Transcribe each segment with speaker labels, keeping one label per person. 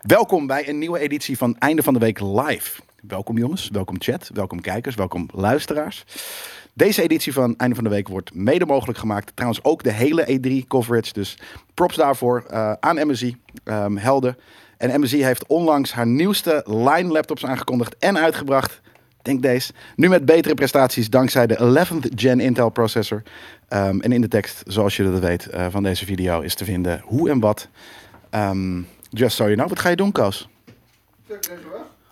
Speaker 1: Welkom bij een nieuwe editie van Einde van de Week Live. Welkom jongens, welkom chat, welkom kijkers, welkom luisteraars. Deze editie van Einde van de Week wordt mede mogelijk gemaakt. Trouwens ook de hele E3-coverage, dus props daarvoor eh, aan MSI, ehm, helden. En MSI heeft onlangs haar nieuwste Line-laptops aangekondigd en uitgebracht. Denk deze. Nu met betere prestaties dankzij de 11th Gen Intel processor. Ehm, en in de tekst, zoals jullie dat weet, eh, van deze video is te vinden hoe en wat. Ehm, just so you know. Wat ga je doen, Koos?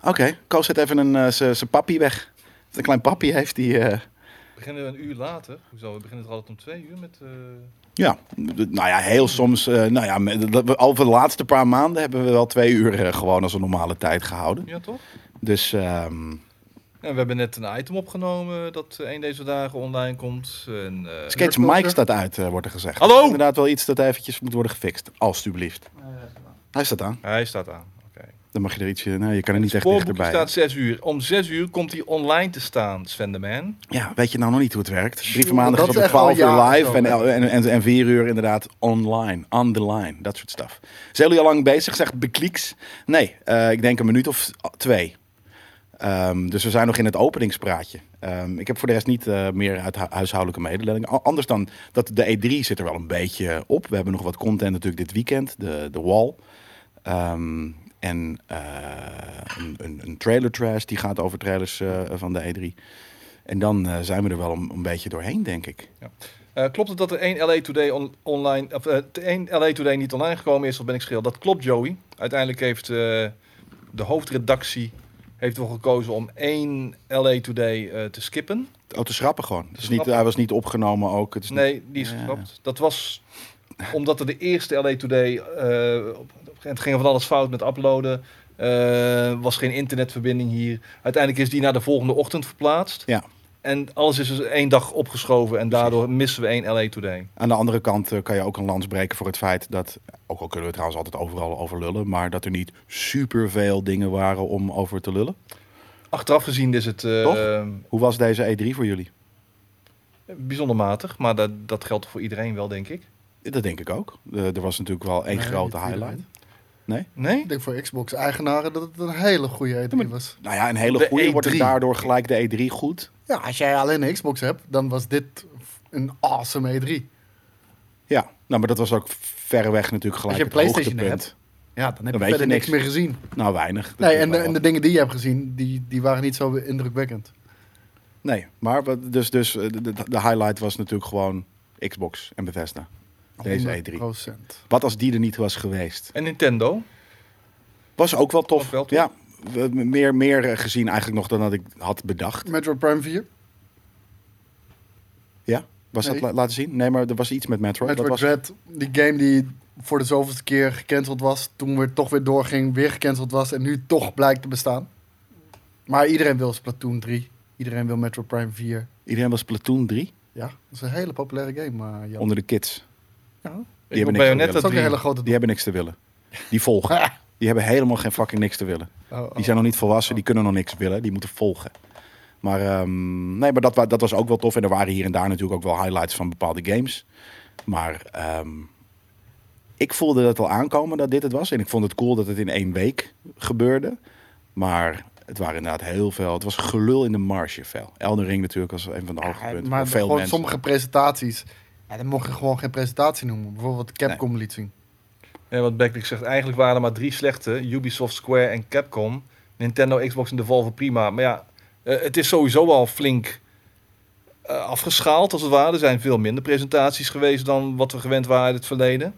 Speaker 1: Oké, Koos zet even een, eh, zijn zijn pappie weg. Een klein pappie heeft die... eh,
Speaker 2: beginnen we een uur later. Hoezo? We beginnen toch altijd om twee uur met... eh,
Speaker 1: Ja, d- nou ja, heel soms. eh, nou ja, me- dat we- over de laatste paar maanden hebben we wel twee uur eh, gewoon als een normale tijd gehouden.
Speaker 2: ja, toch?
Speaker 1: Dus ehm,
Speaker 2: Ja, we hebben net een item opgenomen dat eh, een deze dagen online komt. En, eh,
Speaker 1: Skates Mike staat uit, eh, wordt er gezegd.
Speaker 2: Hallo?
Speaker 1: Dat is Inderdaad wel iets dat eventjes moet worden gefixt, alstublieft. Hij staat aan.
Speaker 2: Hij staat aan. Oké.
Speaker 1: Dan mag je er ietsje. Nou, je kan er niet echt
Speaker 2: Spoorboekje
Speaker 1: dichterbij.
Speaker 2: staat 6 uur. Om 6 uur komt hij online te staan, Sven de Man.
Speaker 1: Ja, weet je nou nog niet hoe het werkt? Drie
Speaker 3: Sjoe,
Speaker 1: van maandag
Speaker 3: dat
Speaker 1: tot
Speaker 3: is echt al
Speaker 1: 12 uur
Speaker 3: jaren
Speaker 1: live
Speaker 3: zo,
Speaker 1: en,
Speaker 3: hè?
Speaker 1: el- en, en, en vier uur inderdaad online, on the line, dat soort stuff. Zijn jullie al lang bezig, zegt Beklieks? Nee, eh, ik denk een minuut of twee. Ehm, dus we zijn nog in het openingspraatje. Ehm, ik heb voor de rest niet eh, meer uit hu- huishoudelijke mededelingen. A- Anders dan dat de E3 zit er wel een beetje op. We hebben nog wat content natuurlijk dit weekend, de, de wall. Ehm, en eh, een, een, een trailer trash die gaat over trailers eh, van de E3. En dan eh, zijn we er wel een, een beetje doorheen, denk ik.
Speaker 2: Eh, klopt het dat er één LA Today on- online, of eh, één LA Today niet online gekomen is, of ben ik schil? Dat klopt, Joey. Uiteindelijk heeft eh, de hoofdredactie heeft ervoor gekozen om één LA Today eh, te skippen.
Speaker 1: Oh, te schrappen gewoon. Het is niet,
Speaker 2: schrappen.
Speaker 1: hij was niet opgenomen ook. Het is niet-
Speaker 2: Nee, die is
Speaker 1: Ja.
Speaker 2: geschrapt. Dat was omdat er de eerste LA Today... eh, op- op- het ging van alles fout met uploaden. eh, was geen internetverbinding hier. Uiteindelijk is die naar de volgende ochtend verplaatst.
Speaker 1: Ja.
Speaker 2: En alles is dus één dag opgeschoven. En daardoor missen we één LA Today.
Speaker 1: Aan de andere kant eh, kan je ook een lans breken voor het feit dat... Ook al kunnen we trouwens altijd overal over lullen... maar dat er niet superveel dingen waren om over te lullen.
Speaker 2: Achteraf gezien is het eh,
Speaker 1: Toch? Hoe was deze E3 voor jullie?
Speaker 2: bijzonder matig. Maar dat, dat geldt voor iedereen wel, denk ik.
Speaker 1: Dat denk ik ook. Eh, er was natuurlijk wel één
Speaker 3: Nee,
Speaker 1: grote
Speaker 3: niet
Speaker 1: highlight.
Speaker 3: iedereen.
Speaker 2: Nee?
Speaker 3: Ik denk voor Xbox-eigenaren dat het een hele goede E3 was.
Speaker 1: Nou ja, een hele
Speaker 2: De
Speaker 3: E
Speaker 1: goede wordt het
Speaker 2: E3.
Speaker 1: daardoor gelijk de E3 goed.
Speaker 3: Ja, als jij alleen een Xbox hebt, dan was dit een awesome E E3.
Speaker 1: Ja, nou, maar dat was ook verreweg natuurlijk gelijk
Speaker 3: je
Speaker 1: het
Speaker 3: PlayStation
Speaker 1: hoogtepunt.
Speaker 3: Ja, dan heb
Speaker 1: Dan
Speaker 3: je
Speaker 1: weet je
Speaker 3: verder niks
Speaker 1: niks.
Speaker 3: meer gezien.
Speaker 1: Nou, weinig. Dat
Speaker 3: Nee,
Speaker 1: is
Speaker 3: en de,
Speaker 1: wel
Speaker 3: en
Speaker 1: wat.
Speaker 3: de dingen die je hebt gezien, die, die waren niet zo indrukwekkend.
Speaker 1: Nee, maar wat- dus, dus eh, de, de- de highlight was natuurlijk gewoon Xbox en Bethesda. Deze E E3.
Speaker 3: 100%.
Speaker 1: Wat als die er niet was geweest?
Speaker 2: En Nintendo?
Speaker 1: Was ook wel tof.
Speaker 2: Was wel tof.
Speaker 1: Ja, we- meer, meer eh, gezien eigenlijk nog dan dat ik had bedacht.
Speaker 3: Metro Prime 4,
Speaker 1: Ja? Was dat
Speaker 3: Nee.
Speaker 1: la- laten zien? Nee, maar er was iets met Metroid.
Speaker 3: Metro
Speaker 1: Wat was
Speaker 3: Dread, die game die voor de zoveelste keer gecanceld was, toen weer toch weer doorging, weer gecanceld was en nu toch blijkt te bestaan. Maar iedereen wil Splatoon 3, iedereen wil Metro Prime 4.
Speaker 1: Iedereen was Platoon 3
Speaker 3: Ja, dat is een hele populaire game, eh Jan.
Speaker 1: onder de kids.
Speaker 3: Ja.
Speaker 1: Die
Speaker 2: ik wil
Speaker 1: hebben niks
Speaker 2: Bayonetta
Speaker 1: gedaan.
Speaker 3: Nou, Oh, Dat is ook
Speaker 2: 3.
Speaker 3: een hele grote
Speaker 1: Die hebben niks te willen. Die volgen. Die hebben helemaal geen fucking niks te willen.
Speaker 3: Oh, oh.
Speaker 1: Die zijn nog niet volwassen, die kunnen nog niks willen, die moeten volgen. Maar, ehm, nee, maar dat, wa- dat was ook wel tof. En er waren hier en daar natuurlijk ook wel highlights van bepaalde games. Maar ehm, ik voelde dat al aankomen dat dit het was. En ik vond het cool dat het in één week gebeurde. Maar het waren inderdaad heel veel. Het was gelul in de marge veel. Elden Ring natuurlijk was een van de
Speaker 3: Ja,
Speaker 1: hoogtepunten.
Speaker 3: maar
Speaker 1: voor veel
Speaker 3: gewoon
Speaker 1: mensen.
Speaker 3: sommige presentaties. Ja, dan mocht je gewoon geen presentatie noemen. Bijvoorbeeld Capcom liet zien.
Speaker 2: Ja, wat Beckley zegt, eigenlijk waren er maar drie slechte. Ubisoft, Square en Capcom. Nintendo, Xbox en Devolver prima. Maar ja, eh, het is sowieso al flink eh, afgeschaald als het ware. Er zijn veel minder presentaties geweest dan wat we gewend waren in het verleden.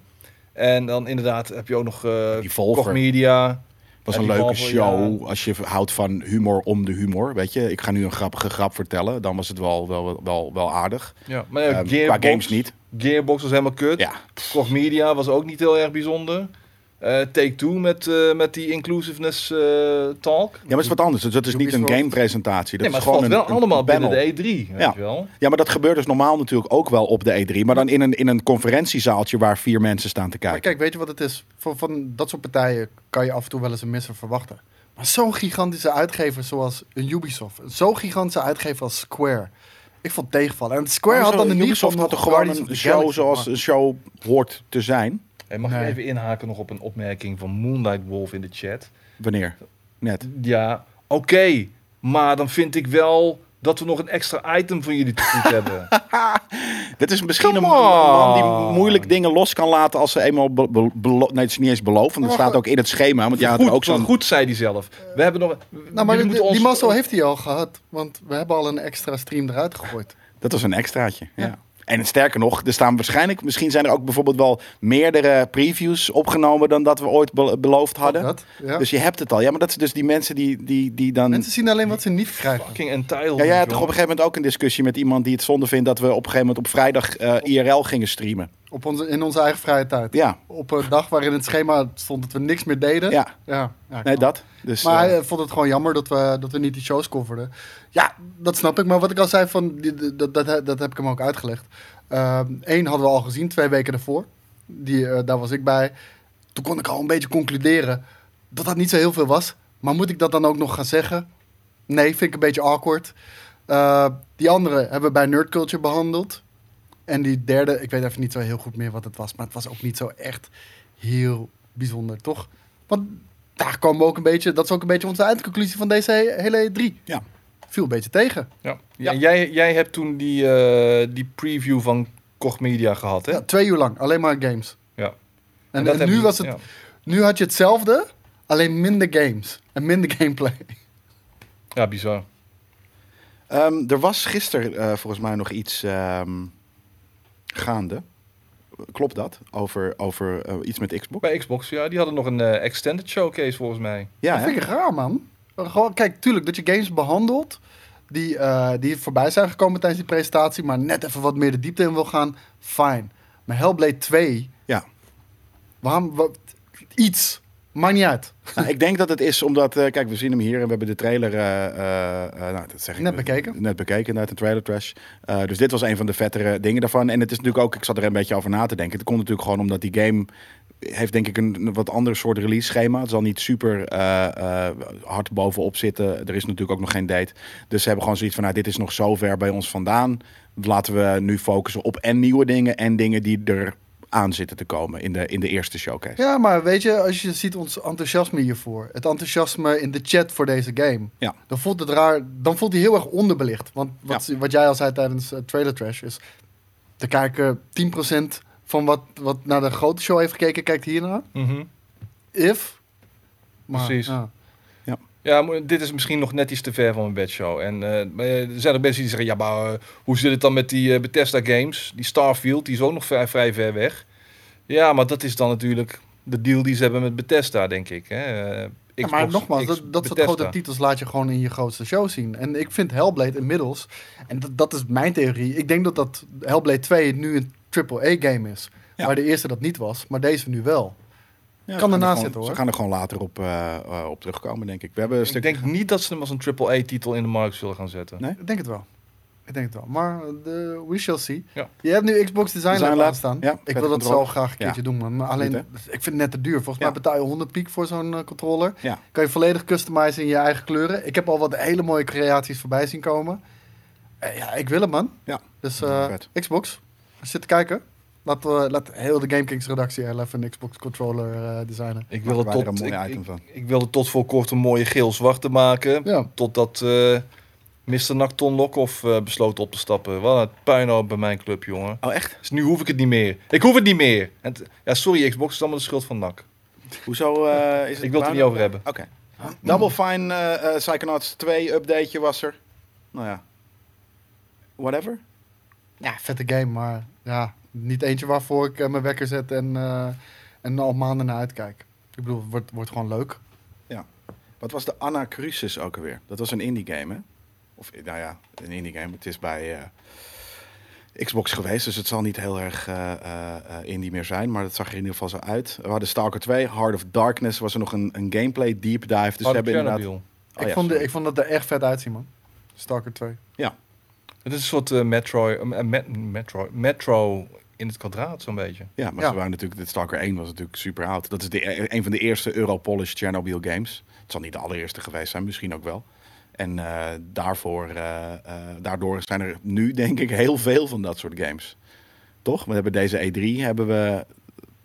Speaker 2: En dan inderdaad heb je ook nog eh
Speaker 1: Die Volver.
Speaker 2: Koch Media.
Speaker 1: was
Speaker 2: Ja,
Speaker 1: een
Speaker 2: die
Speaker 1: leuke
Speaker 2: Marvel,
Speaker 1: show. Als je houdt van humor om de humor. Weet je, ik ga nu een grappige grap vertellen. Dan was het wel, wel, wel, wel aardig.
Speaker 2: Ja, maar ja,
Speaker 1: Ehm,
Speaker 2: Gearbox,
Speaker 1: qua games niet.
Speaker 2: Gearbox was helemaal kut.
Speaker 1: Ja,
Speaker 2: Koch Media was ook niet heel erg bijzonder. Eh, Take Two met, eh, met die inclusiveness eh, talk.
Speaker 1: Ja, maar het is wat anders. Dus dat is niet een
Speaker 3: Ubisoft.
Speaker 1: gamepresentatie. Dat
Speaker 2: nee, maar
Speaker 1: is
Speaker 2: het
Speaker 1: gewoon
Speaker 2: valt
Speaker 1: een,
Speaker 2: wel
Speaker 1: een
Speaker 2: allemaal
Speaker 1: panel.
Speaker 2: binnen de E3, weet
Speaker 1: Ja.
Speaker 2: je wel.
Speaker 1: Ja, maar dat gebeurt dus normaal natuurlijk ook wel op de E3. Maar dan in een, in een conferentiezaaltje waar vier mensen staan te
Speaker 3: Maar
Speaker 1: kijken.
Speaker 3: kijk, weet je wat het is? Van, van dat soort partijen kan je af en toe wel eens een misser verwachten. Maar zo'n gigantische uitgever zoals een Ubisoft. Zo'n gigantische uitgever als Square. Ik vond tegenvallen. En Square
Speaker 1: Maar
Speaker 3: had dan
Speaker 1: zo,
Speaker 3: de
Speaker 1: Ubisoft had toch gewoon een show zoals een show hoort te zijn?
Speaker 2: Hey, mag
Speaker 3: Nee.
Speaker 2: ik even inhaken nog op een opmerking van Moonlight Wolf in de chat?
Speaker 1: Wanneer? Net.
Speaker 2: Ja, oké. maar dan vind ik wel dat we nog een extra item van jullie te goed hebben.
Speaker 1: Dit is misschien
Speaker 2: Come
Speaker 1: een man
Speaker 2: on.
Speaker 1: die moeilijk dingen los kan laten als ze eenmaal... Be be- belo- nee, het is niet eens beloofd, want het
Speaker 3: Maar-
Speaker 1: staat ook in het schema. Want jij had
Speaker 2: goed,
Speaker 1: er ook
Speaker 2: van
Speaker 1: zo'n...
Speaker 2: goed, zei hij zelf. We hebben nog...
Speaker 3: Nou, maar
Speaker 2: jullie
Speaker 3: die,
Speaker 2: moeten ons-
Speaker 3: die mazzel heeft hij al gehad. Want we hebben al een extra stream eruit gegooid.
Speaker 1: Dat was een extraatje, ja. En sterker nog, er staan waarschijnlijk... Misschien zijn er ook bijvoorbeeld wel meerdere previews opgenomen... dan dat we ooit be- beloofd hadden.
Speaker 3: Dat, ja.
Speaker 1: Dus je hebt het al. Ja, maar dat is dus die mensen die, die, die dan...
Speaker 3: Mensen zien alleen wat ze niet krijgen.
Speaker 2: Fucking entitled.
Speaker 1: Ja, jij had
Speaker 2: jongen.
Speaker 1: toch op een gegeven moment ook een discussie met iemand die het zonde vindt... dat we op een gegeven moment op vrijdag eh, IRL gingen streamen.
Speaker 3: Op onze, in onze eigen vrije tijd.
Speaker 1: Ja,
Speaker 3: Op een dag waarin het schema stond dat we niks meer deden.
Speaker 1: ja.
Speaker 3: ja, ja,
Speaker 1: Nee,
Speaker 3: knap.
Speaker 1: dat. Dus,
Speaker 3: Maar
Speaker 1: eh,
Speaker 3: hij eh, vond het gewoon jammer dat we, dat we niet die shows coverden. Ja, dat snap ik. Maar wat ik al zei, van, die- die- dat, dat, dat heb ik hem ook uitgelegd. Eén hadden we al gezien, twee weken daarvoor. Die, eh, daar was ik bij. Toen kon ik al een beetje concluderen dat dat niet zo heel veel was. Maar moet ik dat dan ook nog gaan zeggen? Nee, vind ik een beetje awkward. Eh, die andere hebben we bij Nerd Culture behandeld. En die derde, ik weet even niet zo heel goed meer wat het was. Maar het was ook niet zo echt heel bijzonder, toch? Want daar komen we ook een beetje, dat is ook een beetje onze eindconclusie van deze he- hele drie.
Speaker 1: Ja.
Speaker 3: Viel een beetje tegen.
Speaker 2: Ja. Ja, en Jij, jij hebt toen die, eh, die preview van Koch Media gehad, hè?
Speaker 3: Ja, twee uur lang, alleen maar games.
Speaker 2: Ja.
Speaker 3: En,
Speaker 2: dat
Speaker 3: en
Speaker 2: heb
Speaker 3: nu,
Speaker 2: je-
Speaker 3: was het,
Speaker 2: ja.
Speaker 3: nu had je hetzelfde, alleen minder games en minder gameplay.
Speaker 2: Ja, bizar.
Speaker 1: Ehm, er was gisteren eh, volgens mij nog iets ehm, gaande. Klopt dat? Over, over eh, iets met Xbox?
Speaker 2: Bij Xbox, ja. Die hadden nog een eh, extended showcase, volgens mij.
Speaker 1: Ja, hè?
Speaker 3: dat vind ik raar, man. Gewoon, kijk, tuurlijk, dat je games behandelt die, eh, die voorbij zijn gekomen tijdens die presentatie, maar net even wat meer de diepte in wil gaan, fijn. Maar Hellblade 2,
Speaker 1: ja.
Speaker 3: waarom, wat, iets, maakt niet uit.
Speaker 1: Nou, ik denk dat het is omdat, eh, kijk, we zien hem hier en we hebben de trailer, eh, eh, eh, nou, dat zeg ik,
Speaker 3: Net bekeken.
Speaker 1: Net bekeken, inderdaad, de trailer trash. Eh, dus dit was een van de vettere dingen daarvan. En het is natuurlijk ook, ik zat er een beetje over na te denken. Het komt natuurlijk gewoon omdat die game heeft denk ik een, een wat ander soort release schema. Het zal niet super eh, eh, hard bovenop zitten. Er is natuurlijk ook nog geen date. Dus ze hebben gewoon zoiets van, nou, dit is nog zo ver bij ons vandaan. Laten we nu focussen op en nieuwe dingen en dingen die er aan zitten te komen in de, in de eerste showcase.
Speaker 3: Ja, maar weet je, als je ziet ons enthousiasme hiervoor, het enthousiasme in de chat voor deze game,
Speaker 1: Ja.
Speaker 3: dan voelt het raar, dan voelt hij heel erg onderbelicht. Want wat, wat jij al zei tijdens eh, Trailer Trash is, te kijken 10% van wat, wat naar de grote show heeft gekeken, kijkt hiernaar.
Speaker 2: Mhm.
Speaker 3: If. Maar,
Speaker 2: Precies.
Speaker 3: ja.
Speaker 2: Ja, maar dit is misschien nog net iets te ver van mijn bedshow. En eh, maar, eh, er zijn ook mensen die zeggen, ja, maar eh, hoe zit het dan met die eh, Bethesda games? Die Starfield, die is ook nog vrij, vrij ver weg. Ja, maar dat is dan natuurlijk de deal die ze hebben met Bethesda, denk ik. Hè? Eh,
Speaker 3: Ja,
Speaker 2: Xbox,
Speaker 3: maar nogmaals,
Speaker 2: X-
Speaker 3: dat, dat soort
Speaker 2: Bethesda.
Speaker 3: grote titels laat je gewoon in je grootste show zien. En ik vind Hellblade inmiddels, en dat, dat is mijn theorie, ik denk dat, dat Hellblade 2 nu een AAA-game is.
Speaker 1: Ja.
Speaker 3: Waar de eerste dat niet was, maar deze nu wel.
Speaker 1: Ja,
Speaker 3: Kan
Speaker 1: ze gaan
Speaker 3: ernaast
Speaker 1: gewoon-
Speaker 3: zitten, hoor.
Speaker 1: Ze gaan er gewoon later op, eh, eh, op terugkomen, denk ik. We hebben een
Speaker 2: Ik
Speaker 1: stuk...
Speaker 2: denk niet dat ze hem als een AAA-titel in de markt zullen gaan zetten.
Speaker 1: Nee?
Speaker 3: Ik denk het wel. Ik denk het wel. Maar eh, de, we shall see.
Speaker 2: Ja.
Speaker 3: Je hebt nu Xbox Design
Speaker 1: Design
Speaker 3: Lab
Speaker 1: Lab.
Speaker 3: staan.
Speaker 1: Ja,
Speaker 3: ik
Speaker 1: vette
Speaker 3: wil dat
Speaker 1: controller.
Speaker 3: zo graag een keertje doen, man. Maar alleen,
Speaker 1: Niet,
Speaker 3: ik vind het net te duur. Volgens
Speaker 1: Ja.
Speaker 3: mij betaal je 100 piek voor zo'n eh, controller.
Speaker 1: Ja.
Speaker 3: Kan je volledig customizen in je eigen kleuren. Ik heb al wat hele mooie creaties voorbij zien komen. Eh, ja, ik wil hem, man.
Speaker 1: Ja.
Speaker 3: Dus eh,
Speaker 1: Ja, vet.
Speaker 3: Xbox, als je zit te kijken, laat, we laat heel de GameKings redactie er even een Xbox controller eh, designen.
Speaker 2: Ik
Speaker 1: Maken
Speaker 2: wil, het
Speaker 1: wij er
Speaker 2: tot,
Speaker 1: een
Speaker 2: ik,
Speaker 1: mooi item
Speaker 2: ik-
Speaker 1: van.
Speaker 2: ik wil het tot voor kort een mooie geel-zwarte maken.
Speaker 3: Ja.
Speaker 2: Totdat eh Mr. Nakton Lokhoff eh, besloot op te stappen. Wat een puinhoop bij mijn club, jongen.
Speaker 1: Oh, echt?
Speaker 2: Dus nu hoef ik het niet meer. Ik hoef het niet meer. En t- ja, sorry, Xbox is allemaal de schuld van NAC.
Speaker 1: Hoezo eh, is het...
Speaker 2: Ik wil het er niet over hebben.
Speaker 1: Oké. Double Fine eh, eh, Psychonauts 2 updateje was er. Nou ja. Whatever.
Speaker 3: Ja, vette game, maar ja, niet eentje waarvoor ik eh, mijn wekker zet en, eh, en al maanden naar uitkijk. Ik bedoel, het wordt, wordt gewoon leuk.
Speaker 1: Oh Wat was de Anna Crucis ook alweer? Dat was een indie game, hè? Of, eh, nou ja, een indie game. Het is bij eh, Xbox geweest, dus het zal niet heel erg eh, eh, eh, indie meer zijn. Maar dat zag er in ieder geval zo uit. We hadden Stalker 2, Heart of Darkness. Was er nog een, een gameplay deep dive. Dus we
Speaker 2: Harder
Speaker 1: hebben inderdaad...
Speaker 2: Chernobyl.
Speaker 1: Oh
Speaker 3: ik,
Speaker 1: ja,
Speaker 3: vond de,
Speaker 1: sorry.
Speaker 3: ik vond dat er echt vet uitzien, man. Stalker 2.
Speaker 2: Het is een soort eh, Metroid- eh, Met- Metro, metro in het kwadraat, zo'n beetje.
Speaker 1: Ja, maar
Speaker 3: Ja.
Speaker 1: ze waren natuurlijk, dit Stalker 1 was natuurlijk super oud. Dat is de, e, een van de eerste Europolish Chernobyl games. Het zal niet de allereerste geweest zijn, misschien ook wel. En eh, daarvoor, eh, eh, daardoor zijn er nu denk ik heel veel van dat soort games. Toch? E We hebben deze E3, hebben we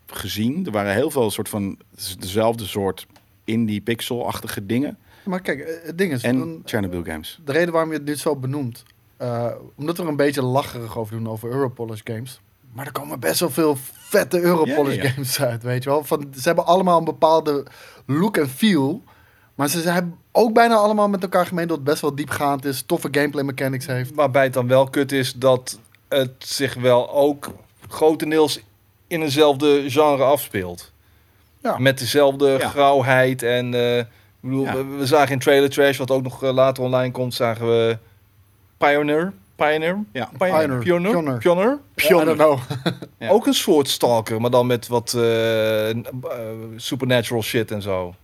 Speaker 1: gezien. Er waren heel veel soort van dezelfde soort indie pixel-achtige dingen.
Speaker 3: Maar kijk, eh, het ding is, we
Speaker 1: En
Speaker 3: doen-
Speaker 1: Chernobyl Games.
Speaker 3: de reden waarom je het nu zo benoemt, eh, omdat we er een beetje lacherig over doen over Europolis games. Maar er komen best wel veel vette Europolis
Speaker 1: Ja, ja, ja.
Speaker 3: games uit, weet je wel. Van, ze hebben allemaal een bepaalde look en feel. Maar ze hebben ook bijna allemaal met elkaar gemeen dat het best wel diepgaand is, toffe gameplay mechanics heeft.
Speaker 2: Waarbij het dan wel kut is dat het zich wel ook grotendeels in eenzelfde genre afspeelt.
Speaker 3: Ja.
Speaker 2: Met dezelfde
Speaker 1: Ja.
Speaker 2: grauwheid en... eh, ik bedoel,
Speaker 1: Ja.
Speaker 2: we, we zagen in Trailer Trash, wat ook nog eh, later online komt, zagen we Pioneer. Pioneer?
Speaker 1: Ja.
Speaker 2: Pioneer?
Speaker 3: Pioneer.
Speaker 2: Pioneer?
Speaker 3: Pioneer.
Speaker 2: Pioneer?
Speaker 3: I don't know.
Speaker 1: Ja.
Speaker 2: Ook een soort stalker, maar dan met wat eh, n- eh, supernatural shit en zo.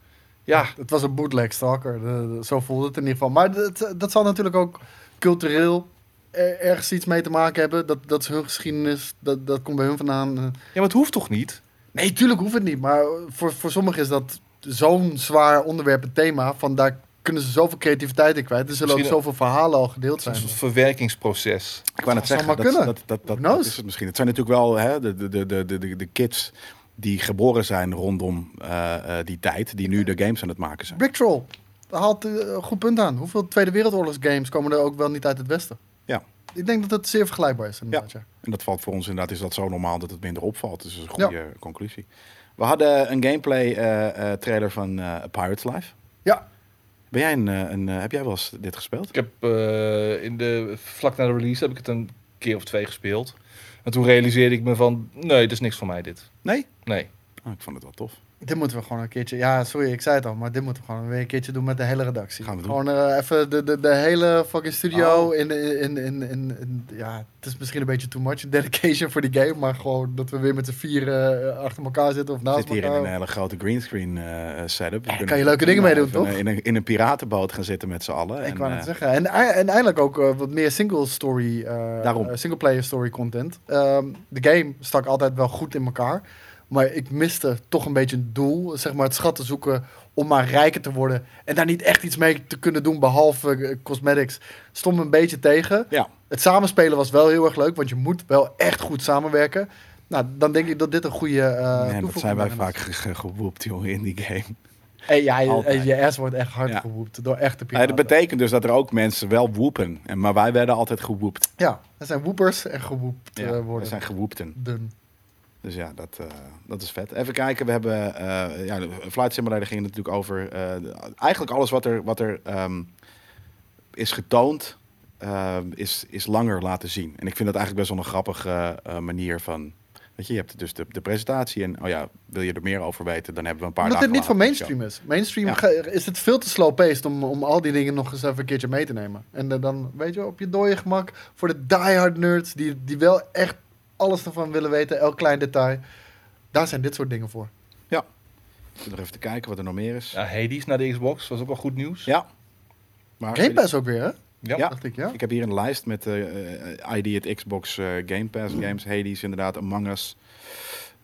Speaker 2: Ja,
Speaker 3: Het was een bootleg stalker. De- de- zo voelde het in ieder geval. Maar dat, dat zal natuurlijk ook cultureel er- ergens iets mee te maken hebben. Dat, dat is hun geschiedenis. Dat, dat komt bij hun vandaan. Eh,
Speaker 2: ja maar het hoeft toch niet?
Speaker 3: Nee, tuurlijk hoeft het niet. Maar voor, voor sommigen is dat zo'n zwaar onderwerp en thema. Van daar kunnen ze zoveel creativiteit in kwijt. Er zullen ook
Speaker 2: Misschien-
Speaker 3: zoveel verhalen al gedeeld
Speaker 2: Het
Speaker 3: zijn.
Speaker 2: is een soort verwerkingsproces.
Speaker 1: Ik wou net
Speaker 3: zou
Speaker 1: zeggen,
Speaker 3: maar
Speaker 1: dat, dat,
Speaker 3: kunnen.
Speaker 1: dat, dat- dat
Speaker 3: knows?
Speaker 1: is het misschien. Het zijn natuurlijk wel hè, de, de, de, de, de, de kids die geboren zijn rondom eh, eh, die tijd, die nu de games aan het maken zijn.
Speaker 3: Brick Troll. Daar haalt eh, een goed punt aan. Hoeveel Tweede Wereldoorlogs games komen er ook wel niet uit het Westen?
Speaker 1: Ja.
Speaker 3: Ik denk dat dat zeer vergelijkbaar is. Inderdaad, ja.
Speaker 1: En dat valt voor ons inderdaad, is dat zo normaal dat het minder opvalt. Dus dat is een goede conclusie. We hadden een gameplay eh, eh, trailer van eh, Pirates Life.
Speaker 3: Ja.
Speaker 1: Ben jij een, eh, een, eh, heb jij wel eens dit gespeeld?
Speaker 2: Ik heb eh, in de, vlak na de release heb ik het een keer of twee gespeeld. En toen realiseerde ik me van, nee, dit is niks voor mij dit.
Speaker 1: Nee?
Speaker 2: Nee.
Speaker 1: Oh, ik vond het wel tof.
Speaker 3: Dit moeten we gewoon een keertje. Ja, sorry, ik zei het al, maar dit moeten we gewoon weer een keertje doen met de hele redactie.
Speaker 1: Gaan we doen.
Speaker 3: Gewoon eh, even de, de, de hele fucking studio
Speaker 1: Oh.
Speaker 3: in, in, in, in, in- Ja, het is misschien een beetje too much dedication voor die game, maar gewoon dat we weer met z'n vier eh, achter elkaar zitten of naast
Speaker 1: Zit hier in
Speaker 3: elkaar.
Speaker 1: een hele grote greenscreen eh, eh, setup. We
Speaker 3: Ja,
Speaker 1: kunnen
Speaker 3: kan je leuke dingen mee doen,
Speaker 1: even,
Speaker 3: toch?
Speaker 1: eh, In een, in een piratenboot gaan zitten met z'n allen.
Speaker 3: ik
Speaker 1: En,
Speaker 3: wou
Speaker 1: eh,
Speaker 3: net zeggen. En, ei- en eindelijk ook eh, wat meer single story, eh,
Speaker 1: Daarom.
Speaker 3: eh, single player story content. Ehm, de game stak altijd wel goed in elkaar. Maar ik miste toch een beetje een doel. Zeg maar het schat te zoeken om maar rijker te worden. En daar niet echt iets mee te kunnen doen behalve eh, cosmetics. Stond me een beetje tegen.
Speaker 1: Ja.
Speaker 3: Het samenspelen was wel heel erg leuk. Want je moet wel echt goed samenwerken. Nou, dan denk ik dat dit een goede eh
Speaker 1: Man, dat
Speaker 3: toevoeging
Speaker 1: zijn wij
Speaker 3: daarin is.
Speaker 1: vaak ge- ge- gewoept, jongen, in die game.
Speaker 3: En ja,
Speaker 1: Altijd.
Speaker 3: je, je ass wordt echt hard
Speaker 1: Ja.
Speaker 3: gewoept door echte
Speaker 1: Eh,
Speaker 3: piraten.
Speaker 1: dat betekent dus dat er ook mensen wel woepen. En, maar wij werden altijd gewoept.
Speaker 3: Ja, er zijn woepers en gewoept eh,
Speaker 1: we
Speaker 3: worden.
Speaker 1: zijn gewoepten.
Speaker 3: dun.
Speaker 1: Dus ja, dat, eh, dat is vet. Even kijken, we hebben... eh, ja, de Flight Simulator ging het natuurlijk over... eh, de- eigenlijk alles wat er, wat er ehm, is getoond, ehm, is, is langer laten zien. En ik vind dat eigenlijk best wel een grappige eh, manier van... Weet je, je hebt dus de, de presentatie en... Oh ja, wil je er meer over weten, dan hebben we een paar
Speaker 3: Omdat dit
Speaker 1: dagen
Speaker 3: niet van
Speaker 1: later een show.
Speaker 3: mainstream is. Mainstream
Speaker 1: Ja.
Speaker 3: ge- is het veel te slow-paced om, om al die dingen nog eens even een keertje mee te nemen. En eh, dan, weet je, op je dode gemak voor de diehard nerds die, die wel echt alles ervan willen weten, elk klein detail. Daar zijn dit soort dingen voor.
Speaker 1: Ik zit nog even te kijken wat er nog meer is. Ja.
Speaker 2: Ja, Hades naar de Xbox was ook wel goed nieuws.
Speaker 1: Maar,
Speaker 3: Game Pass ook weer, hè?
Speaker 2: Ja.
Speaker 1: Ja.
Speaker 3: Dacht ik, ja.
Speaker 1: Ik heb hier een lijst met eh, eh, ID at Xbox eh, Game Pass games. Hades inderdaad, Among Us.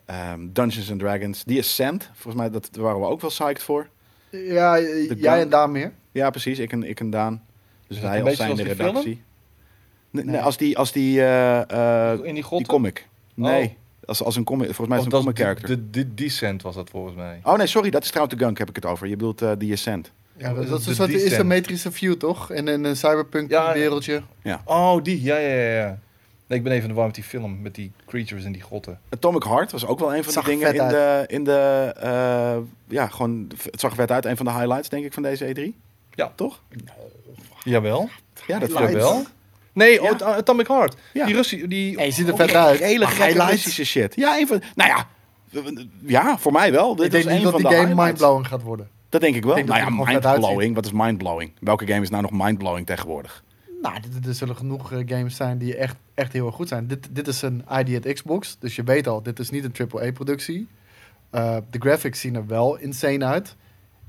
Speaker 1: ehm, Dungeons and Dragons. Die Ascent, volgens mij dat, daar waren we ook wel psyched voor.
Speaker 3: Ja, eh,
Speaker 1: The
Speaker 3: jij
Speaker 1: Gun.
Speaker 3: en Daan meer.
Speaker 1: Ja, precies. Ik en, ik en Daan. Dus
Speaker 2: Is dat
Speaker 1: wij
Speaker 2: een
Speaker 1: als
Speaker 2: beetje
Speaker 1: zijn de
Speaker 2: zoals die
Speaker 1: redactie. Nee, nee,
Speaker 3: Nee.
Speaker 1: als die, als die, eh, eh,
Speaker 2: In die
Speaker 1: die
Speaker 2: god.
Speaker 1: comic. Nee, als, als een comic. Volgens mij is het een comic character.
Speaker 2: De, de Descent was dat volgens mij.
Speaker 1: Oh nee, sorry. Dat is trouwens de gunk heb ik het over. Je bedoelt eh die Ascent.
Speaker 3: Ja, dat,
Speaker 2: is
Speaker 3: dat is
Speaker 2: de
Speaker 3: een soort
Speaker 2: Descent.
Speaker 3: isometrische view, toch? En in een
Speaker 2: Ja.
Speaker 3: cyberpunk-wereldje.
Speaker 2: Oh, die. Ja, ja, ja, ja. Nee, ik ben even in de war met die film, met die creatures en die grotten.
Speaker 1: Atomic Heart was ook wel een van de
Speaker 3: Zag
Speaker 1: dingen
Speaker 3: vet
Speaker 1: in
Speaker 3: uit.
Speaker 1: de, in de eh, ja, gewoon, het zag er vet uit. Een van de highlights, denk ik, van deze E3.
Speaker 2: Ja.
Speaker 1: toch?
Speaker 2: Jawel.
Speaker 1: Ja, dat
Speaker 3: Highlights.
Speaker 2: Jawel. Nee,
Speaker 1: Ja.
Speaker 2: oh, At- Atomic Heart.
Speaker 1: Ja.
Speaker 2: Die Russie, die...
Speaker 3: Hey, je ziet er
Speaker 2: oh,
Speaker 3: vet uit.
Speaker 1: Hele
Speaker 3: Maar
Speaker 1: gekke
Speaker 3: highlights?
Speaker 1: Russische Ah, shit. Ja, een van, nou ja, ja, voor mij wel. Dit
Speaker 3: Ik denk
Speaker 1: is een
Speaker 3: niet dat
Speaker 1: van
Speaker 3: die
Speaker 1: de
Speaker 3: game
Speaker 1: highlights.
Speaker 3: mindblowing gaat worden.
Speaker 1: Dat denk ik wel.
Speaker 3: Ik denk
Speaker 1: nou
Speaker 3: dat
Speaker 1: ja,
Speaker 3: die er gewoon vet
Speaker 1: mindblowing. Wat is mindblowing? Welke game is nou nog mindblowing tegenwoordig?
Speaker 3: Nou, dit- er zullen genoeg eh, games zijn die echt, echt heel erg goed zijn. Dit, dit is een ID at Xbox, dus je weet al, dit is niet een AAA-productie. Eh, de graphics zien er wel insane uit.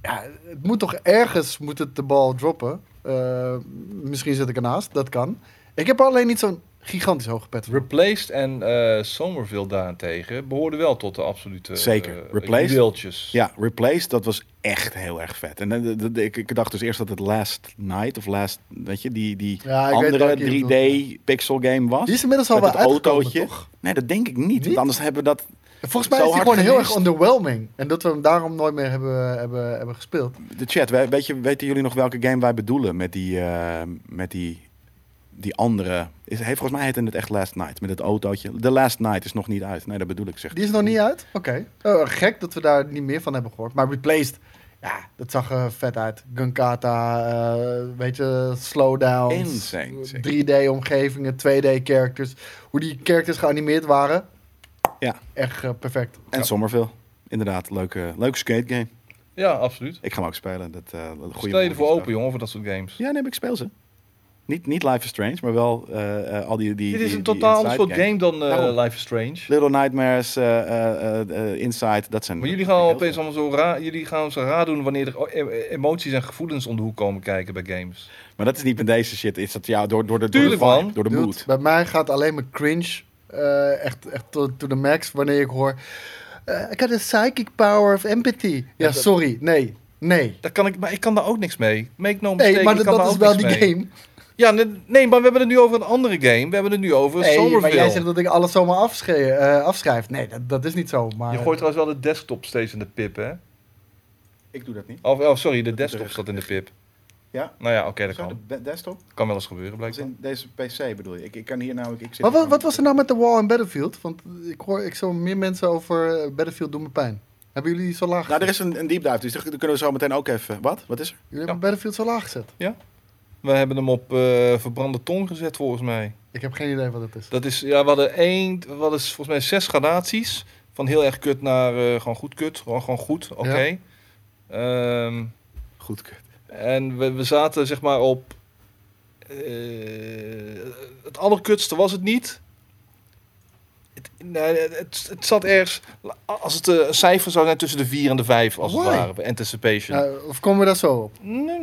Speaker 3: Ja, het moet toch ergens moet het de bal droppen. Eh, misschien zit ik ernaast, dat kan. Ik heb er alleen niet zo'n gigantisch hoge pet voor.
Speaker 2: Replaced en eh, Somerville daarentegen behoorden wel tot de absolute...
Speaker 1: Zeker.
Speaker 2: eh,
Speaker 1: Replaced?
Speaker 2: juweeltjes.
Speaker 1: Ja, Replaced, dat was echt heel erg vet. En eh, d- d- ik, ik dacht dus eerst dat het Last Night of Last, weet je, die, die
Speaker 3: Ja, ik weet
Speaker 1: andere
Speaker 3: welke je bedoelt,
Speaker 1: 3D pixel game was.
Speaker 3: Die is inmiddels al
Speaker 1: Met
Speaker 3: wel
Speaker 1: het
Speaker 3: uitgekomen,
Speaker 1: autootje?
Speaker 3: toch?
Speaker 1: Nee, dat denk ik niet. Want
Speaker 3: Niet?
Speaker 1: anders hebben we dat.
Speaker 3: Volgens mij
Speaker 1: Zo
Speaker 3: is die
Speaker 1: hard
Speaker 3: gewoon heel erg
Speaker 1: geweest.
Speaker 3: underwhelming. En dat we hem daarom nooit meer hebben, hebben, hebben gespeeld.
Speaker 1: De chat, wij- weet je, weten jullie nog welke game wij bedoelen met die, eh, met die, die andere? Is, heeft, volgens mij heette het echt Last Night, met het autootje. The Last Night is nog niet uit. Nee, dat bedoel ik, zeg.
Speaker 3: Die is nog niet uit? Oké. Eh, gek dat we daar niet meer van hebben gehoord. Maar Replaced, ja, dat zag er vet uit. Gunkata, eh, weet je, slowdowns.
Speaker 1: Insane, zeg.
Speaker 3: 3D-omgevingen, 2D-characters. Hoe die characters geanimeerd waren.
Speaker 1: Ja.
Speaker 3: Echt eh, perfect.
Speaker 1: En Somerville. Inderdaad, leuke, leuke skate game.
Speaker 2: Ja, absoluut.
Speaker 1: Ik ga hem ook spelen. Dat, eh goede
Speaker 2: Stel je ervoor
Speaker 1: movies.
Speaker 2: open, jongen, voor dat soort games.
Speaker 1: Ja, nee, maar ik speel ze. Niet, niet Life is Strange, maar wel eh, eh, al die, die
Speaker 2: Dit is
Speaker 1: die-
Speaker 2: een
Speaker 1: die
Speaker 2: totaal ander
Speaker 1: inside
Speaker 2: soort game dan eh,
Speaker 1: Daarom.
Speaker 2: Life is Strange.
Speaker 1: Little Nightmares, eh, eh, eh, eh, Inside, dat zijn...
Speaker 2: Maar jullie gaan
Speaker 1: heel
Speaker 2: opeens allemaal zo raar, jullie gaan zo raar doen wanneer er o- e- emoties en gevoelens om de hoek komen kijken bij games.
Speaker 1: Maar dat is niet met deze shit. Is dat ja, door, door de,
Speaker 2: Tuurlijk,
Speaker 1: door de vibe,
Speaker 2: man.
Speaker 1: door de
Speaker 3: Dude,
Speaker 1: mood.
Speaker 3: Bij mij gaat alleen maar cringe eh, echt, echt to, to the max wanneer ik hoor... eh, I got a psychic power of empathy. Ja,
Speaker 2: dat-
Speaker 3: sorry. Nee. Nee.
Speaker 2: Daar kan ik, maar ik kan daar ook niks mee. Make no mistake,
Speaker 3: Nee, maar
Speaker 2: ik
Speaker 3: dat,
Speaker 2: kan
Speaker 3: dat
Speaker 2: daar
Speaker 3: is
Speaker 2: ook
Speaker 3: wel
Speaker 2: niks
Speaker 3: die
Speaker 2: mee.
Speaker 3: game.
Speaker 2: Ja, ne- nee, maar we hebben het nu over een andere game. We hebben het nu over
Speaker 3: Nee, maar
Speaker 2: Somerville.
Speaker 3: jij zegt dat ik alles zomaar afschre- eh, afschrijf. Nee, dat, dat is niet zo. Maar
Speaker 2: Je gooit trouwens wel de desktop steeds in de pip, hè?
Speaker 1: Ik doe dat niet.
Speaker 2: Of, oh, sorry, de
Speaker 1: terug.
Speaker 2: desktop staat in de pip.
Speaker 1: Ja?
Speaker 2: Nou ja, oké, dat kan.
Speaker 1: desktop?
Speaker 2: Kan wel eens gebeuren, blijkbaar.
Speaker 1: deze PC bedoel je? Ik, kan hier namelijk... Ik
Speaker 3: maar wat, wat was er nou met de wall en Battlefield? Want ik hoor ik zo meer mensen over eh, Battlefield doen me pijn. Hebben jullie die zo laag gezet?
Speaker 1: Nou, er is een, een deep dive, dus daar kunnen we zo meteen ook even... Wat? Wat is er?
Speaker 3: Jullie hebben Battlefield zo laag gezet.
Speaker 2: We hebben hem op eh, verbrande tong gezet, volgens mij.
Speaker 3: Ik heb geen idee wat het is.
Speaker 2: Dat is, ja, we hadden één, we hadden volgens mij zes gradaties. Van heel erg kut naar eh, gewoon goed kut. Gewoon, gewoon goed, oké. Ehm,
Speaker 1: Goed, kut.
Speaker 2: en we, we zaten zeg maar op... eh, het allerkutste was het niet. Het, nee, het, het zat ergens... Als het eh, een cijfer zou zijn tussen de 4 en de 5, als
Speaker 3: Why?
Speaker 2: het ware. bij Anticipation.
Speaker 3: Nou, of komen we daar zo op?
Speaker 2: Nee,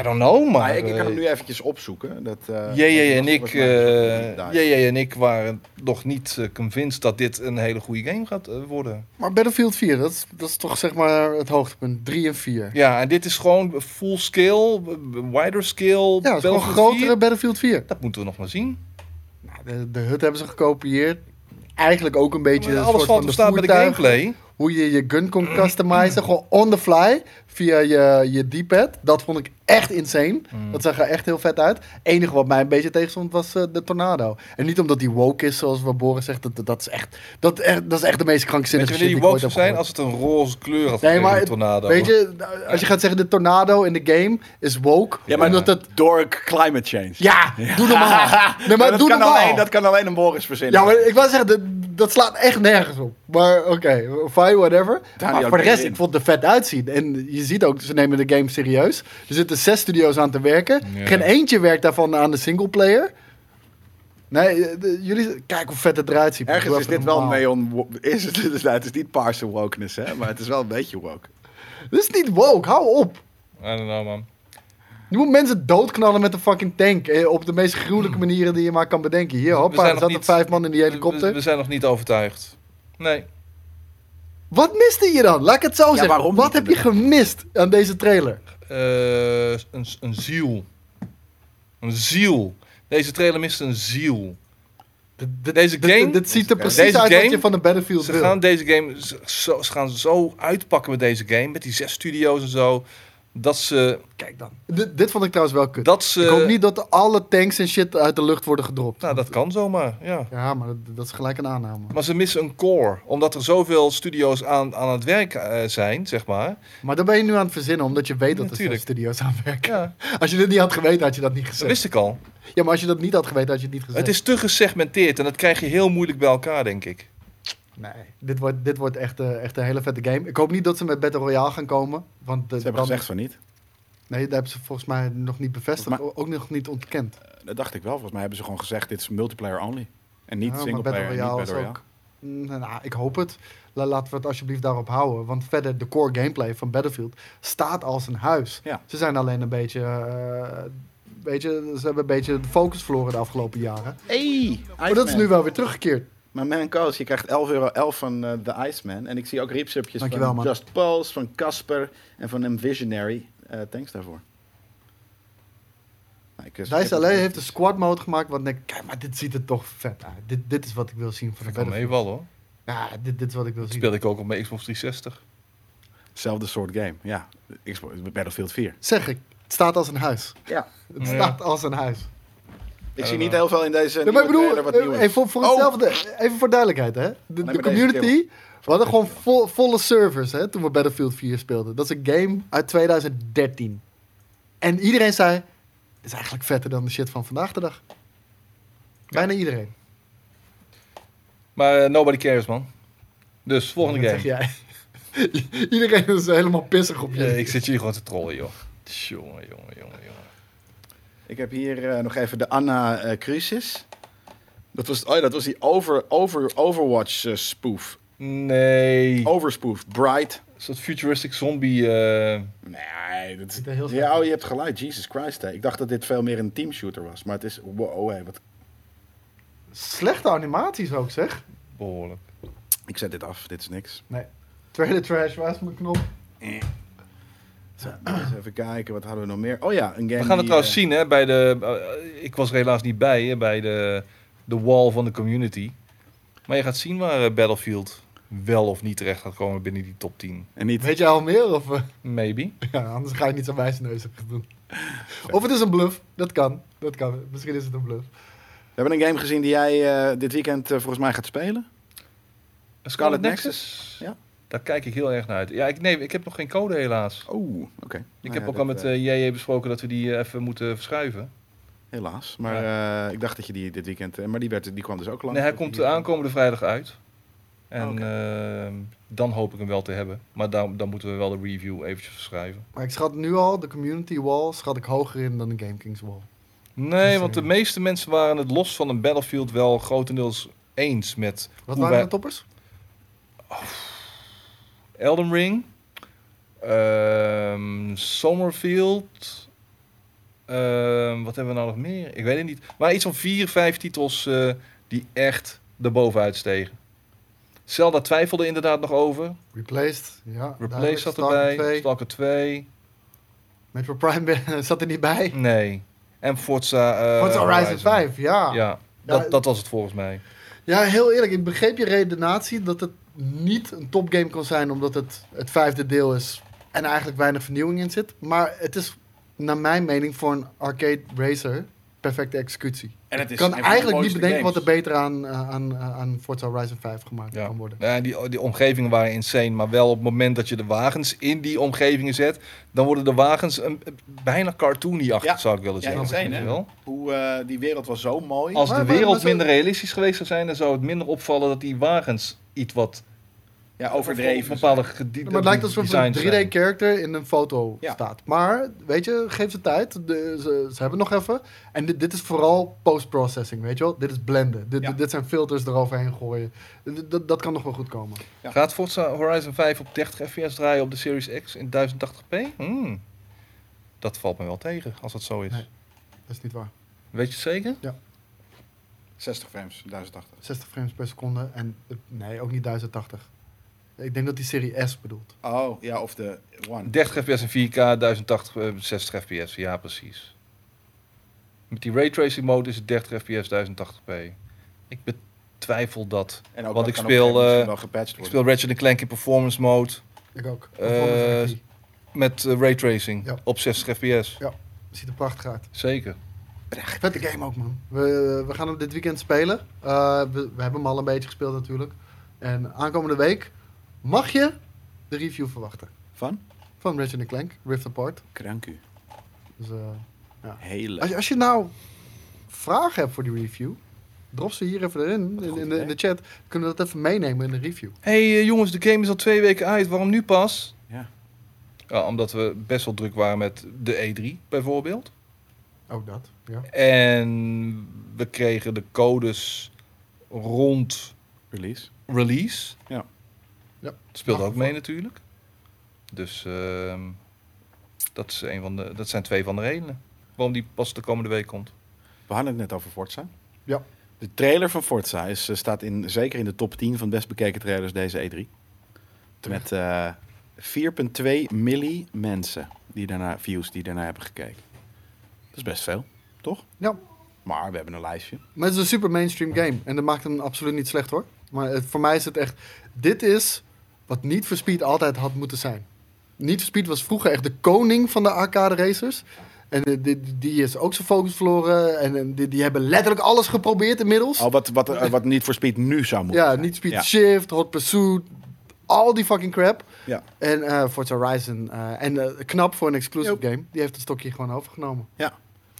Speaker 2: I don't know, maar...
Speaker 1: Maar Ah, ik, ik kan
Speaker 2: eh,
Speaker 1: hem nu eventjes opzoeken. Dat, eh,
Speaker 2: JJ en
Speaker 1: was-
Speaker 2: ik,
Speaker 1: was mijn-
Speaker 2: eh,
Speaker 1: deep dive.
Speaker 2: JJ en ik waren nog niet eh, convinced dat dit een hele goede game gaat eh, worden.
Speaker 3: Maar Battlefield 4, dat is, dat is toch zeg maar het hoogtepunt. 3 en 4.
Speaker 2: Ja, en dit is gewoon full scale, eh, wider scale.
Speaker 3: Ja, dat is gewoon
Speaker 2: Battlefield
Speaker 3: grotere
Speaker 2: 4.
Speaker 3: Battlefield 4.
Speaker 2: Dat moeten we nog maar zien.
Speaker 3: Nou, de, de hut hebben ze gekopieerd. Eigenlijk ook een beetje
Speaker 2: Maar
Speaker 3: een
Speaker 2: alles
Speaker 3: soort
Speaker 2: valt
Speaker 3: van
Speaker 2: te
Speaker 3: de
Speaker 2: staan bij de
Speaker 3: voertuigen.
Speaker 2: gameplay.
Speaker 3: hoe je je gun kon customizen, gewoon on the fly, via je, je D-pad. Dat vond ik echt insane.
Speaker 2: Mm.
Speaker 3: Dat zag er echt heel vet uit. enige wat mij een beetje tegenstond was eh, de tornado. En niet omdat die woke is, zoals wat Boris zegt. Dat, dat, is, echt, dat, echt, dat is echt de meest
Speaker 2: Weet
Speaker 3: krankzinnige
Speaker 2: je
Speaker 3: shit
Speaker 2: wanneer die
Speaker 3: ik
Speaker 2: woke
Speaker 3: ooit
Speaker 2: zou
Speaker 3: heb
Speaker 2: zijn?
Speaker 3: gehoord.
Speaker 2: Als het een roze kleur had
Speaker 3: Nee,
Speaker 2: gekregen,
Speaker 3: maar
Speaker 2: de tornado.
Speaker 3: Weet je, als je gaat zeggen de tornado in de game is woke,
Speaker 1: Ja, maar
Speaker 3: omdat het...
Speaker 1: door climate change.
Speaker 3: Ja, doe normaal. Nee, maar
Speaker 1: dat,
Speaker 3: doe
Speaker 1: kan
Speaker 3: normaal.
Speaker 1: alleen, dat kan alleen een Boris verzinnen.
Speaker 3: Ja, maar ik wou zeggen, dat, dat slaat echt nergens op. Maar oké, fine, whatever.
Speaker 1: Daar
Speaker 3: maar
Speaker 1: niet
Speaker 3: voor de
Speaker 1: ook
Speaker 3: rest,
Speaker 1: in.
Speaker 3: ik vond het er vet uitzien. En je ziet ook, ze nemen de game serieus. Er zitten zes studio's aan te werken.
Speaker 2: Ja.
Speaker 3: Geen eentje werkt daarvan aan de singleplayer. Nee, eh, de- jullie... Kijk hoe vet het eruit ziet.
Speaker 1: Ergens
Speaker 3: Doe
Speaker 1: is
Speaker 3: even
Speaker 1: dit wel
Speaker 3: normaal.
Speaker 1: neon... wo- Is het, dus, nou, het is niet paarse wokeness, hè? Maar het is wel een beetje woke.
Speaker 3: Dit is niet woke, hou op.
Speaker 2: I don't know, man.
Speaker 3: Je moet mensen doodknallen met een fucking tank. eh, op de meest gruwelijke manieren die je maar kan bedenken. Hier, hoppa,
Speaker 2: zijn
Speaker 3: er
Speaker 2: nog
Speaker 3: zaten
Speaker 2: niet-
Speaker 3: vijf man in die
Speaker 2: We,
Speaker 3: helikopter.
Speaker 2: we zijn nog niet overtuigd. Nee.
Speaker 3: Wat miste je dan? Laat ik het zo zeggen.
Speaker 1: waarom
Speaker 3: Wat
Speaker 1: niet?
Speaker 3: heb je gemist aan deze trailer?
Speaker 2: Eh, een, een ziel. Een ziel. Deze trailer mist een ziel. Deze
Speaker 3: Dit-
Speaker 2: game
Speaker 3: Dit, ziet er
Speaker 1: Deze
Speaker 3: precies uit
Speaker 2: game-
Speaker 3: wat je van de Battlefield
Speaker 2: Ze
Speaker 3: wil.
Speaker 2: gaan deze game z- zo, ze gaan zo uitpakken met deze game, met die zes studio's en zo, dat ze,
Speaker 3: Kijk dan. Dit- dit vond ik trouwens wel kut.
Speaker 2: dat ze,
Speaker 3: ik hoop niet dat alle tanks en shit uit de lucht worden gedropt.
Speaker 2: nou dat kan zomaar, ja.
Speaker 3: Ja, maar dat, dat is gelijk een aanname.
Speaker 2: Maar ze missen een core, omdat er zoveel studio's aan, aan het werk eh, zijn, zeg maar.
Speaker 3: Maar dat ben je nu aan het verzinnen, omdat je weet dat er zes
Speaker 2: Natuurlijk.
Speaker 3: studio's aan werken.
Speaker 2: Ja,
Speaker 3: Als je dit niet had geweten, had je dat niet
Speaker 2: dat
Speaker 3: gezegd.
Speaker 2: wist ik al.
Speaker 3: Ja, maar als je dat niet had geweten, had je het niet gezegd.
Speaker 2: Het is te gesegmenteerd en dat krijg je heel moeilijk bij elkaar, denk ik.
Speaker 3: Nee, dit wordt, dit wordt echt, eh, echt een hele vette game. Ik hoop niet dat ze met Battle Royale gaan komen. Want eh,
Speaker 1: Ze hebben
Speaker 3: dan-
Speaker 1: gezegd van niet.
Speaker 3: Nee, dat hebben ze volgens mij nog niet bevestigd.
Speaker 1: Maar-
Speaker 3: ook nog niet ontkend.
Speaker 1: Dat dacht ik wel. Volgens mij hebben ze gewoon gezegd, dit is multiplayer only. En
Speaker 3: Ja,
Speaker 1: niet
Speaker 3: maar
Speaker 1: singleplayer, en niet Battle
Speaker 3: is
Speaker 1: Royale.
Speaker 3: ook- Mm, nou, ik hoop het. La- Laten we het alsjeblieft daarop houden. Want verder, de core gameplay van Battlefield staat als een huis.
Speaker 1: Ja.
Speaker 3: Ze zijn alleen een beetje... eh, weet je, ze hebben een beetje de focus verloren de afgelopen jaren.
Speaker 1: Hey,
Speaker 3: Maar dat is nu wel weer teruggekeerd.
Speaker 1: Oh, Maar man Koos, je krijgt 11,11 euro van eh, The Iceman. En ik zie ook riepsupjes
Speaker 3: Dankjewel,
Speaker 1: van
Speaker 3: man.
Speaker 1: Just Pulse, van Casper en van Envisionary. Eh thanks daarvoor. Nou, ik, eh,
Speaker 3: Dice
Speaker 1: skip
Speaker 3: LA
Speaker 1: het.
Speaker 3: heeft een squad mode gemaakt. Want ik denk, kijk, maar dit ziet er toch vet uit. Dit, dit is wat ik wil zien van de
Speaker 2: Ik kan
Speaker 3: Battlefield.
Speaker 2: meevallen hoor.
Speaker 3: Ja, dit, dit is wat ik wil
Speaker 2: Dat
Speaker 3: zien.
Speaker 2: speelde ik ook op mijn Xbox 360.
Speaker 1: Hetzelfde soort game, ja. Xbox- Battlefield 4.
Speaker 3: Zeg ik, het staat als een huis.
Speaker 1: Ja.
Speaker 3: Het
Speaker 2: Ja.
Speaker 3: staat als een huis.
Speaker 1: Ik
Speaker 2: Ja,
Speaker 1: zie
Speaker 2: maar-
Speaker 1: niet heel veel in deze
Speaker 3: Ja, maar ik
Speaker 1: nieuwe
Speaker 3: bedoel, eh,
Speaker 1: trailer wat nieuw is.
Speaker 3: even voor, voor
Speaker 1: Oh.
Speaker 3: hetzelfde, even voor duidelijkheid, hè. De,
Speaker 1: maar
Speaker 3: de
Speaker 1: deze
Speaker 3: community, we hadden gewoon vo- volle servers, hè, toen we Battlefield 4 speelden. Dat is een game uit 2013. En iedereen zei, dit is eigenlijk vetter dan de shit van vandaag de dag. Bijna iedereen.
Speaker 2: Maar eh, nobody cares, man. Dus, volgende
Speaker 3: Dat
Speaker 2: game.
Speaker 3: Zeg jij. iedereen is helemaal pissig op je.
Speaker 2: Eh, ik zit jullie gewoon te trollen, joh. Jongen, jongen, jongen, jongen.
Speaker 1: Ik heb hier eh, nog even de Anna eh, Crisis. Dat was, oh ja, dat was die over, over, Overwatch eh, spoof.
Speaker 2: Nee.
Speaker 1: Overspoof. Bright.
Speaker 2: Een soort Oh. futuristic zombie... eh,
Speaker 1: Nee, dat
Speaker 3: Ziet er heel
Speaker 1: is...
Speaker 3: slecht
Speaker 1: Ja,
Speaker 3: uit.
Speaker 1: oh, je hebt gelijk. Jesus Christ. hè. Ik dacht dat dit veel meer een teamshooter was. Maar het is... Wow, hé, wat...
Speaker 3: Slechte animaties ook, zeg.
Speaker 2: behoorlijk.
Speaker 1: Ik zet dit af. Dit is niks.
Speaker 3: Trailer trash, waar is mijn knop?
Speaker 1: Zo, eens even kijken. Wat hadden we nog meer? Oh ja, een game
Speaker 2: We gaan het
Speaker 1: die,
Speaker 2: trouwens
Speaker 1: eh,
Speaker 2: zien, hè, bij de... eh, ik was er helaas niet bij, hè, bij de, de wall van de community. Maar je gaat zien waar eh, Battlefield wel of niet terecht gaat komen binnen die top 10.
Speaker 1: En niet...
Speaker 3: Weet je al meer? Of, eh?
Speaker 2: Maybe.
Speaker 3: ja, anders ga ik niet zo'n wijsneuzig doen. Of het is een bluff, dat kan. Dat kan. Misschien is het een bluff.
Speaker 1: We hebben een game gezien die jij eh, dit weekend eh, volgens mij gaat spelen.
Speaker 2: Scarlet
Speaker 1: Nexus?
Speaker 2: Nexus?
Speaker 1: Ja.
Speaker 2: Daar kijk ik heel erg naar uit. Ja, ik, nee, ik heb nog geen code helaas.
Speaker 1: Oh, oké.
Speaker 2: Ik
Speaker 1: Nou
Speaker 2: heb
Speaker 1: ja,
Speaker 2: ook
Speaker 1: dat,
Speaker 2: al met
Speaker 1: eh,
Speaker 2: eh, JJ besproken dat we die eh, even moeten verschuiven.
Speaker 1: helaas. Maar eh, ik dacht dat je die dit weekend... eh, Maar die, werd, die kwam dus ook lang.
Speaker 2: Nee, hij
Speaker 1: Dat
Speaker 2: komt
Speaker 1: die-
Speaker 2: aankomende vrijdag uit. En
Speaker 1: Oh, oké.
Speaker 2: ehm, dan hoop ik hem wel te hebben. Maar dan, dan moeten we wel de review eventjes verschuiven.
Speaker 3: Maar ik schat nu al, de community wall schat ik hoger in dan de Game Kings wall.
Speaker 2: Nee, want de meeste mensen waren het los van een Battlefield wel grotendeels eens met
Speaker 3: Wat
Speaker 2: Hoe
Speaker 3: waren
Speaker 2: wij-
Speaker 3: de toppers?
Speaker 2: Elden Ring, ehm Summerfield. ehm, wat hebben we nou nog meer? Ik weet het niet. Maar iets van vier, vijf titels eh, die echt erbovenuit stegen. Zelda twijfelde inderdaad nog over.
Speaker 3: Replaced, ja.
Speaker 2: Replace
Speaker 3: duidelijk.
Speaker 2: zat
Speaker 3: Stalker
Speaker 2: erbij.
Speaker 3: 2.
Speaker 2: Stalker 2.
Speaker 3: Metro Prime ben- zat er niet bij.
Speaker 2: Nee. En Forza... eh,
Speaker 3: Forza Horizon 5, ja. ja.
Speaker 2: Ja, dat, dat was het volgens mij.
Speaker 3: heel eerlijk, ik begreep je redenatie dat het niet een topgame kan zijn omdat het het vijfde deel is en eigenlijk weinig vernieuwing in zit. Maar het is, naar mijn mening, voor een arcade racer perfecte executie.
Speaker 1: En het is
Speaker 3: Ik kan
Speaker 1: een van de
Speaker 3: eigenlijk niet
Speaker 1: mooiste
Speaker 3: bedenken wat
Speaker 1: games.
Speaker 3: er beter aan, eh, aan, eh, aan Forza Horizon 5 gemaakt
Speaker 2: Ja.
Speaker 3: kan worden.
Speaker 2: Ja, die, die omgevingen waren insane. Maar wel op het moment dat je de wagens in die omgevingen zet... dan worden de wagens een, bijna cartoony-achtig,
Speaker 1: Ja.
Speaker 2: zou ik willen
Speaker 1: Ja,
Speaker 2: zeggen.
Speaker 1: insane,
Speaker 2: Weet je
Speaker 1: hè?
Speaker 2: wel?
Speaker 1: Hoe eh, die wereld was zo mooi.
Speaker 2: Als
Speaker 3: Maar-
Speaker 2: de
Speaker 3: maar-
Speaker 2: wereld
Speaker 3: maar zo-
Speaker 2: minder realistisch geweest zou zijn... dan zou het minder opvallen dat die wagens iets wat...
Speaker 1: ja,
Speaker 2: op
Speaker 1: overdreven.
Speaker 2: bepaalde gedi-
Speaker 3: Maar het lijkt alsof
Speaker 2: design
Speaker 3: een
Speaker 2: zijn.
Speaker 3: 3D-character in een foto
Speaker 1: Ja.
Speaker 3: staat. Maar, weet je, geef ze tijd. De- ze, ze hebben nog even. En dit, dit is vooral post-processing, weet je wel? Dit is blenden. Dit,
Speaker 1: Ja.
Speaker 3: dit zijn filters eroverheen gooien. D- dat- dat kan nog wel goed komen.
Speaker 1: Ja.
Speaker 2: Gaat Forza Horizon 5 op 30 fps draaien op de Series X in 1080p? Hmm. Dat valt me wel tegen, als dat zo is.
Speaker 3: Nee. Dat is niet waar.
Speaker 2: Weet je het zeker?
Speaker 1: 60 frames, 1080.
Speaker 3: 60 frames per seconde en, eh, nee, ook niet 1080. Ik denk dat die serie S bedoelt.
Speaker 1: Oh, ja, of de One.
Speaker 2: 30 fps in 4K, 1080, eh, 60 fps. Ja, precies. Met die raytracing mode is het 30 fps, 1080p. Ik betwijfel dat.
Speaker 1: En ook
Speaker 2: Want
Speaker 1: dat
Speaker 2: ik
Speaker 1: kan
Speaker 2: speel,
Speaker 1: op een gegeven moment misschien
Speaker 2: eh,
Speaker 1: wel gepatcht
Speaker 2: Ik
Speaker 1: worden.
Speaker 2: speel Ratchet Clank in performance mode
Speaker 3: Ik ook.
Speaker 2: Eh, Performance RT. met eh, raytracing
Speaker 3: Ja.
Speaker 2: op 60 fps.
Speaker 3: Ziet er prachtig uit.
Speaker 2: Zeker.
Speaker 3: Vette game ook, man. We, we gaan hem dit weekend spelen. Eh, we, we hebben hem al een beetje gespeeld natuurlijk. En aankomende week mag je de review verwachten.
Speaker 1: Van?
Speaker 3: Van Ratchet Clank, Rift Apart.
Speaker 1: Kranku.
Speaker 3: Dus, eh,
Speaker 1: Hele.
Speaker 3: als, je, als je nou vragen hebt voor die review... drop ze hier even erin,
Speaker 1: Wat een
Speaker 3: in,
Speaker 1: goed
Speaker 3: in de, in de
Speaker 1: idee.
Speaker 3: chat. Kunnen we dat even meenemen in de review.
Speaker 2: Hé hey, eh, jongens, de game is al twee weken uit. Waarom nu pas?
Speaker 1: Ja.
Speaker 2: Ja, omdat we best wel druk waren met de E3 bijvoorbeeld.
Speaker 3: Ook dat, ja.
Speaker 2: En we kregen de codes rond
Speaker 1: Release.
Speaker 2: release.
Speaker 1: Ja.
Speaker 3: Ja.
Speaker 2: Het speelde
Speaker 3: Mag
Speaker 2: ook mee
Speaker 3: voor.
Speaker 2: natuurlijk. Dus ehm, dat, is een van de, dat zijn twee van de redenen. Waarom die pas de komende week komt.
Speaker 1: We hadden het net over Forza.
Speaker 3: Ja.
Speaker 1: De trailer van Forza is, eh, staat in, zeker in de top 10 van best bekeken trailers deze E3. Met eh, 4,2 milli mensen die daarna, views die daarna hebben gekeken. Dat is best veel, toch?
Speaker 3: Ja.
Speaker 1: Maar we hebben een lijstje.
Speaker 3: Maar het is een super mainstream game. En dat maakt hem absoluut niet slecht, hoor. Maar het- voor mij is het echt... Dit is wat Need for Speed altijd had moeten zijn. Need for Speed was vroeger echt de koning van de arcade racers. En eh, die, die is ook zijn focus verloren. En, en die, die hebben letterlijk alles geprobeerd inmiddels.
Speaker 1: Al wat, wat, eh, wat niet voor Speed nu zou moeten
Speaker 3: Ja,
Speaker 1: zijn.
Speaker 3: Need for Speed
Speaker 1: Ja.
Speaker 3: Shift, Hot Pursuit. Al die fucking crap.
Speaker 1: Ja.
Speaker 3: En eh, Forza Horizon. eh, en eh, knap voor een exclusive game. Die heeft het stokje gewoon overgenomen.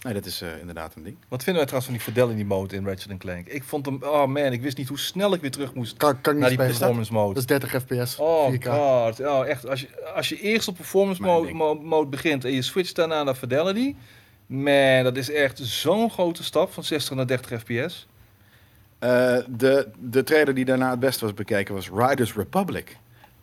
Speaker 1: Nee, dat is eh, inderdaad een ding.
Speaker 2: Wat vinden wij trouwens van die verdel in die mode in Ratchet Clank? Ik vond hem, oh man, ik wist niet hoe snel ik weer terug moest
Speaker 3: Kan, kan ik
Speaker 2: naar
Speaker 3: niet
Speaker 2: die
Speaker 3: spelen.
Speaker 2: performance
Speaker 3: Dat
Speaker 2: mode.
Speaker 3: is 30 fps.
Speaker 2: Oh
Speaker 3: 4K.
Speaker 2: god, ja echt. Als je, als je eerst op performance
Speaker 1: Mijn
Speaker 2: mode,
Speaker 1: ding.
Speaker 2: mo- mode begint en je switcht daarna naar fidelity, man, dat is echt zo'n grote stap van 60 naar 30 fps.
Speaker 1: Eh, de, de trailer die daarna het best was bekeken was Riders Republic.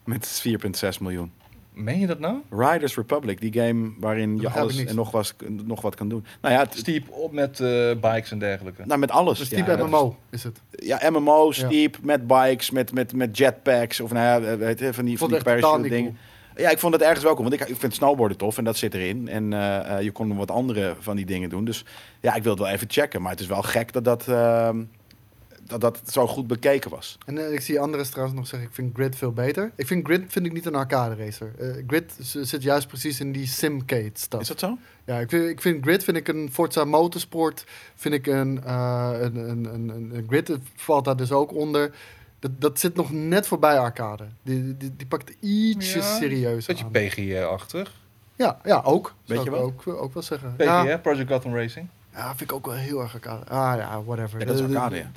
Speaker 1: Met 4,6 miljoen.
Speaker 2: Meen je dat nou?
Speaker 1: Riders Republic, die game waarin je
Speaker 3: begrijp ik
Speaker 1: alles
Speaker 3: niks.
Speaker 1: en nog, was, nog wat kan doen. Nou ja, het,
Speaker 2: Steep op met eh, bikes en dergelijke.
Speaker 1: nou, met alles.
Speaker 3: Dus
Speaker 1: Ja,
Speaker 3: type
Speaker 1: dat is-
Speaker 3: MMO is het.
Speaker 1: Ja, MMO,
Speaker 3: Ja.
Speaker 1: steep, met bikes, met, met, met jetpacks. Of nou ja, weet je, van die,
Speaker 3: Ik
Speaker 1: van
Speaker 3: vond
Speaker 1: die
Speaker 3: het echt totaal
Speaker 1: parachute
Speaker 3: niet
Speaker 1: dingen. Ja, ik vond het ergens welkom. Want ik, ik vind snowboarden tof en dat zit erin. En eh, eh, je kon wat andere van die dingen doen. Dus ja, ik wil het wel even checken. Maar het is wel gek dat dat, ehm, dat, dat zo goed bekeken was.
Speaker 3: En eh, ik zie anderen trouwens nog zeggen, ik vind Grid veel beter. Ik vind Grid vind ik niet een arcade racer. Eh, Grid z- zit juist precies in die simcade stuff.
Speaker 1: Is dat zo?
Speaker 3: Ja, ik vind, ik vind Grid vind ik een Forza Motorsport, vind ik een, eh, een, een, een, een, een Grid valt daar dus ook onder. Dat, dat zit nog net voorbij arcade. Die, die, die pakt ietsje
Speaker 2: Ja,
Speaker 3: serieus
Speaker 2: Zet je
Speaker 3: aan.
Speaker 2: PG-achtig?
Speaker 3: Ja, ja, ook.
Speaker 1: Weet
Speaker 3: Zou
Speaker 1: je
Speaker 3: ik
Speaker 1: wat?
Speaker 3: Ook, ook wel zeggen.
Speaker 2: PG,
Speaker 3: Ja,
Speaker 2: hè? Project Gotham Racing?
Speaker 3: ja, vind ik ook wel heel erg arcade. Ah ja, whatever.
Speaker 1: Ja, dat is
Speaker 3: Eh,
Speaker 1: arcade, ja.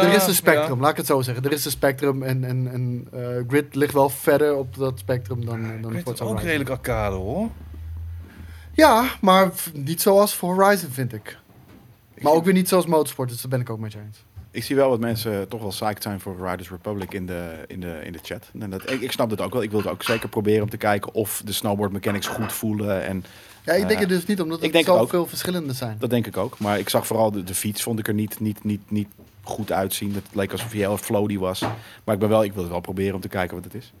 Speaker 3: Er- er is een spectrum, laat ik het zo zeggen. Er is een spectrum en, en, en eh, Grid ligt wel verder op dat spectrum eh, dan,
Speaker 2: Ja.
Speaker 3: dan
Speaker 2: Ik vind het
Speaker 3: Forza
Speaker 2: ook
Speaker 3: Horizon.
Speaker 2: redelijk arcade hoor.
Speaker 3: Ja, maar v- niet zoals voor Horizon, vind ik. Maar ook weer niet zoals Motorsport, dus daar ben ik ook met je eens.
Speaker 1: Ik zie wel wat mensen toch wel psyched zijn voor Riders Republic in de, in de, in de chat. En dat, ik, ik snap dat ook wel. Ik wil het ook zeker proberen om te kijken of de snowboard mechanics goed voelen. En
Speaker 3: Ja, ik denk
Speaker 1: Eh,
Speaker 3: het dus niet, omdat
Speaker 1: ik
Speaker 3: er
Speaker 1: denk het ook.
Speaker 3: zoveel verschillende zijn.
Speaker 1: dat denk ik ook. Maar ik zag vooral de, de fiets, vond ik er niet, niet, niet, niet goed uitzien. Het leek alsof hij heel floaty was. Maar ik, ben wel, ik wil het wel proberen om te kijken wat het is.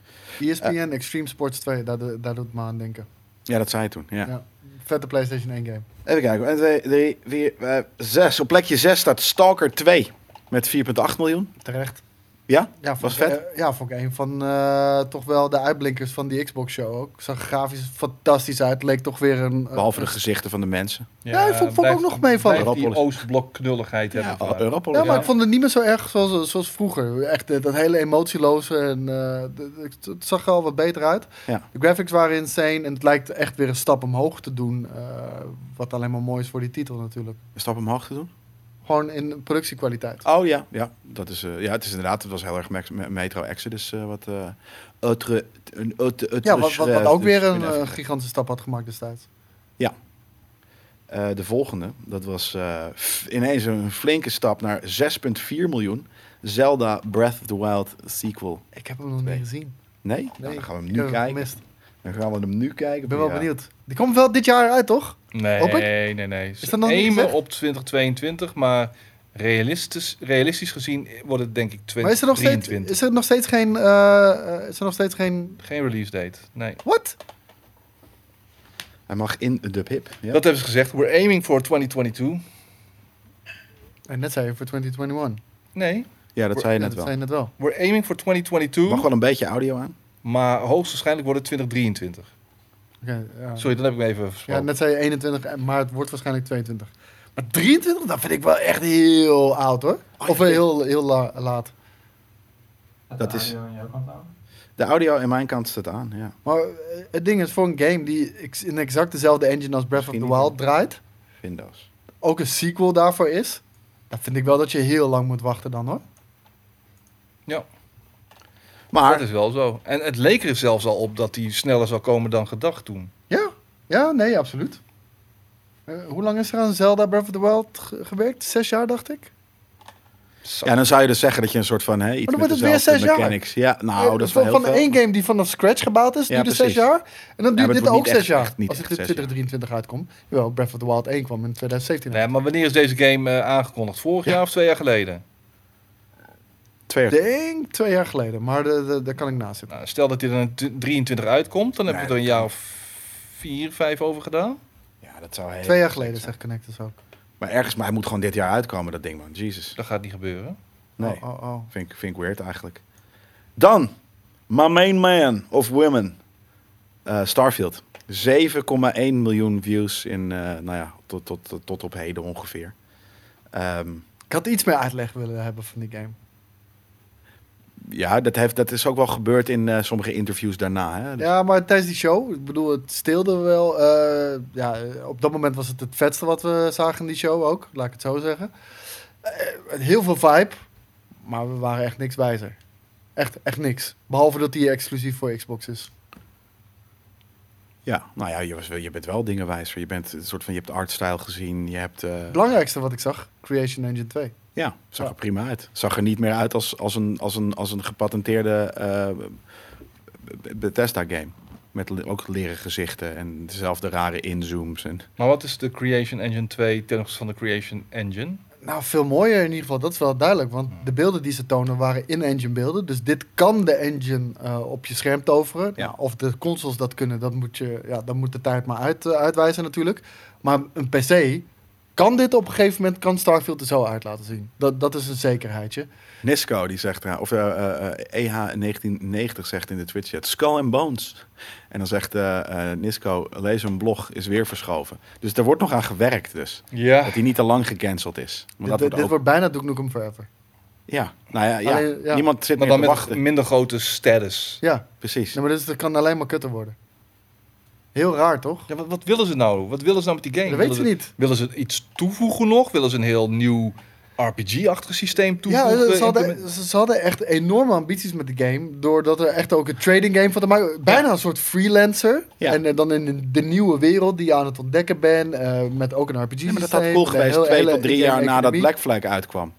Speaker 3: ESPN Extreme Sports 2, daar, daar doet het me aan denken.
Speaker 1: Ja, dat zei hij toen. Ja.
Speaker 3: Ja. Vette PlayStation 1 game.
Speaker 1: Even kijken. 1, 2, 3, 4, 5, 6. Op plekje 6 staat Stalker 2 met 4,8 miljoen.
Speaker 3: Terecht.
Speaker 1: Ja?
Speaker 3: Ja,
Speaker 1: Was
Speaker 3: vond ik,
Speaker 1: vet.
Speaker 3: eh, ja, vond ik een van eh, toch wel de uitblinkers van die Xbox-show ook. Zag grafisch fantastisch uit. Leek toch weer een... eh, een-
Speaker 1: Behalve de gezichten van de mensen.
Speaker 3: Ja, ik vond- vond ook
Speaker 2: blijft-
Speaker 3: nog meevallen.
Speaker 2: blijft die
Speaker 1: Europolis.
Speaker 2: Oostblok knulligheid
Speaker 1: Ja,
Speaker 2: hebben. we.
Speaker 1: Europol.
Speaker 3: Ja, Ah, Nou, maar
Speaker 2: Ja.
Speaker 3: ik vond het niet meer zo erg zoals, zoals vroeger. Echt eh, dat hele emotieloze. En, eh, d- d- het zag er al wat beter uit.
Speaker 1: Ja.
Speaker 3: De graphics waren insane. En het lijkt echt weer een stap omhoog te doen. eh, wat alleen maar mooi is voor die titel natuurlijk.
Speaker 1: Een stap omhoog te doen.
Speaker 3: Gewoon in productiekwaliteit.
Speaker 1: Oh ja, ja, dat is, eh, ja het is inderdaad, het was heel erg Mex- Me- Metro Exodus. eh, wat, eh outre, een outre, outre
Speaker 3: ja, wat, wat, wat
Speaker 1: schrijft,
Speaker 3: ook
Speaker 1: dus
Speaker 3: weer een
Speaker 1: ik ben
Speaker 3: eh,
Speaker 1: even-
Speaker 3: gigantische stap had gemaakt destijds.
Speaker 1: Eh, de volgende, dat was eh, f- ineens een flinke stap naar 6,4 miljoen. Zelda Breath of the Wild sequel.
Speaker 3: Ik heb hem nog
Speaker 1: Nee.
Speaker 3: niet gezien.
Speaker 1: Nee? Nou,
Speaker 3: Nee,
Speaker 1: dan gaan we hem
Speaker 3: Ik
Speaker 1: nu
Speaker 3: heb hem
Speaker 1: kijken.
Speaker 3: gemist.
Speaker 1: Dan gaan we hem nu kijken.
Speaker 3: Ik ben wel benieuwd. Die komt wel dit jaar uit, toch? Hoop ik.
Speaker 2: Nee, nee, nee. Is
Speaker 3: dat nog niet gezegd?
Speaker 2: op 2022, maar realistisch, realistisch gezien wordt het denk ik
Speaker 3: Maar is er nog steeds,
Speaker 2: 2023.
Speaker 3: is er nog steeds geen... eh, eh, is er nog steeds geen...
Speaker 2: Geen release date, nee.
Speaker 3: What?
Speaker 1: Hij mag in de pip. Ja.
Speaker 2: Dat hebben ze gezegd. We're aiming for 2022.
Speaker 3: En net zei je voor 2021.
Speaker 2: Nee,
Speaker 1: ja, dat zei je
Speaker 3: Ja,
Speaker 1: net
Speaker 3: dat
Speaker 1: wel.
Speaker 3: zei je net wel.
Speaker 2: we're aiming for 2022,
Speaker 1: Mag wel een beetje audio aan.
Speaker 2: maar hoogstwaarschijnlijk wordt het 2023.
Speaker 3: Oké, ja.
Speaker 2: Sorry, dat heb ik me even versproken.
Speaker 3: Ja, net zei je 21, maar het wordt waarschijnlijk 22. Maar 23, dat vind ik wel echt heel oud hoor.
Speaker 1: Oh, ja,
Speaker 3: Of eh, heel, heel la- laat.
Speaker 1: Dat is- De audio aan mijn kant staat aan, ja.
Speaker 3: Maar eh, het ding is, voor een game die ex- in exact dezelfde engine als Breath of the
Speaker 1: Misschien niet.
Speaker 3: Wild draait,
Speaker 1: Windows.
Speaker 3: ook een sequel daarvoor is, dan vind ik wel dat je heel lang moet wachten dan hoor.
Speaker 1: Maar
Speaker 2: Dat is wel zo. En het leek er zelfs al op dat die sneller zou komen dan gedacht toen.
Speaker 3: Ja, ja, nee, absoluut. Eh, hoe lang is er aan Zelda Breath of the Wild ge- gewerkt? Zes jaar, dacht ik.
Speaker 2: Zo.
Speaker 1: ja, dan zou je dus zeggen dat je een soort van... Hey, iets
Speaker 3: Maar dan
Speaker 1: met
Speaker 3: wordt het weer
Speaker 1: dezelfde
Speaker 3: zes jaar.
Speaker 1: mechanics. Ja, nou,
Speaker 3: Eh,
Speaker 1: dat is wel
Speaker 3: van
Speaker 1: heel
Speaker 3: van
Speaker 1: veel.
Speaker 3: één game die vanaf scratch gebouwd is,
Speaker 1: Ja,
Speaker 3: duurde zes
Speaker 1: precies.
Speaker 3: jaar. En dan
Speaker 1: maar
Speaker 3: duurt
Speaker 1: het
Speaker 3: dit
Speaker 1: wordt
Speaker 3: ook
Speaker 1: niet
Speaker 3: zes
Speaker 1: echt-
Speaker 3: jaar.
Speaker 1: echt niet
Speaker 3: als
Speaker 1: echt
Speaker 3: het in
Speaker 1: zes jaar.
Speaker 3: 2023 uitkomt. Jawel, Breath of the Wild 1 kwam in 2017 uit.
Speaker 2: Nee, maar wanneer is deze game eh, aangekondigd? Vorig
Speaker 1: Ja.
Speaker 2: jaar of twee jaar geleden?
Speaker 1: Twee jaar
Speaker 3: Ik denk twee jaar geleden, maar de- de- daar kan ik naast zitten.
Speaker 2: Nou, stel dat dit er een t- 23 uitkomt, dan hebben we
Speaker 1: Nee,
Speaker 2: er een jaar of vier, vijf over gedaan.
Speaker 1: Ja, dat zou heel
Speaker 3: Twee jaar
Speaker 1: gek
Speaker 3: geleden,
Speaker 1: zijn.
Speaker 3: zegt Connectors ook.
Speaker 1: Maar ergens, maar hij moet gewoon dit jaar uitkomen, dat ding, man. Jesus.
Speaker 2: Dat gaat niet gebeuren.
Speaker 1: Nee,
Speaker 3: Oh, oh, oh.
Speaker 1: vind, ik, vind ik weird eigenlijk. Dan, my main man of women, eh, Starfield. 7,1 miljoen views in, eh, nou ja, tot, tot, tot, tot op heden ongeveer. Ehm,
Speaker 3: Ik had iets meer uitleg willen hebben van die game.
Speaker 1: ja, dat, heeft, dat is ook wel gebeurd in eh, sommige interviews daarna. Hè? Dus-
Speaker 3: Ja, maar tijdens die show, ik bedoel, het steelde wel. eh, ja, eh, op dat moment was het het vetste wat we zagen in die show ook, laat ik het zo zeggen. Eh, heel veel vibe, maar we waren echt niks wijzer. Echt, echt niks. Behalve dat die exclusief voor Xbox is.
Speaker 1: Ja, nou ja, je, was, wel- je bent wel dingen wijzer. Je bent een soort van, je hebt de artstyle gezien. Je hebt, eh,
Speaker 3: Het belangrijkste wat ik zag, Creation Engine 2.
Speaker 1: ja, zag er
Speaker 3: Ja.
Speaker 1: prima uit. Zag er niet meer uit als, als, een, als, een, als een gepatenteerde eh, Be- Bethesda game. Met le- ook leren gezichten en dezelfde rare inzooms. En,
Speaker 2: Maar wat is de Creation Engine 2 ten opzichte van de Creation Engine?
Speaker 3: Nou, veel mooier in ieder geval, dat is wel duidelijk. Want de beelden die ze tonen waren in-engine beelden. Dus dit kan de engine eh, op je scherm toveren.
Speaker 1: Ja.
Speaker 3: Nou, of de consoles dat kunnen, dat moet, je, ja, dat moet de tijd maar uit, eh, uitwijzen natuurlijk. Maar een PC kan dit op een gegeven moment, kan Starfield er zo uit laten zien. Dat, dat is een zekerheidje.
Speaker 1: Nisco die zegt, eh, of eh, eh, eh, EH1990 zegt in de Twitch chat, Skull and Bones. En dan zegt eh, eh, Nisco, lees een blog, is weer verschoven. Dus er wordt nog aan gewerkt dus.
Speaker 2: Ja.
Speaker 1: Dat hij niet te lang gecanceld is. Want
Speaker 3: Dit,
Speaker 1: dat
Speaker 3: dit
Speaker 1: wordt ook-
Speaker 3: wordt bijna Duke Nukem Forever.
Speaker 1: Ja, nou ja, ja.
Speaker 3: Alleen, ja.
Speaker 1: niemand zit
Speaker 2: Maar
Speaker 1: meer
Speaker 2: dan
Speaker 1: te
Speaker 2: met
Speaker 1: wachten.
Speaker 2: minder grote status.
Speaker 3: Ja,
Speaker 1: Precies.
Speaker 3: nee, maar dus, dat kan alleen maar kutter worden. Heel raar, toch?
Speaker 2: Ja, wat, wat willen ze nou? Wat willen ze nou met die game?
Speaker 3: dat weet
Speaker 2: Willen
Speaker 3: ze niet.
Speaker 2: Willen ze iets toevoegen nog? Willen ze een heel nieuw RPG-achtig systeem
Speaker 3: Ja,
Speaker 2: toevoegen?
Speaker 3: ze hadden,
Speaker 2: Implement-
Speaker 3: ze ze hadden echt enorme ambities met de game. Doordat er echt ook een trading game van te maken. Bijna een soort freelancer.
Speaker 1: Ja.
Speaker 3: En eh, dan in de- de nieuwe wereld die je aan het ontdekken bent. eh, met ook een RPG.
Speaker 1: Ja, maar dat had cool geweest twee tot drie jaar nadat Black Flag uitkwam.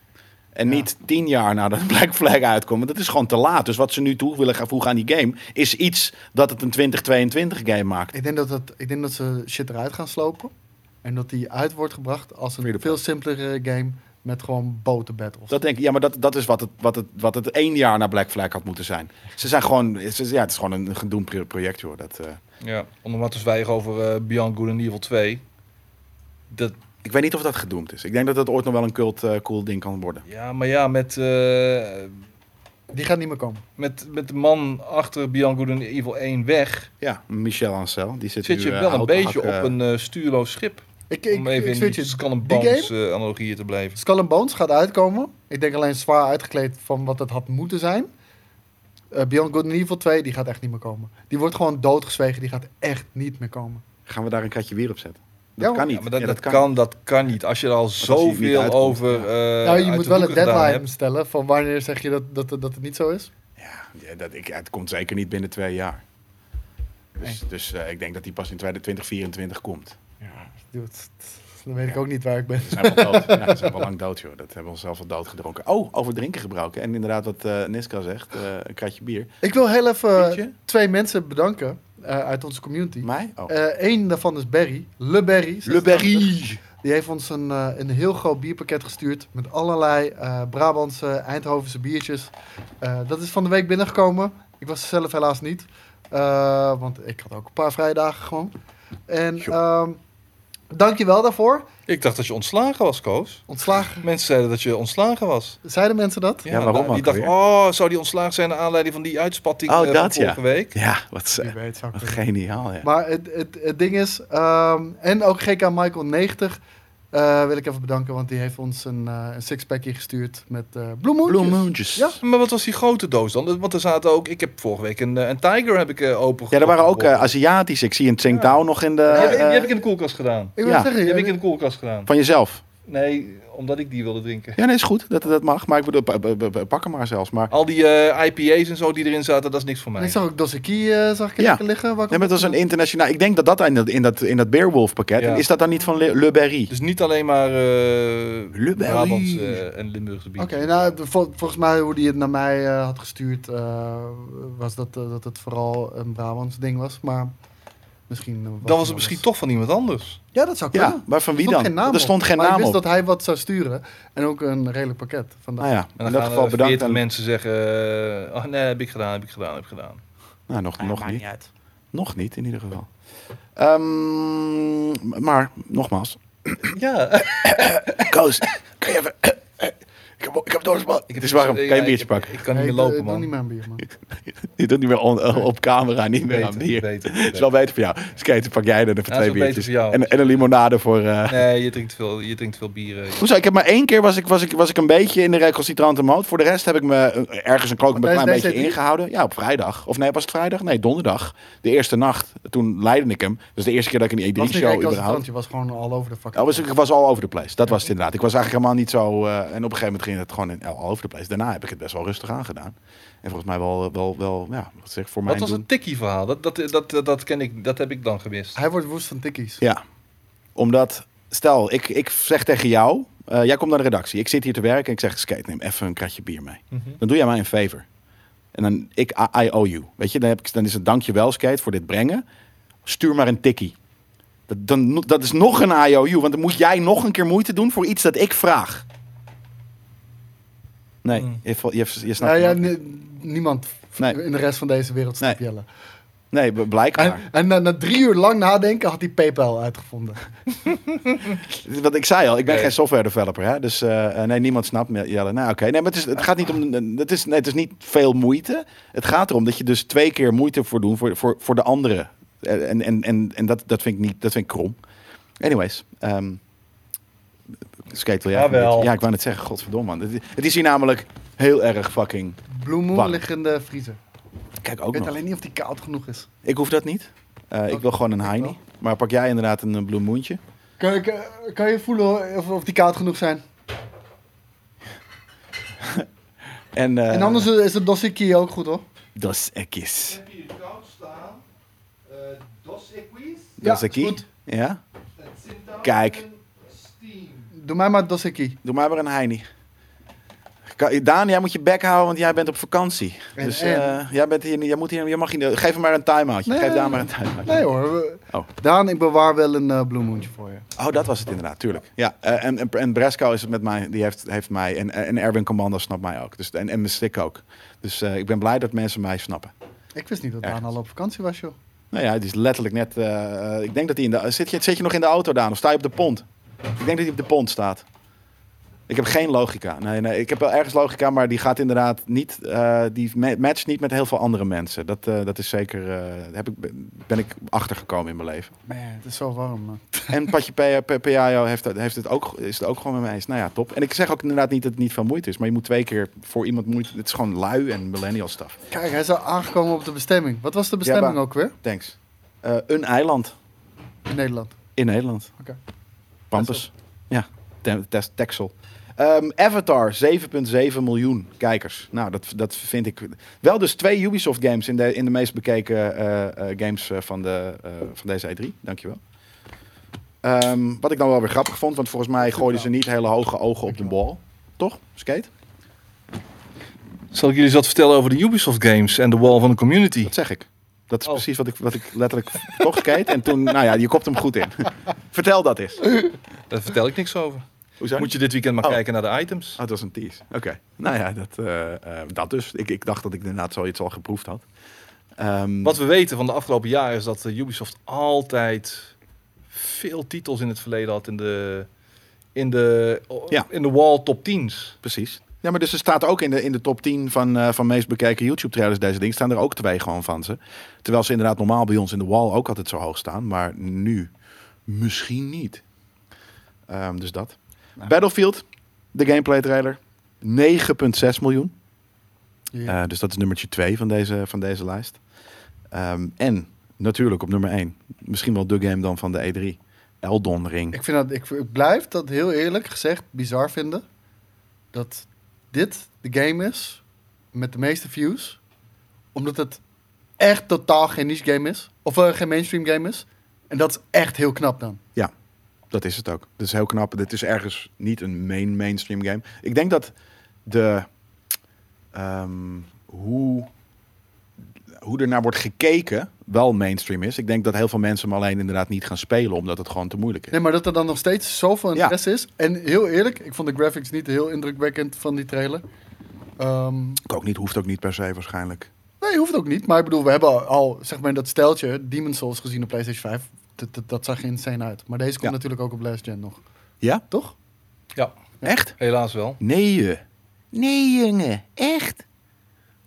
Speaker 1: En
Speaker 3: Ja.
Speaker 1: niet tien jaar nadat Black Flag uitkwam. Want dat is gewoon te laat. Dus wat ze nu toe willen gaan voegen aan die game... is iets dat het een 2022 game maakt.
Speaker 3: Ik denk dat, dat, ik denk dat ze shit eruit gaan slopen. En dat die uit wordt gebracht als
Speaker 1: Free to
Speaker 3: een veel simpelere game. Met gewoon boten battles.
Speaker 1: Dat denk ik, ja, maar dat, dat is wat het, wat, het, wat het één jaar na Black Flag had moeten zijn. Ze zijn gewoon, ze- ja, het is gewoon een gedoemd pro- project, joh. Dat, eh,
Speaker 2: Ja, om maar te zwijgen over eh Beyond Good and Evil 2. Dat,
Speaker 1: ik weet niet of dat gedoemd is. Ik denk dat dat ooit nog wel een cult eh, cool ding kan worden.
Speaker 2: ja, maar ja, met, eh,
Speaker 3: Die gaat niet meer komen.
Speaker 2: met, met de man achter Beyond Good and Evil 1 weg...
Speaker 1: Ja, Michel Ancel, die zit
Speaker 2: zit
Speaker 1: nu,
Speaker 2: je
Speaker 1: eh,
Speaker 2: wel een
Speaker 1: hout te
Speaker 2: beetje
Speaker 1: hakken.
Speaker 2: op een eh, stuurloos schip.
Speaker 3: Ik, ik,
Speaker 2: om
Speaker 3: ik,
Speaker 2: even in
Speaker 3: zweer
Speaker 2: die
Speaker 3: het je,
Speaker 2: Skull and
Speaker 3: eh, die
Speaker 2: Bones eh, analogieën te blijven.
Speaker 3: Skull and Bones gaat uitkomen. Ik denk alleen zwaar uitgekleed van wat het had moeten zijn. Eh, Beyond Good and Evil 2, die gaat echt niet meer komen. Die wordt gewoon doodgezwegen, die gaat echt niet meer komen.
Speaker 1: Gaan we daar een kratje weer op zetten?
Speaker 3: Ja,
Speaker 1: Dat
Speaker 3: maar-
Speaker 1: kan niet.
Speaker 2: Ja, maar dat,
Speaker 1: Ja,
Speaker 2: dat, kan, dat kan niet. Als je er al
Speaker 1: hij niet
Speaker 2: zoveel
Speaker 1: uitkomt,
Speaker 2: over.
Speaker 1: ja.
Speaker 2: eh
Speaker 3: nou,
Speaker 2: uit
Speaker 3: je
Speaker 2: de
Speaker 3: moet wel een
Speaker 2: doeken gedaan
Speaker 3: deadline
Speaker 2: hebt.
Speaker 3: stellen van wanneer zeg je dat, dat, dat, het niet zo is.
Speaker 1: Ja, ja, dat, ik, het komt zeker niet binnen twee jaar. Dus, dus eh, ik denk dat die pas in 2024 komt.
Speaker 3: Ja, dude, dan weet ik ook niet waar ik ben.
Speaker 1: We zijn wel dood. ja, we zijn wel lang dood, joh. Dat hebben we onszelf al dood gedronken. Oh, over drinken gebruiken. En inderdaad, wat eh Niska zegt, eh, een kratje bier.
Speaker 3: Ik wil heel
Speaker 2: Eh,
Speaker 3: even
Speaker 1: Pietje?
Speaker 3: twee mensen bedanken eh, uit onze community.
Speaker 1: Mij? Oh.
Speaker 2: eh,
Speaker 3: Eén daarvan is Barry, Le Barry.
Speaker 1: Le Berry!
Speaker 3: Die heeft ons een, eh, een heel groot bierpakket gestuurd met allerlei eh, Brabantse, Eindhovense biertjes. Eh, dat is van de week binnengekomen. Ik was er zelf helaas niet, eh, want ik had ook een paar vrije dagen gewoon. En
Speaker 1: Joh.
Speaker 3: ehm dankjewel daarvoor.
Speaker 2: Ik dacht dat je ontslagen was, Koos.
Speaker 3: Ontslagen,
Speaker 2: Mensen zeiden dat je ontslagen was.
Speaker 3: zeiden mensen dat?
Speaker 1: Ja, waarom
Speaker 2: Die
Speaker 1: ook
Speaker 2: dacht,
Speaker 1: alweer?
Speaker 2: oh, zou die ontslagen zijn naar aanleiding van die uitspatting
Speaker 1: Oh,
Speaker 2: eh, van
Speaker 1: dat, ja.
Speaker 2: vorige week?
Speaker 1: Ja, wat, ze-
Speaker 3: Wie weet zou ik
Speaker 1: wat
Speaker 3: kunnen.
Speaker 1: geniaal, ja.
Speaker 3: Maar het, het, het ding is, ehm, en ook GK Michael 90 eh, wil ik even bedanken, want die heeft ons een, eh, een sixpackje gestuurd met eh bloemhoentjes.
Speaker 1: Bloemoontjes.
Speaker 3: Ja.
Speaker 2: Maar wat was die grote doos dan? Want er zaten ook, ik heb vorige week een, eh, een Tiger heb ik eh, open
Speaker 1: Ja, er waren ook
Speaker 2: opengebroken.
Speaker 1: eh Aziatisch. Ik zie een Tsingtao nog in de...
Speaker 2: Ja, die, die
Speaker 1: eh,
Speaker 2: heb ik in de koelkast gedaan.
Speaker 3: Ik wil
Speaker 1: Ja.
Speaker 3: zeggen,
Speaker 2: Die heb ik
Speaker 3: eh,
Speaker 2: in de koelkast gedaan.
Speaker 1: Van jezelf.
Speaker 2: Nee, omdat ik die wilde drinken.
Speaker 1: Ja, nee, is goed. Dat, dat mag. Maar ik bedoel, pa- pa- pa- pak hem maar zelfs. Maar
Speaker 2: Al die eh, IPA's en zo die erin zaten, dat is niks voor mij.
Speaker 3: En ik zag ook Doseki eh zag ik
Speaker 1: Ja.
Speaker 3: lekker liggen. Waar
Speaker 1: Nee, maar dat was een internationaal. Ik denk dat dat in dat, in dat, in dat Beerwolf pakket.
Speaker 2: Ja.
Speaker 1: Is dat dan niet van Le, Le Berry?
Speaker 2: Dus niet alleen maar eh
Speaker 1: Lubberry.
Speaker 2: Brabants eh, en Limburgse bier.
Speaker 3: Oké, nou, de- vol- volgens mij hoe die het naar mij eh, had gestuurd, eh, was dat, eh, dat het vooral een Brabants ding was. Maar misschien... eh, wat
Speaker 2: dan was
Speaker 3: anders.
Speaker 2: het misschien toch van iemand anders.
Speaker 3: Ja, dat zou kunnen.
Speaker 1: Ja, maar van wie
Speaker 3: stond geen
Speaker 1: dan?
Speaker 3: naam
Speaker 1: Er stond
Speaker 3: op.
Speaker 1: geen
Speaker 3: maar
Speaker 1: naam
Speaker 3: ik wist
Speaker 1: op.
Speaker 3: dat hij wat zou sturen. En ook een redelijk pakket. Vandaag.
Speaker 1: Nou ja,
Speaker 2: En
Speaker 1: in
Speaker 2: dan
Speaker 1: dat
Speaker 2: gaan
Speaker 1: geval
Speaker 2: er
Speaker 1: bedankt.
Speaker 2: 40
Speaker 1: aan-
Speaker 2: mensen zeggen, eh, oh nee, heb ik gedaan, heb ik gedaan, heb ik gedaan.
Speaker 1: Nou, nog,
Speaker 3: Ah,
Speaker 1: nog
Speaker 3: maakt
Speaker 1: niet.
Speaker 3: uit.
Speaker 1: Nog niet, in ieder geval. Ehm, maar, nogmaals.
Speaker 2: ja,
Speaker 1: Koos, kun je even... heb, ik heb doorgespannen. Het is warm. Kan je een biertje pakken?
Speaker 2: Ik, kan
Speaker 3: Nee,
Speaker 2: niet
Speaker 3: ik
Speaker 2: meer
Speaker 3: doe- ik
Speaker 2: lopen,
Speaker 3: doe niet
Speaker 2: man.
Speaker 3: meer aan bier, man.
Speaker 1: Je doet niet meer on- eh, op camera, niet meer aan
Speaker 2: Beter,
Speaker 1: bier.
Speaker 2: beter,
Speaker 1: Het is wel
Speaker 2: beter.
Speaker 1: beter voor jou. Dus Kate, pak jij er even
Speaker 2: is
Speaker 1: twee
Speaker 2: wel beter
Speaker 1: biertjes.
Speaker 2: voor jou.
Speaker 1: En, en een limonade voor... eh,
Speaker 2: Nee, je drinkt veel, je drinkt veel bieren.
Speaker 1: Hoezo? Ik heb maar één keer was ik, was ik, was ik een beetje in de recalcitrante mode. Voor de rest heb ik me eh, ergens een klok een
Speaker 3: Maar
Speaker 1: klein
Speaker 3: tijdens
Speaker 1: beetje
Speaker 3: deze- E
Speaker 1: ingehouden. Ja, op vrijdag. Of nee, was het vrijdag? Nee, donderdag. De eerste nacht. Toen leidde ik hem. Dat is de eerste keer dat ik een
Speaker 3: Was niet
Speaker 1: E3-show
Speaker 3: gek als het
Speaker 1: überhaupt...
Speaker 3: tandje was gewoon al over de fucking.
Speaker 1: Ja, was, ik was all over the place. Dat was het inderdaad. Ik was eigenlijk helemaal niet zo... eh, en op een gegeven moment ging het gewoon in, all over the place. Daarna heb ik het best wel rustig aangedaan. En volgens mij wel, wel, wel ja, wat zeg ik, voor mij
Speaker 2: Wat was het tikkie-verhaal? Dat, dat, dat, dat, dat ken ik, dat heb ik dan gemist.
Speaker 3: Hij wordt woest van tikkies.
Speaker 1: Ja, omdat, stel, ik, ik zeg tegen jou, eh, jij komt naar de redactie, ik zit hier te werken en ik zeg, Skate, neem even een kratje bier mee.
Speaker 2: Mhm.
Speaker 1: Dan doe jij mij een favor. En dan, ik, I, I owe you. Weet je, dan, heb ik, dan is het dankjewel, Skate, voor dit brengen. Stuur maar een tikkie. Dat, dan, dat is nog een IOU, want dan moet jij nog een keer moeite doen voor iets dat ik vraag. Nee,
Speaker 2: Mm.
Speaker 1: je, val- je, je snapt
Speaker 3: Nou ja,
Speaker 1: het niet.
Speaker 3: ni- niemand
Speaker 1: Nee.
Speaker 3: in de rest van deze wereld snapt
Speaker 1: Nee.
Speaker 3: Jelle.
Speaker 1: Nee, b- blijkbaar.
Speaker 3: En, en na, na drie uur lang nadenken had hij PayPal uitgevonden.
Speaker 1: Wat ik zei al, ik ben
Speaker 2: Nee.
Speaker 1: geen software developer. Hè? Dus eh, eh, nee, niemand snapt me. Jelle. Nou, oké. Nee, maar het, is, het gaat niet om. Het is, nee, het is niet veel moeite. Het gaat erom dat je dus twee keer moeite voor doet voor, voor, voor de anderen. Eh, En, en, en, en dat, dat vind ik niet. Dat vind ik krom. Anyways. ehm skate wil jij. even een
Speaker 2: Jawel.
Speaker 1: beetje- Ja, ik wou net zeggen, godverdomme man. Het, het is hier namelijk heel erg fucking.
Speaker 3: Blue Moon
Speaker 1: Warm.
Speaker 3: ligt in de vriezer.
Speaker 1: Kijk
Speaker 3: Ik
Speaker 1: ook
Speaker 3: weet
Speaker 1: nog.
Speaker 3: alleen niet of die koud genoeg is.
Speaker 1: Ik hoef dat niet. Eh, ik
Speaker 3: Oké,
Speaker 1: wil gewoon een
Speaker 3: ik
Speaker 1: Heini.
Speaker 3: wel.
Speaker 1: Maar pak jij inderdaad een eh, bloemoentje?
Speaker 3: Kan, ik, eh, kan je voelen of, of die koud genoeg zijn?
Speaker 1: En, eh
Speaker 3: en anders is het dossier ook goed hoor.
Speaker 1: Dos Equis.
Speaker 2: hier koud staan. Eh, dos equis.
Speaker 3: Ja,
Speaker 1: Dos Equis?
Speaker 3: is goed.
Speaker 1: Ja?
Speaker 2: En Sinta.
Speaker 1: Kijk.
Speaker 2: Steam.
Speaker 3: Doe mij maar dossier.
Speaker 1: Doe maar maar een heini. Ka- Daan, jij moet je bek houden, want jij bent op vakantie.
Speaker 3: En-
Speaker 1: dus
Speaker 3: en?
Speaker 1: eh, jij, bent hier, niet- jij, moet hier, jij mag hier, geef hem maar een time-outje.
Speaker 3: Nee.
Speaker 1: Geef Daan maar een time-outje.
Speaker 3: Nee hoor. we-
Speaker 1: Oh.
Speaker 3: Daan, ik bewaar wel een eh Blue Moontje voor je.
Speaker 1: Oh, dat was het inderdaad, tuurlijk. Ja, eh, en, en, en Bresco is het met mij, die heeft, heeft mij. En, en Erwin Commando snapt mij ook. Dus, en, en Mystic ook. Dus eh, ik ben blij dat mensen mij snappen.
Speaker 3: Ik wist niet dat
Speaker 1: Ergens.
Speaker 3: Daan al op vakantie was joh.
Speaker 1: Nou ja, het is letterlijk net... eh, eh, ik denk dat hij in de... Zit je, zit je nog in de auto, Daan? Of sta je op de pont? Ik denk dat hij op de pont staat. Ik heb geen logica. Nee, nee, ik heb wel ergens logica, maar die gaat inderdaad niet... eh, die ma- matcht niet met heel veel andere mensen. Dat, eh, dat is zeker... eh, heb ik, ben ik achtergekomen in mijn leven.
Speaker 3: Man, het is zo warm man.
Speaker 1: En Patje Pe- Pe- Peajo heeft, dat- heeft het ook, is het ook gewoon met mij eens. Nou ja, top. En ik zeg ook inderdaad niet dat het niet van moeite is. Maar je moet twee keer voor iemand moeite... Het is gewoon lui en millennial stuff.
Speaker 3: Kijk, hij is al aangekomen op de bestemming. Wat was de bestemming
Speaker 1: maar-
Speaker 3: ook weer?
Speaker 1: Thanks. Eh, een eiland.
Speaker 3: In Nederland.
Speaker 1: In Nederland.
Speaker 3: Oké.
Speaker 1: Pampus. Ja, Te- Te- Texel. Ehm, Avatar, 7,7 miljoen kijkers. Nou, dat, dat vind ik... Wel dus twee Ubisoft games in de, in de meest bekeken eh, eh, games eh, van, de, eh, van deze E3. Dankjewel. Ehm wat ik dan wel weer grappig vond, want volgens mij gooiden ze niet hele hoge ogen op de bal. Toch? Skate?
Speaker 2: Zal ik jullie eens wat vertellen over de Ubisoft games en de wall van de community?
Speaker 1: Dat zeg ik. Dat is
Speaker 2: Oh.
Speaker 1: precies wat ik, wat ik letterlijk toch skate. En toen, nou ja, je kopt hem goed in. Vertel dat eens.
Speaker 2: Daar vertel ik niks over.
Speaker 1: Hoezo?
Speaker 2: Moet je dit weekend maar
Speaker 1: Oh.
Speaker 2: kijken naar de items.
Speaker 1: Oh, het was een tease. Oké. Nou ja, dat, eh, eh, dat dus. Ik, ik dacht dat ik inderdaad zoiets al geproefd had. Ehm,
Speaker 2: Wat we weten van de afgelopen jaren is dat eh, Ubisoft altijd veel titels in het verleden had in de, in de,
Speaker 1: Ja.
Speaker 2: in de wall top 10's.
Speaker 1: Precies. Ja, maar dus er staat ook in de, in de top 10 van, eh, van meest bekeken YouTube-trailers deze ding. Staan er ook twee gewoon van ze. Terwijl ze inderdaad normaal bij ons in de wall ook altijd zo hoog staan. Maar nu misschien niet. Ehm, dus dat.
Speaker 3: Nou.
Speaker 1: Battlefield, de gameplay trailer. 9,6 miljoen.
Speaker 3: Ja.
Speaker 1: Eh, dus dat is nummertje 2 van deze, van deze lijst. Ehm, en natuurlijk op nummer 1, misschien wel de game dan van de E3, Eldon Ring.
Speaker 3: Ik, vind dat, ik, ik blijf dat heel eerlijk gezegd bizar vinden. Dat dit de game is met de meeste views. Omdat het echt totaal geen niche game is. Of eh, geen mainstream game is. En dat is echt heel knap dan.
Speaker 1: Dat is het ook. Dat is heel knap. Dit is ergens niet een main mainstream game. Ik denk dat de ehm, hoe, hoe er naar wordt gekeken wel mainstream is. Ik denk dat heel veel mensen hem alleen inderdaad niet gaan spelen omdat het gewoon te moeilijk is.
Speaker 3: Nee, maar dat er dan nog steeds zoveel
Speaker 1: Ja.
Speaker 3: interesse is. En heel eerlijk, ik vond de graphics niet heel indrukwekkend van die trailer. Ehm,
Speaker 1: Ik ook niet, hoeft ook niet per se waarschijnlijk.
Speaker 3: nee, hoeft ook niet. Maar ik bedoel, we hebben al zeg maar, dat steltje Demon Souls gezien op PlayStation 5. Dat, dat, dat zag er insane uit. Maar deze komt
Speaker 1: Ja.
Speaker 3: natuurlijk ook op Last Gen nog.
Speaker 1: Ja?
Speaker 3: Toch?
Speaker 2: Ja,
Speaker 1: Echt?
Speaker 2: helaas wel.
Speaker 1: Nee. eh. Nee, jongen, echt?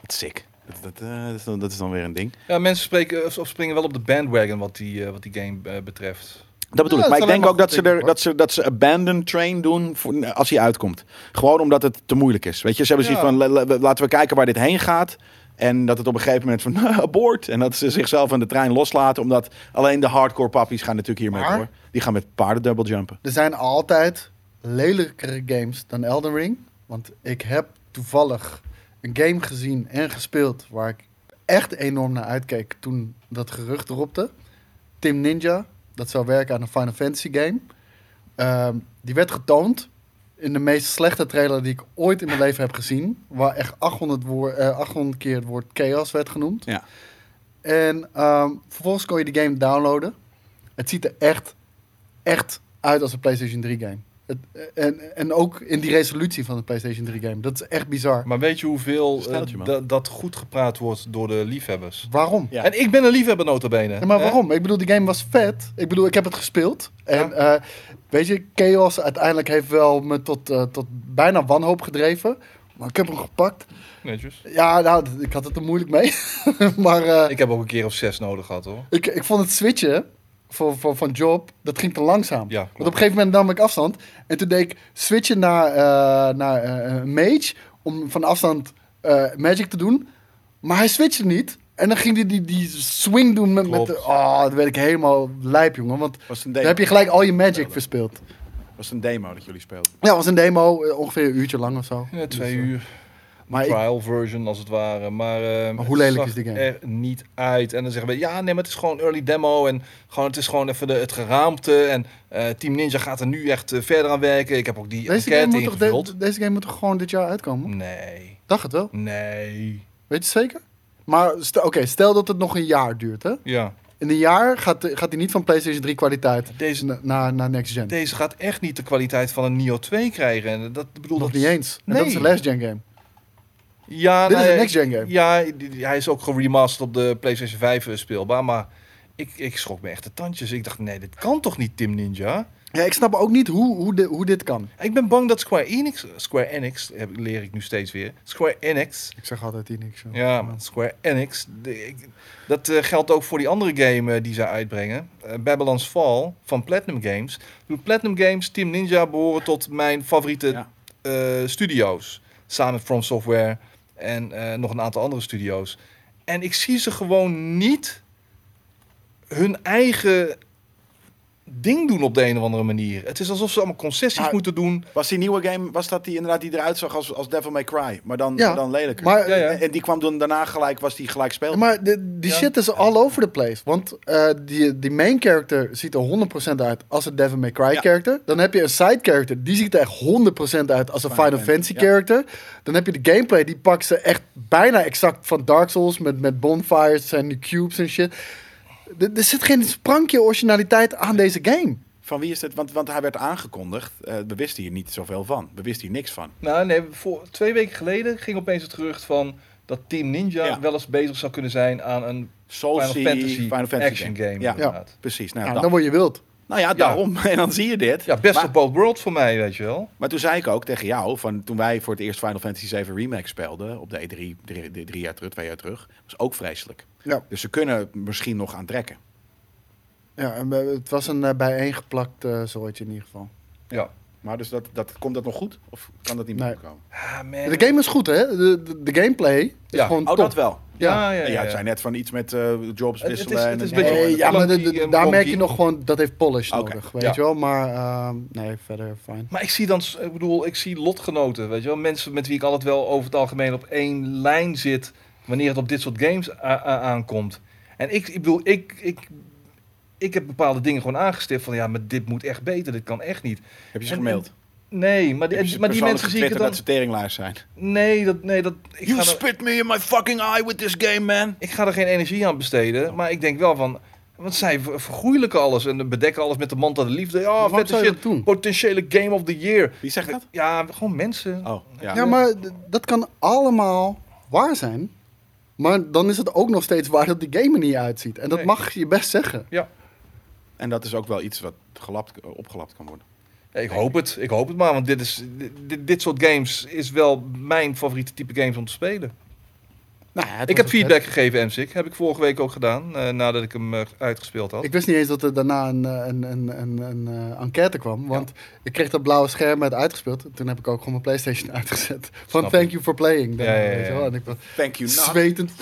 Speaker 1: Wat sick. Dat, dat, eh, dat, is dan, dat is dan weer een ding.
Speaker 2: Ja, mensen spreken, of, of springen wel op de bandwagon wat die, eh, wat die game eh, betreft.
Speaker 1: Dat bedoel
Speaker 3: Ja,
Speaker 1: ik. Maar
Speaker 3: dat
Speaker 1: ik
Speaker 3: is
Speaker 1: denk
Speaker 3: alleen
Speaker 1: ook dat
Speaker 3: maar
Speaker 1: ze,
Speaker 3: goed,
Speaker 1: er, dat, ze, dat ze Abandon Train doen voor- als hij uitkomt. Gewoon omdat het te moeilijk is. Weet je, ze hebben
Speaker 2: Ja.
Speaker 1: zoiets van, la- la- laten we kijken waar dit heen gaat. En dat het op een gegeven moment van, abort. En dat ze zichzelf aan de trein loslaten. Omdat alleen de hardcore pappies gaan natuurlijk hiermee
Speaker 3: Maar-
Speaker 1: door. Die gaan met paarden double jumpen.
Speaker 3: Er zijn altijd lelijkere games dan Elden Ring. Want ik heb toevallig een game gezien en gespeeld waar ik echt enorm naar uitkeek toen dat gerucht ropte. Tim Ninja, dat zou werken aan een Final Fantasy game. Ehm, die werd getoond in de meest slechte trailer die ik ooit in mijn leven heb gezien. Waar echt 800, woor- eh, 800 keer het woord chaos werd genoemd.
Speaker 1: Ja.
Speaker 3: En ehm, vervolgens kon je die game downloaden. Het ziet er echt, echt uit als een PlayStation 3 game. Het, en, en ook in die resolutie van de PlayStation 3 game. Dat is echt bizar.
Speaker 2: Maar weet je hoeveel eh,
Speaker 1: Steltje, man.
Speaker 2: da- dat goed gepraat wordt door de liefhebbers?
Speaker 3: Waarom?
Speaker 1: Ja.
Speaker 2: En ik ben een liefhebber notabene.
Speaker 3: Ja, maar
Speaker 2: hè?
Speaker 3: waarom? Ik bedoel, die game was vet. Ik bedoel, ik heb het gespeeld. En eh, weet je, Chaos uiteindelijk heeft wel me tot, eh, tot bijna wanhoop gedreven. Maar ik heb hem gepakt.
Speaker 2: Netjes.
Speaker 3: Ja, nou, d- ik had het er moeilijk mee. maar eh,
Speaker 2: Ik heb ook een keer of zes nodig gehad hoor.
Speaker 3: ik, ik vond het switchen voor, voor, van job, dat ging te langzaam.
Speaker 2: Ja,
Speaker 3: Want op een gegeven moment nam ik afstand. En toen deed ik switchen naar, eh, naar eh, een mage. Om van afstand eh, magic te doen. Maar hij switchte niet. En dan ging hij die, die swing doen met... met
Speaker 2: Klopt.
Speaker 3: de, oh, dat werd ik helemaal lijp, jongen. Want
Speaker 1: was een
Speaker 3: dan
Speaker 1: demo.
Speaker 3: heb je gelijk al je magic verspeeld.
Speaker 1: was een demo dat jullie speelden.
Speaker 3: Ja, was een demo. eh, Ongeveer een uurtje lang of zo.
Speaker 2: Ja, twee
Speaker 3: Dus, eh,
Speaker 2: uur.
Speaker 3: Maar ik,
Speaker 2: trial version als het ware. Maar, eh,
Speaker 3: Maar hoe lelijk
Speaker 2: het
Speaker 3: is die
Speaker 2: zag
Speaker 3: game?
Speaker 2: er niet uit. En dan zeggen we, ja, nee, maar het is gewoon early demo. En gewoon, het is gewoon even de, het geraamte. En eh, Team Ninja gaat er nu echt eh, verder aan werken. Ik heb ook die
Speaker 3: deze, game
Speaker 2: enquête
Speaker 3: moet toch de-
Speaker 2: ingevuld.
Speaker 3: deze game moet toch gewoon dit jaar uitkomen?
Speaker 2: Nee,
Speaker 3: Dacht het wel.
Speaker 2: nee.
Speaker 3: Weet je zeker? Maar stel- oké, stel dat het nog een jaar duurt, hè?
Speaker 2: Ja,
Speaker 3: In een jaar gaat, gaat hij niet van PlayStation 3 kwaliteit
Speaker 2: Deze-
Speaker 3: na- naar, naar Next Gen.
Speaker 2: deze gaat echt niet de kwaliteit van een Nio 2 krijgen. En dat ik bedoel
Speaker 3: Nog
Speaker 2: dat...
Speaker 3: niet eens. En
Speaker 2: Nee.
Speaker 3: dat is een last gen game.
Speaker 2: Ja,
Speaker 3: Dit is
Speaker 2: nou
Speaker 3: een
Speaker 2: ja,
Speaker 3: next-gen game.
Speaker 2: Ja, die- die- hij is ook geremasterd op de PlayStation 5 speelbaar. Maar ik, ik schrok me echt de tandjes. Ik dacht, nee, dit kan toch niet, Team Ninja?
Speaker 3: Ja, ik snap ook niet hoe, hoe, de- hoe dit kan.
Speaker 2: Ik ben bang dat Square Enix, Square Enix, heb, leer ik nu steeds weer. Square Enix,
Speaker 3: Ik zeg altijd hier niks.
Speaker 2: ja, maar Square Enix, de- ik- dat eh, geldt ook voor die andere game eh, die zij uitbrengen. Eh, Babylon's Fall van Platinum Games. Ik bedoel, Platinum Games, Team Ninja behoren tot mijn favoriete
Speaker 1: Ja.
Speaker 2: eh, studio's. Samen met From Software en eh, nog een aantal andere studio's. En ik zie ze gewoon niet hun eigen ding doen op de een of andere manier. Het is alsof ze allemaal concessies
Speaker 1: Maar-
Speaker 2: moeten doen.
Speaker 1: Was die nieuwe game, was dat die inderdaad die eruit zag als, als Devil May Cry? Maar dan,
Speaker 3: Ja.
Speaker 1: dan lelijker.
Speaker 3: Maar,
Speaker 2: Ja, ja.
Speaker 1: En, en die kwam dan daarna gelijk, was die gelijk speelbaar.
Speaker 3: maar de- die
Speaker 2: Ja.
Speaker 3: shit is all over the place. Want eh, die, die main character ziet er 100% uit als een Devil May Cry
Speaker 1: Ja.
Speaker 3: character. Dan heb je een side character, die ziet er echt 100% uit als een Final,
Speaker 1: Fantasy,
Speaker 3: Fantasy
Speaker 1: ja.
Speaker 3: character. Dan heb je de gameplay, die pakt ze echt bijna exact van Dark Souls. Met, met bonfires en die cubes en shit. Er- er zit geen sprankje originaliteit aan deze game.
Speaker 1: Van wie is dit? Want, want hij werd aangekondigd. Eh, we wisten hier niet zoveel van. We wisten hier niks van.
Speaker 2: Nou, nee, voor, twee weken geleden ging opeens het gerucht van dat Team Ninja
Speaker 1: Ja.
Speaker 2: wel eens bezig zou kunnen zijn aan een
Speaker 1: Soul
Speaker 2: Final Fantasy,
Speaker 1: Final Fantasy
Speaker 2: action game.
Speaker 1: Ja,
Speaker 2: inderdaad.
Speaker 1: precies. Nou, ja,
Speaker 3: Ja, dan
Speaker 1: dat-
Speaker 3: word je wild.
Speaker 1: nou ja, daarom. En dan zie je dit.
Speaker 2: Ja, best
Speaker 1: maar,
Speaker 2: of both worlds voor mij, weet je wel.
Speaker 1: maar toen zei ik ook tegen jou, van toen wij voor het eerst Final Fantasy 7 Remake speelden, op de E3, drie, drie- drie jaar terug, twee jaar terug, was ook vreselijk.
Speaker 3: Ja.
Speaker 1: Dus ze kunnen het misschien nog aantrekken.
Speaker 3: Ja, en, eh, het was een eh, bijeengeplakt eh zooitje in ieder geval.
Speaker 2: Ja.
Speaker 1: Maar dus dat, dat, komt dat nog goed? Of kan dat niet meer
Speaker 3: Nee.
Speaker 1: goed komen?
Speaker 2: Ah, man.
Speaker 3: De game is goed, hè? De, de, de gameplay is
Speaker 2: Ja.
Speaker 3: gewoon
Speaker 1: Oh,
Speaker 3: top.
Speaker 1: dat wel.
Speaker 2: Ja, ja,
Speaker 1: Ja,
Speaker 2: ja.
Speaker 1: jij
Speaker 2: ja.
Speaker 1: zei net van iets met eh, jobs
Speaker 2: Het- het is-
Speaker 1: wisselen.
Speaker 2: het is
Speaker 1: en-
Speaker 2: een beetje-
Speaker 3: Nee, ja, maar de- de-
Speaker 2: Clunky, eh,
Speaker 3: daar merk
Speaker 2: wonky.
Speaker 3: je nog gewoon, dat heeft polish
Speaker 1: Oké.
Speaker 3: nodig, weet
Speaker 2: Ja.
Speaker 3: je wel. Maar ehm, nee, verder fijn.
Speaker 2: Maar ik zie dan, ik bedoel, ik zie lotgenoten, weet je wel. Mensen met wie ik altijd wel over het algemeen op één lijn zit wanneer het op dit soort games a- a- aankomt. En ik, ik bedoel, ik, ik, ik heb bepaalde dingen gewoon aangestipt van ja, maar dit moet echt beter, dit kan echt niet.
Speaker 1: Heb je ze
Speaker 2: En-
Speaker 1: gemaild?
Speaker 2: Nee, maar
Speaker 1: Heb je
Speaker 2: die,
Speaker 1: ze
Speaker 2: maar die
Speaker 1: persoonlijk
Speaker 2: mensen zie ik er
Speaker 1: getwitterd
Speaker 2: dan...
Speaker 1: dat ze teringlaars zijn.
Speaker 2: Nee, dat, nee, dat, ik,
Speaker 1: You
Speaker 2: ga er,
Speaker 1: spit me in my fucking eye with this game, man.
Speaker 2: ik ga er geen energie aan besteden. Maar ik denk wel van... Want zij ver- vergoeilijken alles en bedekken alles met de mantel de liefde. Ja,
Speaker 3: Waarom
Speaker 2: Oh, vette
Speaker 3: zou je
Speaker 2: shit.
Speaker 3: dat doen?
Speaker 2: Potentiële game of the year.
Speaker 1: Wie zegt dat?
Speaker 2: Ja, gewoon mensen.
Speaker 1: Oh, ja.
Speaker 3: Ja, maar d- dat kan allemaal waar zijn. Maar dan is het ook nog steeds waar dat die game er niet uitziet. En dat
Speaker 2: Nee.
Speaker 3: mag je best zeggen.
Speaker 2: Ja.
Speaker 1: En dat is ook wel iets wat gelapt, opgelapt kan worden.
Speaker 2: Ik hoop het, ik hoop het maar, want dit, is, dit, dit soort games is wel mijn favoriete type games om te spelen.
Speaker 3: Nou, ja, het
Speaker 2: Ik
Speaker 3: was
Speaker 2: heb
Speaker 3: ook
Speaker 2: feedback gegeven, MSIC. Heb ik vorige week ook gedaan, eh, nadat ik hem eh, uitgespeeld had.
Speaker 3: Ik wist niet eens dat er daarna een, eh, een, een, een, een eh, enquête kwam. Want ik kreeg dat blauwe scherm uit uitgespeeld. Toen heb ik ook gewoon mijn PlayStation uitgezet. Van
Speaker 2: Snap
Speaker 3: thank
Speaker 2: ik.
Speaker 3: you for playing. Dan,
Speaker 2: Ja, ja, ja,
Speaker 3: Weet je wel.
Speaker 2: ja.
Speaker 3: En ik was
Speaker 1: Thank you, not.
Speaker 3: zwetend.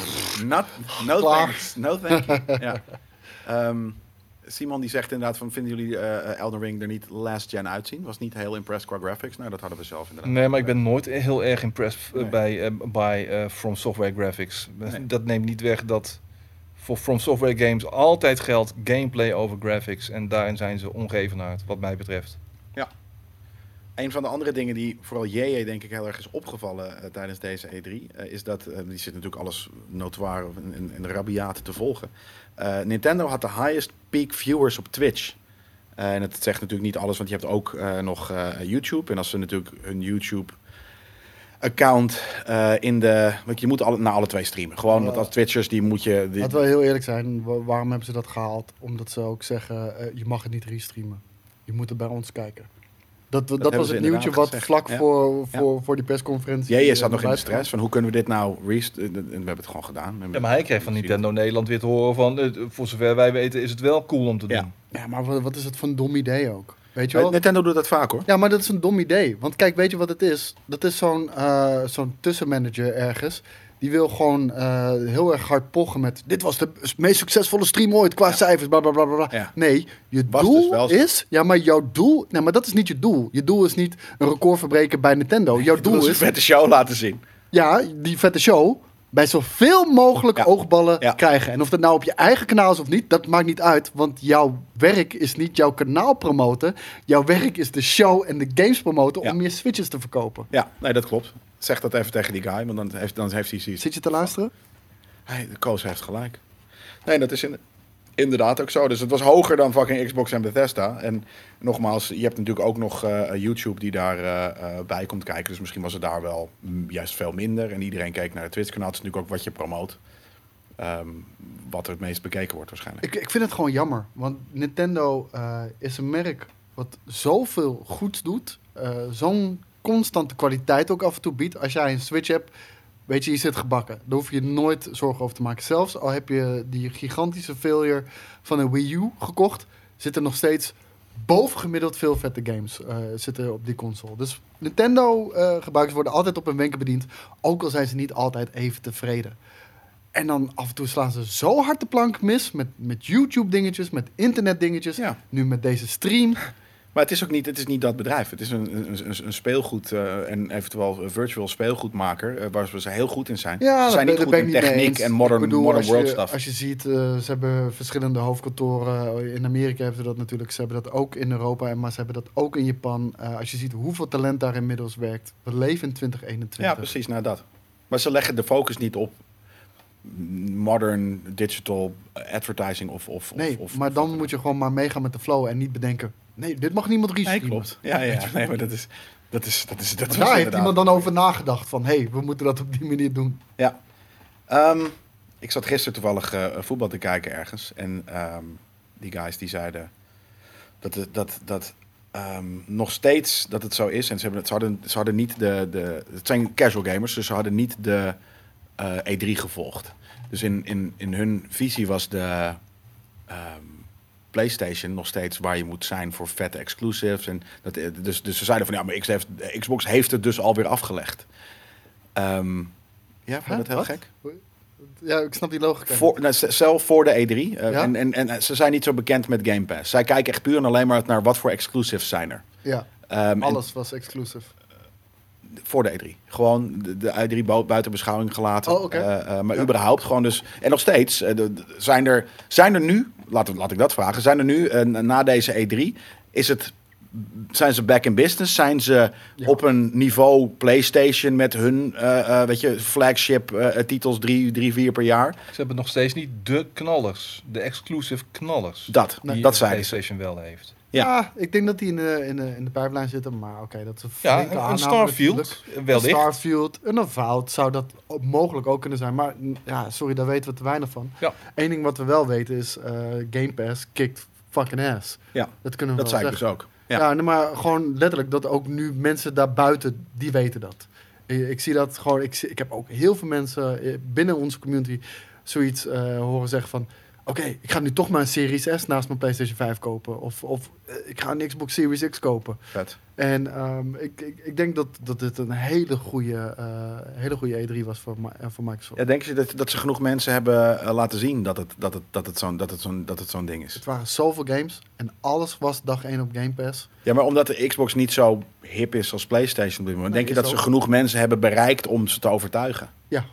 Speaker 1: Not, no
Speaker 3: Klaar.
Speaker 1: thanks. No thank you. ja. Ehm, Simon die zegt inderdaad van, vinden jullie eh Elden Ring er niet last gen uitzien? Was niet heel impressed qua graphics. Nou, dat hadden we zelf inderdaad.
Speaker 2: Nee, maar ik ben nooit heel erg impressed eh,
Speaker 1: Nee.
Speaker 2: bij, eh, bij eh, From Software Graphics.
Speaker 1: Nee.
Speaker 2: Dat neemt niet weg dat voor From Software games altijd geldt gameplay over graphics. En daarin zijn ze ongevenaard, wat mij betreft.
Speaker 1: Een van de andere dingen die vooral JJ denk ik heel erg is opgevallen eh, tijdens deze E3, eh, is dat, eh, die zit natuurlijk alles notoire en, en, en rabiaat te volgen. Eh, Nintendo had de highest peak viewers op Twitch. Eh, en het zegt natuurlijk niet alles, want je hebt ook eh, nog eh, YouTube. En als ze natuurlijk hun YouTube account eh, in de, want je moet alle, naar alle twee streamen. Gewoon, want als Twitchers die moet je, die-
Speaker 3: Laten we heel eerlijk zijn. wa- Waarom hebben ze dat gehaald? Omdat ze ook zeggen, eh, je mag het niet restreamen. Je moet het bij ons kijken. Dat, dat,
Speaker 1: hebben
Speaker 3: was
Speaker 1: ze
Speaker 3: het nieuwtje
Speaker 1: inderdaad
Speaker 3: wat
Speaker 1: gezegd,
Speaker 3: vlak
Speaker 1: ja.
Speaker 3: voor, voor, voor die persconferentie.
Speaker 1: JJ
Speaker 3: eh,
Speaker 1: zat nog in de
Speaker 3: buiten kwam.
Speaker 1: stress van hoe kunnen we dit nou, rest- eh, en we hebben het gewoon gedaan.
Speaker 2: Ja, maar hij kreeg van Nintendo Nederland weer te horen van... eh, voor zover wij weten is het wel cool om te doen.
Speaker 1: Ja.
Speaker 3: Ja, maar wat, wat is het voor een dom idee ook? Weet je wel?
Speaker 1: Eh, Nintendo doet dat vaak hoor.
Speaker 3: Ja, maar dat is een dom idee. Want kijk, weet je wat het is? Dat is zo'n eh, zo'n tussenmanager ergens. Die wil gewoon eh, heel erg hard pochen met... Dit was de meest succesvolle stream ooit qua cijfers, bla bla bla bla. bla."
Speaker 1: Ja.
Speaker 3: Nee, je
Speaker 1: Was
Speaker 3: doel
Speaker 1: dus wel zo.
Speaker 3: is... Ja, maar jouw doel... Nee, maar dat is niet je doel. Je doel is niet een record verbreken bij Nintendo. Jouw
Speaker 1: Doe
Speaker 3: doel
Speaker 1: eens
Speaker 3: is...
Speaker 1: een vette show laten zien.
Speaker 3: Ja, die vette show... Bij zoveel mogelijk
Speaker 1: Ja.
Speaker 3: oogballen
Speaker 1: Ja.
Speaker 3: krijgen. En of dat nou op je eigen kanaal is of niet, dat maakt niet uit. Want jouw werk is niet jouw kanaal promoten. Jouw werk is de show en de games promoten
Speaker 1: Ja.
Speaker 3: om meer switches te verkopen.
Speaker 1: Ja, nee, dat klopt. Zeg dat even tegen die guy, want dan heeft, dan heeft hij zoiets.
Speaker 3: Zit je te luisteren?
Speaker 1: Hey, de Koos heeft gelijk. Nee, dat is in- inderdaad ook zo. Dus het was hoger dan fucking Xbox en Bethesda. En nogmaals, je hebt natuurlijk ook nog eh, YouTube die daar eh, eh, bij komt kijken. Dus misschien was het daar wel mm, juist veel minder. En iedereen keek naar het Twitch-kanaal. Het is natuurlijk ook wat je promoot. Ehm, wat er het meest bekeken wordt waarschijnlijk.
Speaker 3: Ik, ik vind het gewoon jammer. Want Nintendo eh, is een merk wat zoveel goeds doet. eh, Zo'n constante kwaliteit ook af en toe biedt. Als jij een Switch hebt, weet je, je zit gebakken. Daar hoef je nooit zorgen over te maken. Zelfs al heb je die gigantische failure van een Wii U gekocht, zitten nog steeds bovengemiddeld veel vette games eh, zitten op die console. Dus Nintendo-gebruikers worden altijd op hun wenken bediend, ook al zijn ze niet altijd even tevreden. En dan af en toe slaan ze zo hard de plank mis met, met YouTube-dingetjes, met internet-dingetjes.
Speaker 1: Ja.
Speaker 3: Nu met deze stream.
Speaker 1: Maar het is ook niet, het is niet dat bedrijf. Het is een, een, een- een speelgoed eh, en eventueel een virtual speelgoedmaker. eh, waar ze heel goed in zijn. ze zijn niet
Speaker 3: daar
Speaker 1: goed
Speaker 3: ben ik
Speaker 1: in
Speaker 3: mee
Speaker 1: techniek
Speaker 3: eens.
Speaker 1: en
Speaker 3: Ik
Speaker 1: modern,
Speaker 3: bedoel,
Speaker 1: modern
Speaker 3: als je-
Speaker 1: world stuff.
Speaker 3: Als je ziet, eh, ze hebben verschillende hoofdkantoren. Eh, In Amerika hebben ze dat natuurlijk. Ze hebben dat ook in Europa, en maar ze hebben dat ook in Japan. Eh, als je ziet hoeveel talent daar inmiddels werkt. We leven in 2021.
Speaker 1: Ja, precies, nou dat. Maar ze leggen de focus niet op modern digital eh, advertising of... of of-
Speaker 3: Nee,
Speaker 1: of,
Speaker 3: maar dan moet je gewoon maar meegaan met de flow en niet bedenken. Nee, dit mag niemand
Speaker 1: Nee,
Speaker 3: risico's.
Speaker 1: klopt. Ja, ja, nee, maar dat is... Dat is, dat is, dat
Speaker 3: Want
Speaker 1: is
Speaker 3: daar heeft
Speaker 1: inderdaad-
Speaker 3: iemand dan over nagedacht van, hé, hey, we moeten dat op die manier doen.
Speaker 1: Ja. Ehm, ik zat gisteren toevallig eh, voetbal te kijken ergens. En ehm, die guys die zeiden dat, het- dat, dat ehm, nog steeds dat het zo is. En ze, hebben, het- ze, hadden, ze hadden niet de, de... Het zijn casual gamers, dus ze hadden niet de eh, E3 gevolgd. Dus in, in, in hun visie was de ehm, PlayStation nog steeds waar je moet zijn voor vette exclusives. En dat, eh, dus, dus ze zeiden van ja, maar X heeft- Xbox heeft het dus alweer afgelegd. Ehm, ja, vond je
Speaker 3: Hè?
Speaker 1: dat heel
Speaker 3: Wat?
Speaker 1: gek?
Speaker 3: Ja, ik snap die logica. niet.
Speaker 1: Voor, nou, z- zelf voor de E3. eh,
Speaker 3: Ja?
Speaker 1: en, en, en ze zijn niet zo bekend met Game Pass. Zij kijken echt puur en alleen maar naar wat voor exclusives zijn er.
Speaker 3: Ja,
Speaker 1: Ehm, en
Speaker 3: alles was exclusive.
Speaker 1: voor de E3. Gewoon de, de E3 bu- buiten beschouwing gelaten.
Speaker 3: Oh, oké.
Speaker 1: Eh, eh, maar
Speaker 3: Ja.
Speaker 1: überhaupt gewoon dus... En nog steeds, eh, de- de- zijn, er, zijn er nu... Laat, laat ik dat vragen. Zijn er nu, eh, na deze E3... Is het, zijn ze back in business? Zijn ze
Speaker 3: Ja.
Speaker 1: op een niveau PlayStation met hun eh, eh, weet je, flagship eh, titels drie, drie, vier per jaar?
Speaker 2: Ze hebben nog steeds niet de knallers. De exclusive knallers.
Speaker 1: Dat,
Speaker 2: die
Speaker 1: dat
Speaker 2: de
Speaker 1: zeiden ze.
Speaker 2: PlayStation wel heeft.
Speaker 1: Ja.
Speaker 3: Ja, ik denk dat die in de, in de, in de pijplijn zitten, maar oké, dat is een flinke
Speaker 2: Ja, een,
Speaker 3: aanname
Speaker 2: een Starfield
Speaker 3: natuurlijk. Een
Speaker 2: wellicht.
Speaker 3: Starfield, een Avowed zou dat ook mogelijk ook kunnen zijn. Maar n- ja, sorry, daar weten we te weinig van.
Speaker 2: Ja.
Speaker 3: Eén ding wat we wel weten is, eh Game Pass kickt fucking ass.
Speaker 1: Ja,
Speaker 3: dat kunnen we
Speaker 1: Dat
Speaker 3: wel
Speaker 1: zei ik
Speaker 3: zeggen.
Speaker 1: dus ook. Ja.
Speaker 3: Ja, nee, maar gewoon letterlijk dat ook nu mensen daarbuiten, die weten dat. Ik, ik zie dat gewoon, ik, zie- ik heb ook heel veel mensen eh, binnen onze community zoiets eh, horen zeggen van... Oké, ik ga nu toch maar een Series S naast mijn PlayStation 5 kopen. Of, of eh, ik ga een Xbox Series X kopen.
Speaker 1: Vet.
Speaker 3: En ehm, ik, ik, ik denk dat, dat dit een hele goede, eh, hele goede E3 was voor, Mi- eh, voor Microsoft.
Speaker 1: Ja, denken ze dat, dat ze genoeg mensen hebben eh, laten zien dat het, dat het, dat het zo'n dat het zo'n- dat het zo'n ding is?
Speaker 3: Het waren zoveel games en alles was dag 1 op Game Pass.
Speaker 1: Ja, maar omdat de Xbox niet zo hip is als PlayStation op dit moment,
Speaker 3: Nee,
Speaker 1: denk je
Speaker 3: is
Speaker 1: dat ze
Speaker 3: ook-
Speaker 1: genoeg mensen hebben bereikt om ze te overtuigen?
Speaker 3: Ja,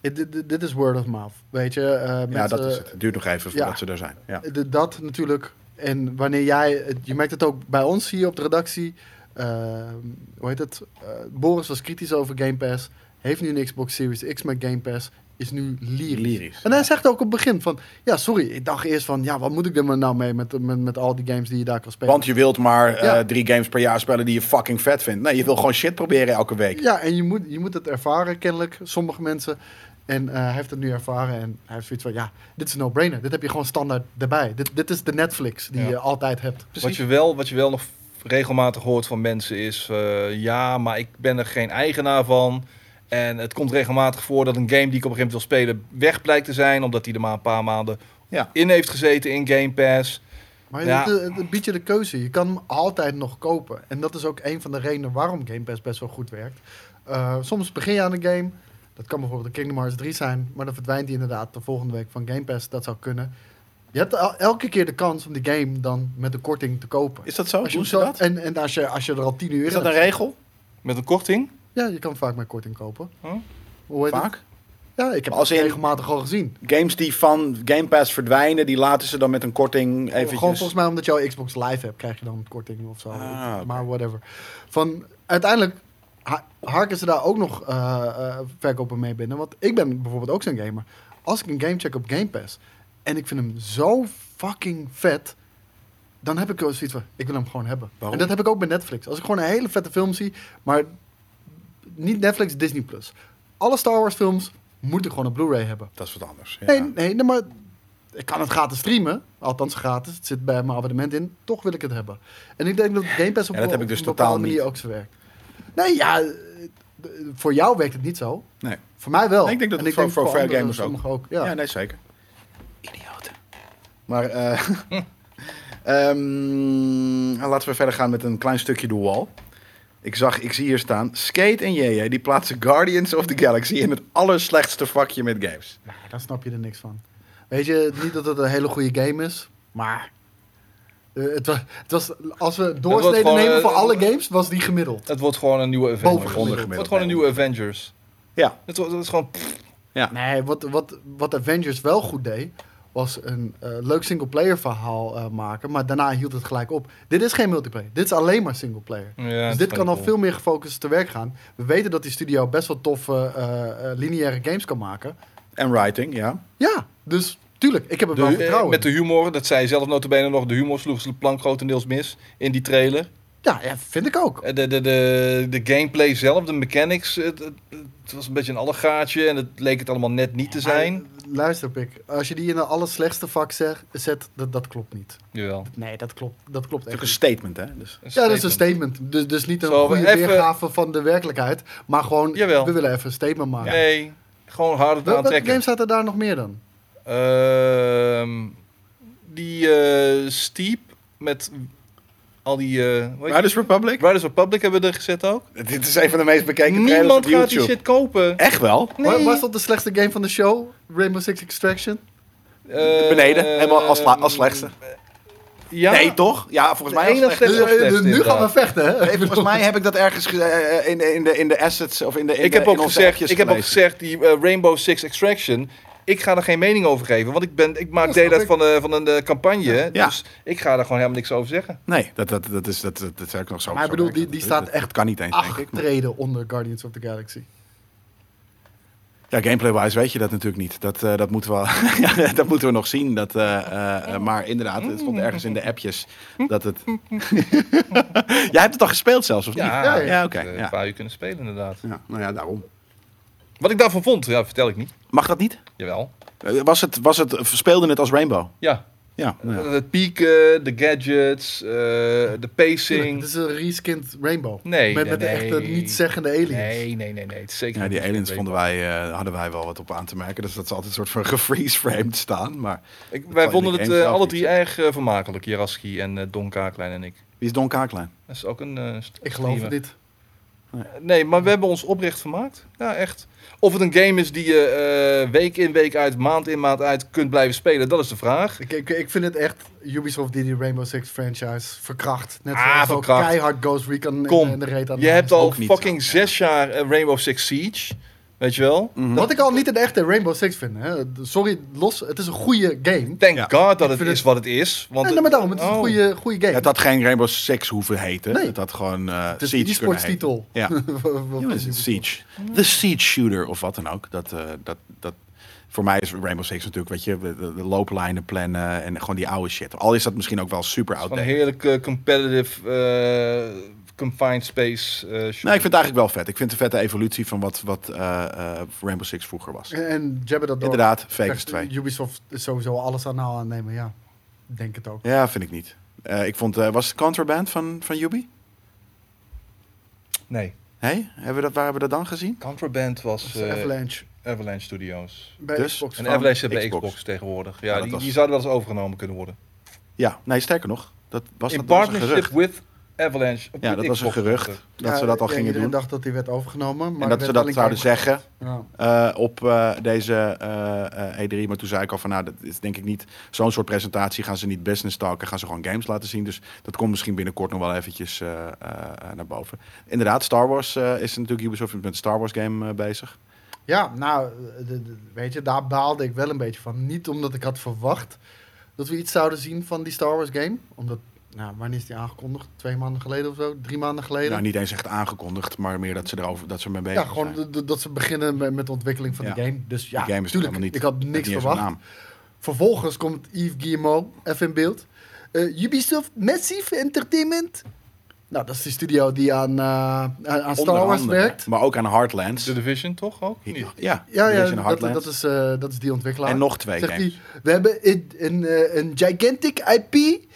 Speaker 3: dit- dit dit is word of mouth, weet je. eh,
Speaker 1: ja,
Speaker 3: mensen-
Speaker 1: dat is het. Het duurt nog even voordat
Speaker 3: ja.
Speaker 1: ze er zijn. Ja.
Speaker 3: De- dat natuurlijk. En wanneer jij, het- je merkt het ook bij ons hier op de redactie. Ehm, hoe heet het? Eh, Boris was kritisch over Game Pass. Heeft nu een Xbox Series X met Game Pass. Is nu lyrisch.
Speaker 1: Lyrisch.
Speaker 3: En hij zegt ook op het begin van... Ja, sorry. Ik dacht eerst van... Ja, wat moet ik er maar nou mee met, met, met al die games die je daar kan spelen?
Speaker 1: Want je wilt maar eh,
Speaker 3: Ja.
Speaker 1: drie games per jaar spelen die je fucking vet vindt. Nee, je wil gewoon shit proberen elke week.
Speaker 3: Ja, en je moet, je moet het ervaren kennelijk. Sommige mensen. En eh, hij heeft het nu ervaren. En hij heeft zoiets van... Ja, dit is een no-brainer. Dit heb je gewoon standaard erbij. Dit, dit is de Netflix die
Speaker 2: Ja.
Speaker 3: je altijd hebt.
Speaker 2: Wat je, wel, wat je wel nog regelmatig hoort van mensen is... eh, ja, maar ik ben er geen eigenaar van. En het komt regelmatig voor dat een game die ik op een gegeven moment wil spelen... weg blijkt te zijn, omdat die er maar een paar maanden
Speaker 1: Ja.
Speaker 2: in heeft gezeten in Game Pass.
Speaker 3: Maar
Speaker 2: Ja.
Speaker 3: het, het- het biedt je de keuze. Je kan hem altijd nog kopen. En dat is ook een van de redenen waarom Game Pass best wel goed werkt. Eh, soms begin je aan een game. Dat kan bijvoorbeeld een Kingdom Hearts 3 zijn. Maar dan verdwijnt die inderdaad de volgende week van Game Pass. Dat zou kunnen. Je hebt el- elke keer de kans om die game dan met een korting te kopen.
Speaker 1: Is dat zo?
Speaker 3: Als je
Speaker 1: Doen
Speaker 3: hem
Speaker 1: ze
Speaker 3: zo-
Speaker 1: dat?
Speaker 3: En, en als, je, als je er al 10 uur
Speaker 1: Is
Speaker 3: in
Speaker 1: dat een
Speaker 3: hebt-
Speaker 1: regel?
Speaker 2: Met een korting.
Speaker 3: Ja, je kan vaak met korting kopen.
Speaker 2: Huh?
Speaker 3: Hoe heet het?
Speaker 1: Vaak?
Speaker 3: Ja, ik heb
Speaker 1: Maar als
Speaker 3: het
Speaker 1: in-
Speaker 3: regelmatig al gezien.
Speaker 1: Games die van Game Pass verdwijnen, die laten ze dan met een korting eventjes...
Speaker 3: Gewoon volgens mij omdat je al Xbox Live hebt, krijg je dan een korting of zo.
Speaker 1: Ah, oké.
Speaker 3: Maar whatever. Van, uiteindelijk ha- harken ze daar ook nog eh eh, verkopen mee binnen. Want ik ben bijvoorbeeld ook zo'n gamer. Als ik een game check op Game Pass en ik vind hem zo fucking vet... Dan heb ik wel zoiets van, ik wil hem gewoon hebben.
Speaker 1: Waarom?
Speaker 3: En dat heb ik ook bij Netflix. Als ik gewoon een hele vette film zie, maar niet Netflix, Disney+. Plus. Alle Star Wars films moet ik gewoon op Blu-ray hebben.
Speaker 1: Dat is wat anders. Ja.
Speaker 3: Nee, nee, nee, maar ik kan het gratis streamen. Althans, gratis. Het zit bij mijn abonnement in. Toch wil ik het hebben. En ik denk dat Game Pass op,
Speaker 1: Ja, dat heb
Speaker 3: op
Speaker 1: ik dus
Speaker 3: een
Speaker 1: totaal
Speaker 3: bepaalde manier
Speaker 1: niet.
Speaker 3: ook zo werkt. Nee, ja, eh, d- voor jou werkt het niet zo.
Speaker 1: Nee.
Speaker 3: Voor mij wel.
Speaker 1: Nee, ik denk dat
Speaker 3: En
Speaker 1: het voor- voor veel
Speaker 3: andere
Speaker 1: gamers ook.
Speaker 3: sommigen
Speaker 1: Ja.
Speaker 3: ja.
Speaker 1: nee, zeker. Idioten. Maar eh, ehm, laten we verder gaan met een klein stukje The Wall. Ik, zag, ik zie hier staan, Skate en JJ die plaatsen Guardians of the Galaxy in het allerslechtste vakje met games.
Speaker 3: Nou, daar snap je er niks van. Weet je, niet dat het een hele goede game is, maar... eh, het, was, het was, als we doorsneden
Speaker 2: gewoon,
Speaker 3: nemen
Speaker 2: eh,
Speaker 3: voor
Speaker 2: eh,
Speaker 3: alle games, was die gemiddeld.
Speaker 2: Het wordt gewoon een nieuwe Avengers.
Speaker 3: Bovengemiddeld.
Speaker 2: Het wordt gewoon een nieuwe Avengers.
Speaker 1: Ja.
Speaker 2: Het wordt, het is gewoon... pff,
Speaker 3: Nee, wat, wat, wat Avengers wel goed deed, was een eh, leuk singleplayer verhaal eh, maken. Maar daarna hield het gelijk op. Dit is geen multiplayer. Dit is alleen maar singleplayer.
Speaker 2: ja,
Speaker 3: dus
Speaker 2: het
Speaker 3: dit
Speaker 2: is
Speaker 3: kan al
Speaker 2: gewoon
Speaker 3: veel meer gefocust te werk gaan. We weten dat die studio best wel toffe eh, eh, lineaire games kan maken.
Speaker 1: En writing, ja.
Speaker 3: Ja, dus tuurlijk, ik heb er
Speaker 2: cool.
Speaker 3: wel
Speaker 2: De- eh,
Speaker 3: vertrouwen
Speaker 2: met de
Speaker 3: in.
Speaker 2: humor, dat zei zelf notabene nog, de humor sloeg ze de plank grotendeels mis in die trailer.
Speaker 3: Ja, ja, vind ik ook.
Speaker 2: Eh, De, de, de, de gameplay zelf, de mechanics, het, het, het was een beetje een allegaatje en het leek het allemaal net niet te zijn.
Speaker 3: Maar, eh, luister, Pik. Als je die in de allerslechtste vak zeg- zet, dat, dat klopt niet.
Speaker 2: Jawel.
Speaker 3: Nee, dat klopt, dat klopt
Speaker 1: Het is ook
Speaker 3: echt
Speaker 1: een statement, hè. Dus.
Speaker 3: Ja, dat is een statement. Dus, dus niet een
Speaker 2: Zo,
Speaker 3: goede
Speaker 2: even-
Speaker 3: weergave van de werkelijkheid. Maar gewoon,
Speaker 2: Jawel.
Speaker 3: we willen even een statement maken.
Speaker 2: Nee, gewoon harder
Speaker 3: Wel-
Speaker 2: te
Speaker 3: welke
Speaker 2: aantrekken.
Speaker 3: games zaten daar nog meer dan?
Speaker 2: Ehm, die eh, Steep met al die... eh, hoe heet
Speaker 1: Riders Republic?
Speaker 2: Riders Republic hebben we er gezet ook.
Speaker 1: Dit is een van de meest bekeken trailers op
Speaker 2: Niemand gaat die
Speaker 1: YouTube.
Speaker 2: shit kopen.
Speaker 1: Echt wel?
Speaker 3: Wa- Was dat de slechtste game van de show? Rainbow Six Extraction?
Speaker 2: Eh,
Speaker 1: Beneden, helemaal als la- als slechtste.
Speaker 2: Ehm, Ja,
Speaker 1: Nee, toch? Ja, volgens mij
Speaker 2: De
Speaker 1: als
Speaker 2: enige
Speaker 1: slechtste.
Speaker 2: is
Speaker 3: Dus,
Speaker 2: wel
Speaker 3: eh,
Speaker 2: slecht,
Speaker 3: dus nu gaan we
Speaker 2: inderdaad.
Speaker 3: vechten, hè?
Speaker 1: Nee, volgens mij heb ik dat ergens ge- eh, in, de, in, de, in de assets of in de. In
Speaker 2: ik
Speaker 1: de-
Speaker 2: heb
Speaker 1: in
Speaker 2: ook
Speaker 1: onze
Speaker 2: gezegd,
Speaker 1: appjes
Speaker 2: ik heb ook
Speaker 1: gelezen.
Speaker 2: gezegd die eh, Rainbow Six Extraction. Ik ga er geen mening over geven, want ik, ben, ik maak
Speaker 3: Dat
Speaker 2: deel
Speaker 3: snap
Speaker 2: uit van, de, van een eh, campagne.
Speaker 1: Ja.
Speaker 2: Dus ik ga daar gewoon helemaal niks over zeggen.
Speaker 1: Nee, dat, dat, dat is dat, dat, dat zou ik nog zo.
Speaker 3: Maar ik
Speaker 1: zo
Speaker 3: bedoel,
Speaker 1: denken.
Speaker 3: die- die
Speaker 1: Dat-
Speaker 3: staat
Speaker 1: dat-
Speaker 3: echt
Speaker 1: dat kan niet eens, denk
Speaker 3: Acht
Speaker 1: ik.
Speaker 3: treden onder Guardians of the Galaxy.
Speaker 1: Ja, gameplay-wise weet je dat natuurlijk niet. Dat, eh, dat, moeten, we, ja, dat moeten we nog zien. Dat, eh, eh, eh, maar inderdaad, het stond ergens in de appjes dat het. Jij hebt het al gespeeld zelfs, of niet?
Speaker 3: Ja,
Speaker 1: ja, oké,
Speaker 2: ik heb, eh,
Speaker 1: ja.
Speaker 2: Een paar uur kunnen spelen, inderdaad.
Speaker 1: Ja, nou ja, daarom.
Speaker 2: Wat ik daarvan vond, ja, vertel ik niet.
Speaker 1: Mag dat niet?
Speaker 2: Jawel.
Speaker 1: Eh, Was het, was het, speelde het als Rainbow?
Speaker 2: Ja,
Speaker 1: Ja, nou ja.
Speaker 2: Eh, Het pieken, de gadgets, eh, de
Speaker 3: Het
Speaker 2: pacing.
Speaker 3: is een reskind Rainbow.
Speaker 2: Nee,
Speaker 3: met
Speaker 2: nee,
Speaker 3: met de
Speaker 2: nee.
Speaker 3: echte niet-zeggende aliens.
Speaker 2: Nee, nee, nee, nee. het is zeker
Speaker 1: Ja, die
Speaker 2: niet
Speaker 1: aliens
Speaker 2: een
Speaker 1: vonden wij, eh, hadden wij wel wat op aan te merken. Dus dat ze altijd een soort van gefreeze-framed staan. Maar
Speaker 2: Ik, wij
Speaker 1: Twilight
Speaker 2: vonden het
Speaker 1: Games
Speaker 2: eh,
Speaker 1: zelf
Speaker 2: alle
Speaker 1: niet,
Speaker 2: drie erg eh, vermakelijk, Jaraski en eh, Don Kaaklijn en ik.
Speaker 1: wie is Don Kaaklijn?
Speaker 2: Dat is ook een. eh, st-
Speaker 3: Ik geloof
Speaker 2: streamer.
Speaker 3: het niet.
Speaker 2: Nee, maar we hebben ons oprecht vermaakt. Ja, echt. Of het een game is die je eh, week in, week uit, maand in, maand uit kunt blijven spelen, dat is de vraag.
Speaker 3: Ik, ik, ik vind het echt Ubisoft die die Rainbow Six franchise verkracht. Net
Speaker 2: Ah,
Speaker 3: zoals ook
Speaker 2: verkracht.
Speaker 3: keihard Ghost Recon
Speaker 2: Kom,
Speaker 3: en, en de reet aan
Speaker 2: Je
Speaker 3: de
Speaker 2: hebt
Speaker 3: hand.
Speaker 2: al
Speaker 1: ook niet
Speaker 2: fucking
Speaker 1: zo, ja.
Speaker 2: zes jaar eh, Rainbow Six Siege. Weet je wel?
Speaker 1: Mhm.
Speaker 3: Wat ik al niet een echte Rainbow Six vind. Hè. Sorry, los. Het is een goede game.
Speaker 2: Thank
Speaker 1: Ja.
Speaker 2: God dat het
Speaker 3: vind
Speaker 2: is
Speaker 3: het-
Speaker 2: wat het is. Want
Speaker 3: nee, nee, maar daarom. Het is
Speaker 2: oh.
Speaker 3: een goede, goede game.
Speaker 1: Het had geen Rainbow Six hoeven heten.
Speaker 3: Nee.
Speaker 1: Het had gewoon eh
Speaker 3: het is
Speaker 1: Siege
Speaker 3: een
Speaker 1: kunnen heten.
Speaker 3: e-sportstitel.
Speaker 1: Ja. Ja, maar is het Siege. The Siege Shooter of wat dan ook. Dat, eh, dat, dat, voor mij is Rainbow Six natuurlijk, weet je, de, de looplijnen plannen en gewoon die oude shit. Al is dat misschien ook wel super
Speaker 2: Van een
Speaker 1: outdated.
Speaker 2: heerlijke competitive eh, confined space eh, shooter.
Speaker 1: Nee, ik vind het eigenlijk wel vet. Ik vind het een vette evolutie van wat, wat eh, eh, Rainbow Six vroeger was.
Speaker 3: En Jabba dat door.
Speaker 1: Inderdaad, Vegas 2.
Speaker 3: Ubisoft is sowieso alles aan haal aannemen, ja. Denk het ook.
Speaker 1: Ja, vind ik niet. Eh, ik vond, eh, was het Contraband van, van Yubi?
Speaker 2: Nee.
Speaker 1: Hey, hebben we dat, waar hebben we dat dan gezien?
Speaker 2: Contraband was
Speaker 3: Dus
Speaker 2: eh,
Speaker 3: Avalanche
Speaker 2: Avalanche Studios.
Speaker 3: bij
Speaker 1: dus?
Speaker 3: Xbox.
Speaker 2: En
Speaker 1: Van
Speaker 2: Avalanche hebben Xbox.
Speaker 1: Xbox.
Speaker 2: Xbox tegenwoordig.
Speaker 1: Ja,
Speaker 2: Ja,
Speaker 1: dat
Speaker 2: die,
Speaker 1: was-
Speaker 2: die zouden wel eens overgenomen kunnen worden.
Speaker 1: Ja, nee, sterker nog. Dat was
Speaker 2: In
Speaker 1: dat was een
Speaker 2: partnership
Speaker 1: gerucht.
Speaker 2: with Avalanche. of
Speaker 1: Ja,
Speaker 2: with
Speaker 1: dat was een
Speaker 2: Xbox.
Speaker 1: gerucht dat
Speaker 3: Ja,
Speaker 1: ze dat al
Speaker 3: ja,
Speaker 1: gingen
Speaker 3: iedereen
Speaker 1: doen.
Speaker 3: dacht dat die werd overgenomen. Maar
Speaker 1: En dat
Speaker 3: er
Speaker 1: ze
Speaker 3: werd
Speaker 1: dat
Speaker 3: wel een
Speaker 1: zouden zeggen
Speaker 3: keer-
Speaker 1: eh, op eh, deze eh, eh, E3. Maar toen zei ik al van, nou, dat is denk ik niet zo'n soort presentatie. Gaan ze niet business talken, gaan ze gewoon games laten zien. Dus dat komt misschien binnenkort nog wel eventjes eh, eh, naar boven. Inderdaad, Star Wars eh, is natuurlijk Ubisoft met een Star Wars game eh, bezig.
Speaker 3: Ja, ja nou, de- de- weet je, daar baalde ik wel een beetje van. Niet omdat ik had verwacht dat we iets zouden zien van die Star Wars game. Omdat, nou, wanneer is die aangekondigd? Twee maanden geleden of zo? Drie maanden geleden?
Speaker 1: Nou, niet eens echt aangekondigd, maar meer dat ze erover dat ze mee bezig
Speaker 3: ja, gewoon
Speaker 1: zijn.
Speaker 3: d- d- dat ze beginnen met, met de ontwikkeling van
Speaker 1: Ja.
Speaker 3: de game. Dus ja,
Speaker 1: Die game is
Speaker 3: tuurlijk,
Speaker 1: helemaal niet-
Speaker 3: ik had
Speaker 1: Met
Speaker 3: niks
Speaker 1: niet eens een
Speaker 3: verwacht.
Speaker 1: naam.
Speaker 3: Vervolgens komt Yves Guillemot even in beeld. Eh, Ubisoft Massive Entertainment. Nou, dat is de studio die aan, eh, aan- aan
Speaker 1: Onder
Speaker 3: Star Wars
Speaker 1: andere,
Speaker 3: werkt.
Speaker 1: Maar ook aan Heartlands.
Speaker 2: The Division toch ook? Of niet?
Speaker 1: Ja, ja,
Speaker 3: Ja, ja
Speaker 1: Division
Speaker 3: dat,
Speaker 1: Heartlands.
Speaker 3: dat, is, eh, dat is die ontwikkelaar.
Speaker 1: en nog twee
Speaker 3: Zegt
Speaker 1: games.
Speaker 3: hij, we hebben een, een, eh, een gigantic IP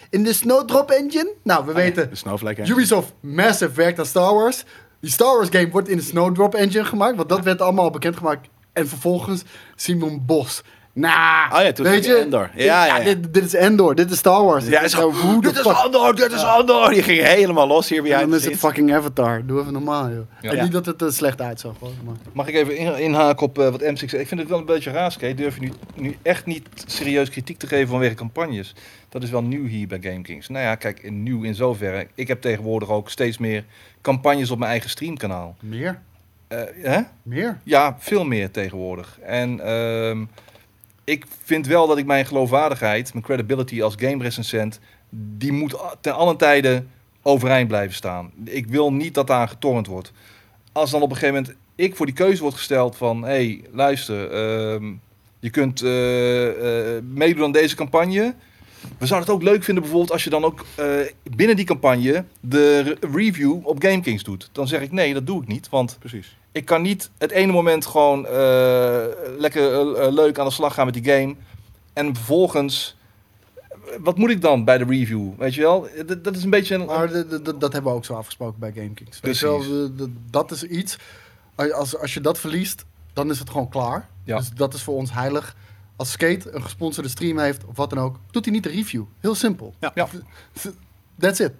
Speaker 3: in de Snowdrop Engine. Nou, we weten,
Speaker 1: Oh De Snowflake Engine.
Speaker 3: Ubisoft Massive werkt aan Star Wars. Die Star Wars game wordt in de Snowdrop Engine gemaakt, want dat werd allemaal al bekendgemaakt. En vervolgens Simon Bos. Nou,
Speaker 1: Oh ja, toen
Speaker 3: weet
Speaker 1: zag je
Speaker 3: je,
Speaker 1: Endor.
Speaker 3: dit-
Speaker 1: Ja, ja, ja.
Speaker 3: Dit, dit is Endor, dit is Star Wars.
Speaker 1: Ja, hij is
Speaker 3: Nou,
Speaker 1: gewoon,
Speaker 3: hoe de
Speaker 1: dit is
Speaker 3: fuck-
Speaker 1: Andor, dit is Andor. Die ging helemaal los hier bij
Speaker 3: En
Speaker 1: jou.
Speaker 3: dan is het fucking Avatar. Doe even normaal, joh.
Speaker 2: Ja.
Speaker 3: En
Speaker 1: Ja.
Speaker 3: niet dat het er slecht uitzag, hoor. Maar...
Speaker 2: Mag ik even in- inhaken op eh, wat M6 Ik vind het wel een beetje raar, Skate. Durf je nu, nu echt niet serieus kritiek te geven vanwege campagnes? Dat is wel nieuw hier bij GameKings. Nou ja, kijk, in- nieuw in zoverre. Ik heb tegenwoordig ook steeds meer campagnes op mijn eigen streamkanaal.
Speaker 3: Meer,
Speaker 2: Eh, hè?
Speaker 3: meer.
Speaker 2: Ja, veel meer tegenwoordig. En ehm, ik vind wel dat ik mijn geloofwaardigheid, mijn credibility als game recensent, die moet a- ten allen tijde overeind blijven staan. Ik wil niet dat daar aan getornd wordt. Als dan op een gegeven moment ik voor die keuze wordt gesteld van, hé, hey, luister, ehm, je kunt eh, eh, meedoen aan deze campagne. We zouden het ook leuk vinden bijvoorbeeld als je dan ook eh, binnen die campagne de re- review op GameKings doet. Dan zeg ik nee, dat doe ik niet, want
Speaker 1: Precies.
Speaker 2: ik kan niet het ene moment gewoon eh, lekker eh, eh, leuk aan de slag gaan met die game. En vervolgens, eh, wat moet ik dan bij de review? Weet je wel, Eh, dat, dat is een beetje een.
Speaker 3: Maar de- de- de- dat hebben we ook zo afgesproken bij GameKings. Weet je wel,
Speaker 2: Precies.
Speaker 3: de- de- dat is iets. als- Als, als je dat verliest, dan is het gewoon klaar.
Speaker 2: Ja.
Speaker 3: Dus dat is voor ons heilig. Als Skate een gesponsorde stream heeft, of wat dan ook, doet hij niet de review. Heel simpel.
Speaker 1: Ja.
Speaker 2: Ja.
Speaker 3: That's it.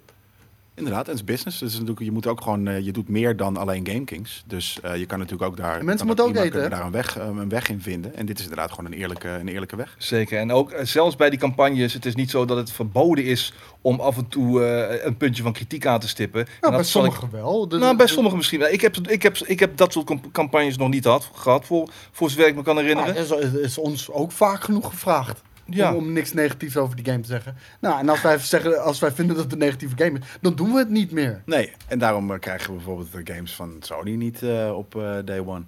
Speaker 1: Inderdaad, en het is business. Dus natuurlijk, je moet ook gewoon, eh, je doet meer dan alleen GameKings. Dus eh, je kan natuurlijk ook daar.
Speaker 3: En mensen
Speaker 1: kan
Speaker 3: moeten ook
Speaker 1: prima-
Speaker 3: eten,
Speaker 1: kunnen daar een weg, eh, een weg in vinden. En dit is inderdaad gewoon een eerlijke, een eerlijke weg.
Speaker 2: Zeker. En ook eh, zelfs bij die campagnes, het is niet zo dat het verboden is om af en toe eh, een puntje van kritiek aan te stippen. En
Speaker 3: Nou, bij
Speaker 2: dat zal ik-
Speaker 3: sommigen wel. De-
Speaker 2: Nou, bij
Speaker 3: de-
Speaker 2: sommigen misschien. wel. Ik heb, ik heb, ik heb dat soort camp- campagnes nog niet had, gehad, voor, voor zover ik me kan
Speaker 3: Nou,
Speaker 2: herinneren.
Speaker 3: is, is ons ook vaak genoeg gevraagd.
Speaker 2: Ja.
Speaker 3: Om, om niks negatiefs over die game te zeggen. Nou, en als wij, zeggen, als wij vinden dat het een negatieve game is, dan doen we het niet meer.
Speaker 1: Nee, en daarom eh, krijgen we bijvoorbeeld de games van Sony niet eh, op eh, day one.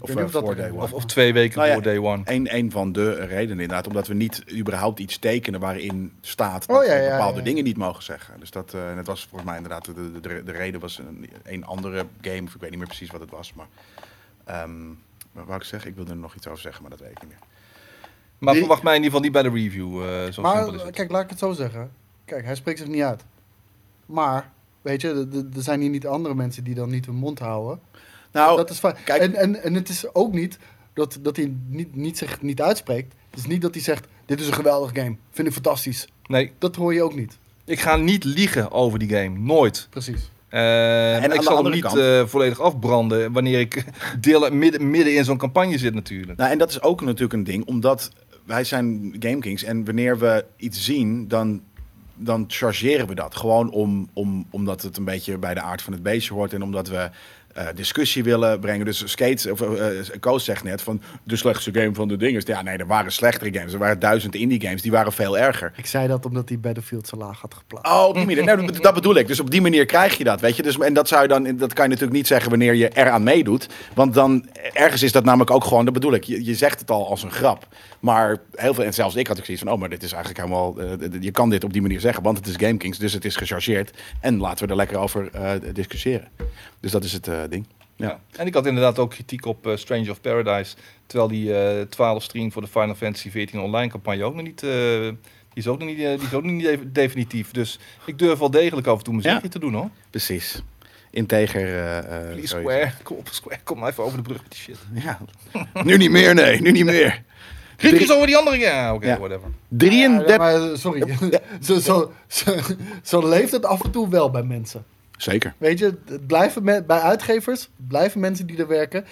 Speaker 1: Of
Speaker 3: weet
Speaker 1: eh,
Speaker 3: niet of dat
Speaker 1: voor
Speaker 3: er-
Speaker 1: day one.
Speaker 2: Of, of twee weken
Speaker 1: Nou ja,
Speaker 2: voor day one.
Speaker 1: Een, een van de redenen inderdaad, omdat we niet überhaupt iets tekenen waarin staat dat
Speaker 3: Oh, ja,
Speaker 1: we
Speaker 3: ja,
Speaker 1: bepaalde
Speaker 3: ja, ja.
Speaker 1: dingen niet mogen zeggen. Dus dat, eh, en dat was volgens mij inderdaad, de, de, de, de reden was een, een andere game, of ik weet niet meer precies wat het was, maar... ehm wat wou ik zeggen? Ik wilde er nog iets over zeggen, maar dat weet ik niet meer.
Speaker 2: Maar
Speaker 3: Die-
Speaker 2: verwacht mij in ieder geval niet bij de review. eh, zo simpel is
Speaker 3: Maar
Speaker 2: het.
Speaker 3: kijk, laat ik het zo zeggen. Kijk, hij spreekt zich niet uit. Maar, weet je, d- d- er zijn hier niet andere mensen die dan niet hun mond houden.
Speaker 1: Nou,
Speaker 3: dat is fijn.
Speaker 1: kijk-
Speaker 3: En, en, en het is ook niet dat, dat hij niet, niet, zich niet uitspreekt. Het is niet dat hij zegt, dit is een geweldig game. Vind ik fantastisch.
Speaker 2: Nee,
Speaker 3: Dat hoor je ook niet.
Speaker 2: ik ga niet liegen over die game. Nooit.
Speaker 3: Precies.
Speaker 2: Eh,
Speaker 1: aan de
Speaker 2: ik zal hem
Speaker 1: andere
Speaker 2: niet
Speaker 1: kant-
Speaker 2: eh, volledig afbranden wanneer ik deel, midden, midden in zo'n campagne zit natuurlijk.
Speaker 1: Nou, en dat is ook natuurlijk een ding, omdat wij zijn GameKings en wanneer we iets zien, dan, dan chargeren we dat. Gewoon om, om, omdat het een beetje bij de aard van het beestje hoort en omdat we eh, discussie willen brengen. Dus Skate, of eh, eh, Koos zegt net van de slechtste game van de dingen. Ja, nee, er waren slechtere games. Er waren duizend indie games, die waren veel erger.
Speaker 3: Ik zei dat omdat hij Battlefield zo laag had geplaatst.
Speaker 1: Oh, op die manier. Nou, dat- dat bedoel ik. Dus op die manier krijg je dat, weet je. Dus, en dat, zou je dan, dat kan je natuurlijk niet zeggen wanneer je eraan meedoet. Want dan, ergens is dat namelijk ook gewoon, dat bedoel ik. Je, je zegt het al als een grap. Maar heel veel, en zelfs ik had ook zoiets van... oh, maar dit is eigenlijk helemaal... eh, d- d- je kan dit op die manier zeggen, want het is GameKings. Dus het is gechargeerd. En laten we er lekker over eh, discussiëren. Dus dat is het eh, ding. Ja.
Speaker 2: Ja. En ik had inderdaad ook kritiek op eh, Stranger of Paradise. Terwijl die eh 12 stream voor de Final Fantasy 14 online campagne ook nog niet. eh, die is ook nog niet, eh, die is ook nog niet de- definitief. Dus ik durf wel degelijk af en toe mijn
Speaker 1: Ja.
Speaker 2: zegje te doen hoor.
Speaker 1: Precies. Integer... eh, eh,
Speaker 2: Please
Speaker 1: zoiets.
Speaker 2: Square, kom op Square, kom maar even over de brug met die shit.
Speaker 1: Ja. Nu niet meer, nee. Nu niet meer.
Speaker 2: Kritiek
Speaker 1: Drie-
Speaker 2: is over die andere, ja oké,
Speaker 1: Ja.
Speaker 2: whatever.
Speaker 1: 33...
Speaker 3: Ja, maar, eh, sorry. zo, zo, zo, zo leeft het af en toe wel bij mensen.
Speaker 1: Zeker.
Speaker 3: Weet je, het blijven me- bij uitgevers blijven mensen die er werken.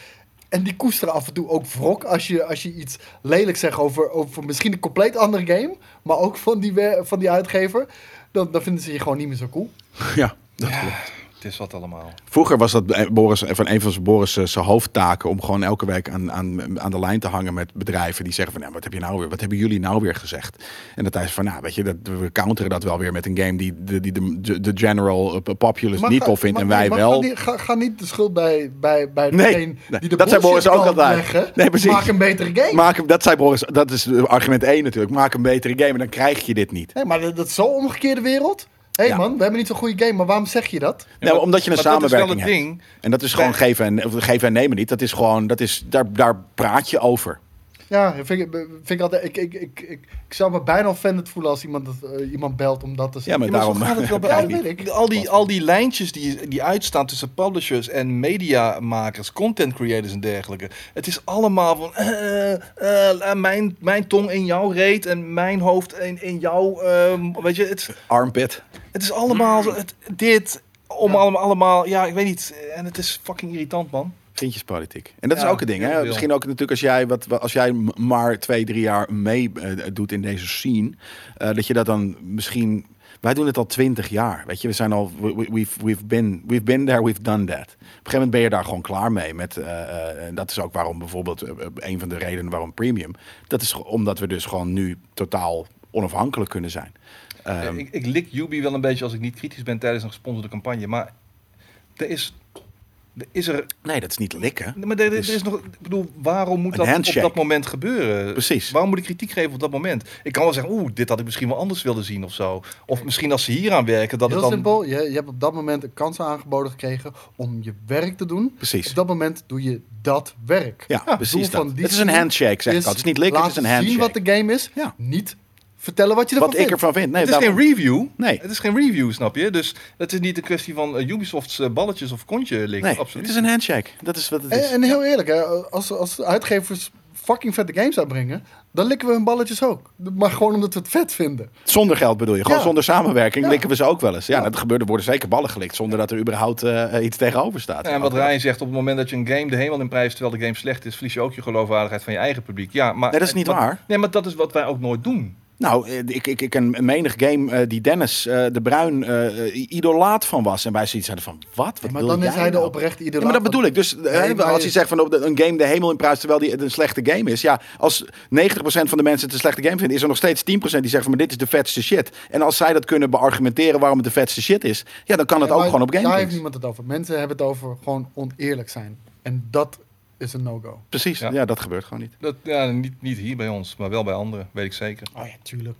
Speaker 3: En die koesteren af en toe ook wrok als je, als je iets lelijk zegt over, over misschien een compleet andere game. Maar ook van die, wer- van die uitgever. Dan, dan vinden ze je gewoon niet meer zo cool.
Speaker 1: Ja,
Speaker 2: Het is wat allemaal.
Speaker 1: Vroeger was dat eh, Boris, van een van zijn- Boris eh, zijn hoofdtaken om gewoon elke week aan, aan, aan de lijn te hangen met bedrijven die zeggen van nou, wat heb je nou weer? Wat hebben jullie nou weer gezegd? En dat hij zei van nou, weet je, dat, we counteren dat wel weer met een game die de, die de, de, de general eh, populace
Speaker 3: Maar
Speaker 1: niet
Speaker 3: ga-
Speaker 1: tof vindt
Speaker 3: maar-
Speaker 1: en wij
Speaker 3: maar
Speaker 1: wel.
Speaker 3: Ga niet, ga, ga niet de schuld bij, bij, bij
Speaker 1: Nee,
Speaker 3: degene
Speaker 1: nee,
Speaker 3: die de
Speaker 1: dat zei
Speaker 3: bullshit
Speaker 1: Boris ook
Speaker 3: kan
Speaker 1: altijd.
Speaker 3: leggen.
Speaker 1: Nee, precies.
Speaker 3: Maak een betere game.
Speaker 1: Maak hem, dat zei Boris, dat is eh, argument 1 natuurlijk. Maak een betere game en dan krijg je dit niet.
Speaker 3: nee, maar dat, dat is zo'n omgekeerde wereld. Hé
Speaker 1: Ja.
Speaker 3: man, we hebben niet zo'n goede game, maar waarom zeg je dat?
Speaker 1: nou,
Speaker 2: maar-
Speaker 1: omdat je een
Speaker 2: maar dat is wel
Speaker 1: samenwerking
Speaker 2: het
Speaker 1: hebt.
Speaker 2: ding.
Speaker 1: En dat is gewoon
Speaker 2: Bij-
Speaker 1: geven en, of geven en nemen niet. Dat is gewoon, dat is, daar, daar praat je over.
Speaker 3: Ja, vind ik, vind ik altijd. Ik, ik, ik, ik, ik zou me bijna offended voelen als iemand, dat, eh, iemand belt om dat te zeggen.
Speaker 1: maar
Speaker 2: Ja, maar
Speaker 1: daarom-
Speaker 2: zo gaat het wel bij
Speaker 3: Ja,
Speaker 2: al
Speaker 3: dat
Speaker 2: die-
Speaker 3: weet ik.
Speaker 2: Al die, al die lijntjes die, die uitstaan tussen publishers en mediamakers, content creators en dergelijke. Het is allemaal van eh, eh, eh, mijn, mijn tong in jouw reet en mijn hoofd in, in jouw. ehm, weet je, het,
Speaker 1: Armpit.
Speaker 2: het is allemaal zo- het, dit. Om
Speaker 3: Ja.
Speaker 2: allemaal, allemaal, ja, ik weet niet. En het is fucking irritant, man.
Speaker 1: Vriendjespolitiek. En dat
Speaker 2: Ja,
Speaker 1: is ook een ding.
Speaker 2: heel
Speaker 1: Hè?
Speaker 2: veel.
Speaker 1: Misschien ook natuurlijk als jij, wat, wat- als jij m- maar twee, drie jaar mee eh, doet in deze scene. eh, dat je dat dan misschien... Wij doen het al twintig jaar. Weet je, we zijn al... we- we- We've, we've, been, we've been there, we've done that. Op een gegeven moment ben je daar gewoon klaar mee. Met, eh, eh, en dat is ook waarom bijvoorbeeld... eh, eh, een van de redenen waarom premium. Dat is ge- omdat we dus gewoon nu totaal onafhankelijk kunnen zijn. Ehm,
Speaker 2: ik, ik lik Yubi wel een beetje als ik niet kritisch ben tijdens een gesponsorde campagne. Maar er is, er is er
Speaker 1: nee, dat is niet likken.
Speaker 2: Nee, Maar er, er
Speaker 1: Dus-
Speaker 2: is nog, ik bedoel, waarom moet
Speaker 1: Een
Speaker 2: dat
Speaker 1: handshake.
Speaker 2: op dat moment gebeuren?
Speaker 1: Precies.
Speaker 2: Waarom moet ik kritiek geven op dat moment? Ik kan wel zeggen, oeh, dit had ik misschien wel anders willen zien of zo. Of misschien als ze hier aan werken, dat
Speaker 3: Heel
Speaker 2: het dan...
Speaker 3: simpel, je, je hebt op dat moment een kans aangeboden gekregen om je werk te doen.
Speaker 1: Precies.
Speaker 3: Op dat moment doe je dat werk.
Speaker 1: Ja, precies
Speaker 3: doel
Speaker 1: dat.
Speaker 3: van die
Speaker 1: Het is een
Speaker 3: scene
Speaker 1: handshake, zeg ik al. Het is niet likken, het is
Speaker 3: laten
Speaker 1: een handshake.
Speaker 3: zien wat de game is,
Speaker 1: Ja.
Speaker 3: niet vertellen wat je ervan
Speaker 1: Wat ik
Speaker 3: vindt.
Speaker 1: ervan vind. Nee,
Speaker 2: het is
Speaker 1: daarom-
Speaker 2: geen review.
Speaker 1: Nee.
Speaker 2: Het is geen review, snap je? Dus het is niet een kwestie van eh, Ubisoft's eh, balletjes of kontje likken.
Speaker 1: Nee,
Speaker 2: Absoluut.
Speaker 1: het is een handshake. Dat is wat het
Speaker 3: En,
Speaker 1: is.
Speaker 3: en heel eerlijk, hè, als, als uitgevers fucking vette games uitbrengen, dan likken we hun balletjes ook. Maar gewoon omdat we het vet vinden.
Speaker 1: Zonder geld bedoel je? Gewoon
Speaker 3: Ja.
Speaker 1: zonder samenwerking
Speaker 3: Ja.
Speaker 1: likken we ze ook wel eens. Ja,
Speaker 3: Ja.
Speaker 1: dat gebeurt. Er worden zeker ballen gelikt zonder dat er überhaupt eh, iets tegenover staat.
Speaker 2: En wat Ryan zegt, op het moment dat je een game de hemel in prijst terwijl de game slecht is, verlies je ook je geloofwaardigheid van je eigen publiek. Ja, maar,
Speaker 1: Nee, dat is niet
Speaker 2: maar-
Speaker 1: waar.
Speaker 2: Nee, maar dat is wat wij ook nooit doen.
Speaker 1: Nou, eh, ik, ik, ik ken menig game eh, die Dennis eh, de Bruin eh, eh, idolaat van was. En wij zoiets hadden van, wat? wat
Speaker 3: maar
Speaker 1: wil
Speaker 3: dan
Speaker 1: jij
Speaker 3: is hij de
Speaker 1: nou?
Speaker 3: oprechte
Speaker 1: Ja,
Speaker 3: idolaat.
Speaker 1: maar dat bedoel ik. Dus eh,
Speaker 3: Nee, maar
Speaker 1: als
Speaker 3: je-
Speaker 1: je zegt van op de- een game de hemel in prijs terwijl die een slechte game is. Ja, als 90% van de mensen het een slechte game vinden, is er nog steeds 10% die zeggen van maar dit is de vetste shit. En als zij dat kunnen beargumenteren waarom het de vetste shit is, ja, dan kan dat
Speaker 3: Ja,
Speaker 1: ook
Speaker 3: maar
Speaker 1: gewoon op
Speaker 3: Daar heeft
Speaker 1: GameKings.
Speaker 3: niemand het over. Mensen hebben het over gewoon oneerlijk zijn. En dat is een no-go.
Speaker 1: Precies,
Speaker 2: Ja.
Speaker 1: ja, dat gebeurt gewoon niet.
Speaker 2: Dat, ja, niet, niet hier bij ons, maar wel bij anderen, weet ik zeker.
Speaker 3: Oh ja, tuurlijk.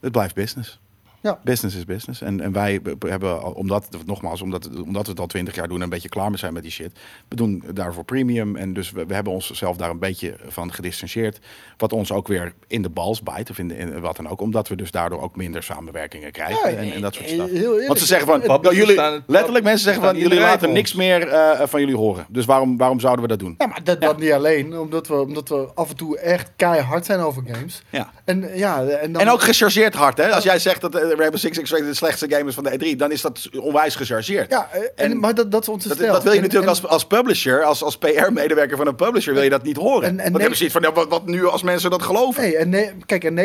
Speaker 1: Het blijft business.
Speaker 3: Ja.
Speaker 1: Business is business. En, en wij be- hebben, al- omdat, nogmaals, omdat, omdat we het al twintig jaar doen en een beetje klaar mee zijn met die shit. We doen daarvoor premium. En dus we, we hebben onszelf daar een beetje van gedistanceerd. Wat ons ook weer in de bals bijt, of in, de, in wat dan ook. Omdat we dus daardoor ook minder samenwerkingen krijgen. en, en dat soort stuff.
Speaker 3: Heel eerlijk.
Speaker 1: Want ze zeggen
Speaker 3: eh,
Speaker 1: van,
Speaker 2: Wat
Speaker 1: nou, jullie,
Speaker 2: bestaan het-
Speaker 1: letterlijk mensen zeggen van,
Speaker 2: bestaan
Speaker 1: jullie
Speaker 2: iedereen
Speaker 1: laten
Speaker 2: voor
Speaker 1: niks
Speaker 2: ons.
Speaker 1: meer eh, van jullie horen. Dus waarom, waarom zouden we dat doen?
Speaker 3: Ja, maar dat, dat niet alleen. Omdat we, omdat we af en toe echt keihard zijn over games.
Speaker 1: Ja.
Speaker 3: En, eh, ja, en, dan,
Speaker 1: En ook gechargeerd hard, hè? Als jij zegt dat eh, Rainbow Six Extraction de slechtste game is van de E3, dan is dat onwijs gechargeerd.
Speaker 3: Ja, eh, en,
Speaker 1: en-
Speaker 3: maar dat, dat is onze
Speaker 1: Dat,
Speaker 3: stijl.
Speaker 1: dat wil je
Speaker 3: En-
Speaker 1: natuurlijk
Speaker 3: en-
Speaker 1: als, als publisher, als, als PR-medewerker van een publisher, wil je dat niet horen.
Speaker 3: En- en
Speaker 1: Want
Speaker 3: nee-
Speaker 1: dan hebben ze iets van, ja, wat, wat nu als mensen dat geloven?
Speaker 3: Nee, en nee, kijk, en 90%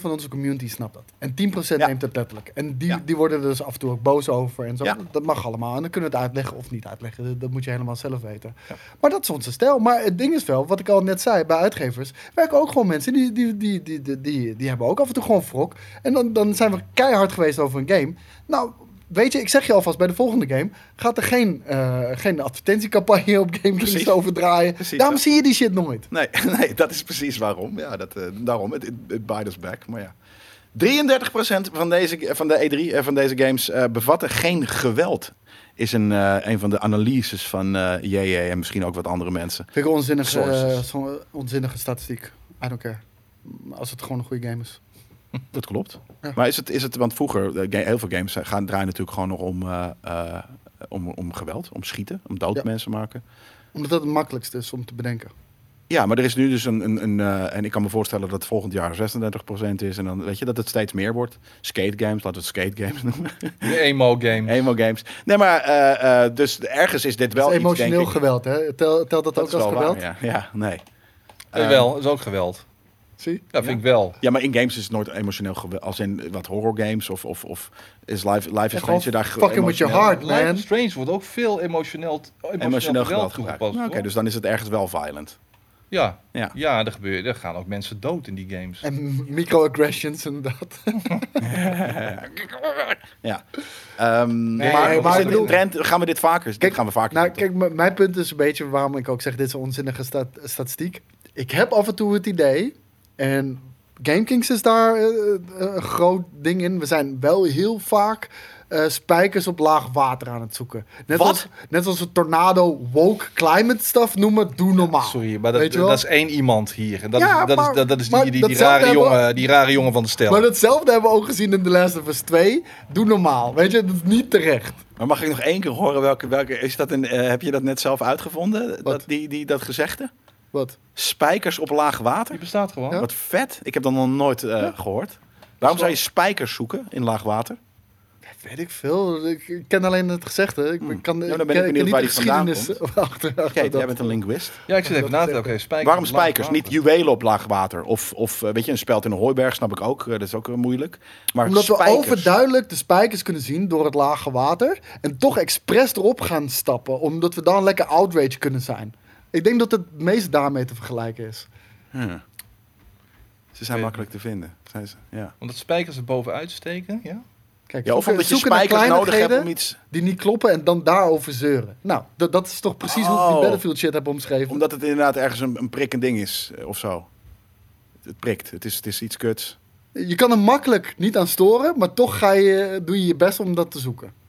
Speaker 3: van onze community snapt dat. En 10%
Speaker 1: Ja.
Speaker 3: neemt het letterlijk. En die,
Speaker 1: Ja.
Speaker 3: die worden er dus af en toe ook boos over en zo.
Speaker 1: Ja.
Speaker 3: Dat mag allemaal. En dan kunnen we het uitleggen of niet uitleggen. Dat, dat moet je helemaal zelf weten. Maar dat is onze stijl. Maar het ding is wel, wat ik al net zei bij uitgevers, werken ook gewoon mensen die, die, die, die, die, die, die hebben ook af en toe gewoon wrok. En dan, dan zijn we keihard geweest over een game. Nou. Weet je, ik zeg je alvast, bij de volgende game gaat er geen, eh, geen advertentiecampagne op GameKings
Speaker 1: Precies.
Speaker 3: over draaien.
Speaker 1: Precies,
Speaker 3: Daarom
Speaker 1: ja.
Speaker 3: zie je die shit nooit.
Speaker 1: Nee, nee, dat is precies waarom. Ja, dat, eh, daarom, het it, it bites us back. Maar ja. 33% van, deze, van de E3 eh, van deze games eh, bevatten geen geweld. Is een, eh, een van de analyses van eh JJ en misschien ook wat andere mensen.
Speaker 3: Vind ik een onzinnige,
Speaker 1: Sources.
Speaker 3: eh, zo'n onzinnige statistiek. I don't care. Maar Als het gewoon een goede game is.
Speaker 1: Dat klopt.
Speaker 3: Ja.
Speaker 1: Maar is het, is het, want vroeger, eh, ga- heel veel games gaan draaien natuurlijk gewoon nog om, eh, eh, om, om geweld, om schieten, om dood
Speaker 3: Ja.
Speaker 1: mensen maken.
Speaker 3: Omdat dat het makkelijkste is om te bedenken.
Speaker 1: Ja, maar er is nu dus een, een, een eh, en ik kan me voorstellen dat het volgend jaar 36% is en dan weet je dat het steeds meer wordt. Skate games, laten we het skate games noemen.
Speaker 2: De emo game.
Speaker 1: Emo games. Nee, maar eh, eh, dus ergens is dit wel
Speaker 3: Wel
Speaker 1: iets, denk
Speaker 3: emotioneel
Speaker 1: ik.
Speaker 3: geweld, hè? Telt tel dat,
Speaker 1: Dat
Speaker 3: ook
Speaker 1: is
Speaker 3: als
Speaker 1: wel waar,
Speaker 3: geweld?
Speaker 1: ja. ja, nee.
Speaker 2: Eh, wel, is ook geweld.
Speaker 3: Zie?
Speaker 2: Dat vind ik wel.
Speaker 1: Eh, Ja, maar in games is het nooit emotioneel geweld. Als in wat horror games of, of, of is live, live is
Speaker 3: gewoon
Speaker 1: Strange daar
Speaker 3: fucking with your
Speaker 1: emotioneel-
Speaker 3: heart, man.
Speaker 2: Life is Strange wordt ook veel emotioneel, emotioneel,
Speaker 1: Emotioneel geweld gebruikt.
Speaker 2: toegepast.
Speaker 1: Nou, Oké,
Speaker 2: hoor.
Speaker 1: dus dan is het ergens wel violent.
Speaker 2: Ja,
Speaker 1: Ja.
Speaker 2: ja er, gebeuren, er gaan ook mensen dood in die games.
Speaker 3: En microaggressions inderdaad.
Speaker 1: Ja. Ehm,
Speaker 2: Nee,
Speaker 1: maar
Speaker 2: maar
Speaker 1: maar
Speaker 2: ik bedoel-
Speaker 1: trend, gaan we dit vaker? Kijk, dit
Speaker 3: Kijk,
Speaker 1: gaan we vaker
Speaker 3: nou,
Speaker 1: doen.
Speaker 3: kijk, m- mijn punt is een beetje waarom ik ook zeg: dit is een onzinnige sta- statistiek. Ik heb af en toe het idee, en GameKings is daar eh, eh, een groot ding in. We zijn wel heel vaak eh, spijkers op laag water aan het zoeken. Net,
Speaker 1: Wat?
Speaker 3: Als, net als we tornado woke climate stuff noemen, doe normaal.
Speaker 1: Ah,
Speaker 2: Sorry, maar
Speaker 3: Weet
Speaker 2: dat,
Speaker 3: je wel?
Speaker 2: dat is één iemand hier. En dat,
Speaker 3: Ja,
Speaker 2: is, dat,
Speaker 3: maar-
Speaker 2: is, dat, dat is
Speaker 3: maar
Speaker 2: die, die, die,
Speaker 3: datzelfde
Speaker 2: rare
Speaker 3: hebben we-
Speaker 2: jongen, die rare jongen van de stel.
Speaker 3: Maar datzelfde hebben we ook gezien in The Last of Us 2. Doe normaal. Weet je, dat is niet terecht.
Speaker 1: Maar mag ik nog één keer horen welke... welke is dat een, eh, heb je dat net zelf uitgevonden? Dat, die, die, dat gezegde?
Speaker 3: Wat?
Speaker 1: Spijkers op laag water?
Speaker 2: Die bestaat gewoon.
Speaker 3: Ja.
Speaker 1: Wat vet. Ik heb dat nog nooit eh, gehoord. Waarom zou je spijkers zoeken in laag water?
Speaker 3: Weet ik veel. Ik ik ken alleen het gezegde. Ik kan,
Speaker 1: Ja, dan ben
Speaker 3: ik
Speaker 1: ik
Speaker 3: ken- ik
Speaker 1: benieuwd
Speaker 3: ken Hmm. niet
Speaker 1: waar
Speaker 3: de
Speaker 1: die vandaan
Speaker 3: geschiedenis achter.
Speaker 1: Oké,
Speaker 3: achter
Speaker 1: jij
Speaker 3: dat. eh,
Speaker 1: bent een linguist.
Speaker 2: Ja, ik zit even na te denken. Oké, spijkers
Speaker 1: Waarom
Speaker 2: op laag
Speaker 1: spijkers?
Speaker 2: water.
Speaker 1: Niet juwelen op laag water. Of, of eh, weet je, een speld in een hooiberg snap ik ook. Eh, dat is ook eh, moeilijk. Maar
Speaker 3: Omdat we
Speaker 1: spijkers.
Speaker 3: overduidelijk de spijkers kunnen zien door het lage water. En toch expres erop gaan stappen. Omdat we dan lekker outrage kunnen zijn. Ik denk dat het meest daarmee te vergelijken is.
Speaker 1: Huh. Ze zijn
Speaker 2: Oké.
Speaker 1: makkelijk te vinden. Zijn ze? Ja.
Speaker 2: Omdat spijkers er bovenuit steken, ja?
Speaker 3: Kijk,
Speaker 1: ja, of
Speaker 3: zoeken-
Speaker 1: omdat je
Speaker 3: zoeken naar
Speaker 1: spijkers nodig hebt om
Speaker 3: kleinigheden
Speaker 1: iets...
Speaker 3: die niet kloppen en dan daarover zeuren. Nou, dat, dat is toch precies hoe ik die
Speaker 1: Oh.
Speaker 3: Battlefield shit heb omschreven.
Speaker 1: Omdat het inderdaad ergens een, een prikkend ding is eh, of zo. Het prikt. Het is, het is iets kuts.
Speaker 3: Je kan er makkelijk niet aan storen, maar toch ga je, doe je je best om dat te zoeken.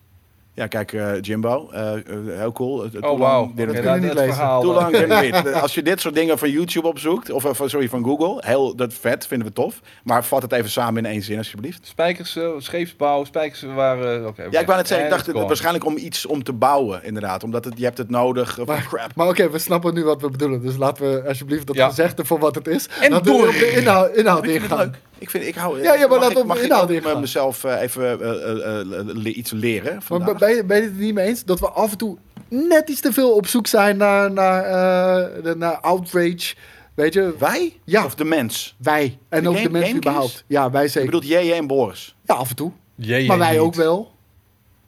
Speaker 1: Ja, kijk, eh, Jimbo. eh, eh, heel cool. Eh, too
Speaker 2: Oh,
Speaker 1: long
Speaker 2: wauw.
Speaker 1: didn't
Speaker 2: Oké,
Speaker 3: kun je
Speaker 1: read.
Speaker 2: dat-
Speaker 3: niet
Speaker 2: dat
Speaker 3: lezen.
Speaker 2: verhaal,
Speaker 1: Too
Speaker 2: eh,
Speaker 1: long didn't read. Eh, Als je dit soort dingen van YouTube opzoekt, of eh, van- sorry, van Google, heel, dat vet vinden we tof. Maar vat het even samen in één zin, alsjeblieft.
Speaker 2: Spijkers, eh, scheepsbouw, spijkers waren... oké, oké.
Speaker 1: Ja, ik wou net zeggen, ik
Speaker 2: En
Speaker 1: dacht
Speaker 2: het
Speaker 1: het-
Speaker 2: kwam.
Speaker 1: waarschijnlijk om iets om te bouwen, inderdaad. Omdat het, je hebt het nodig. Of
Speaker 3: Maar-
Speaker 1: crap.
Speaker 3: Maar oké, we snappen nu wat we bedoelen. Dus laten we alsjeblieft dat
Speaker 2: Ja.
Speaker 3: gezegde voor wat het is.
Speaker 2: En
Speaker 3: laten we
Speaker 2: door.
Speaker 3: op de inhoud, inhoud
Speaker 1: Ik vind het
Speaker 3: ingaan.
Speaker 1: leuk. Ik, vind, ik hou...
Speaker 3: Ja, ja, maar
Speaker 1: mag
Speaker 3: laat
Speaker 1: ik-
Speaker 3: op nou,
Speaker 1: mag ik
Speaker 3: inhoud
Speaker 1: ook
Speaker 3: ingaan.
Speaker 1: met mezelf eh, even eh, eh, eh, le- iets leren
Speaker 3: Maar
Speaker 1: vandaag?
Speaker 3: ben ben je ben je het er niet mee eens dat we af en toe net iets te veel op zoek zijn naar, naar, eh, de- naar outrage? Weet je,
Speaker 1: Wij?
Speaker 3: Ja.
Speaker 1: Of de mens?
Speaker 3: wij. En
Speaker 1: De
Speaker 3: ook
Speaker 1: game-
Speaker 3: de mensen
Speaker 1: gamekings?
Speaker 3: überhaupt. Ja, wij
Speaker 1: Ik
Speaker 3: zeker.
Speaker 1: bedoel, JJ en Boris.
Speaker 3: ja, af en toe.
Speaker 2: Jee,
Speaker 3: maar
Speaker 2: jee,
Speaker 3: wij
Speaker 2: niet.
Speaker 3: ook wel.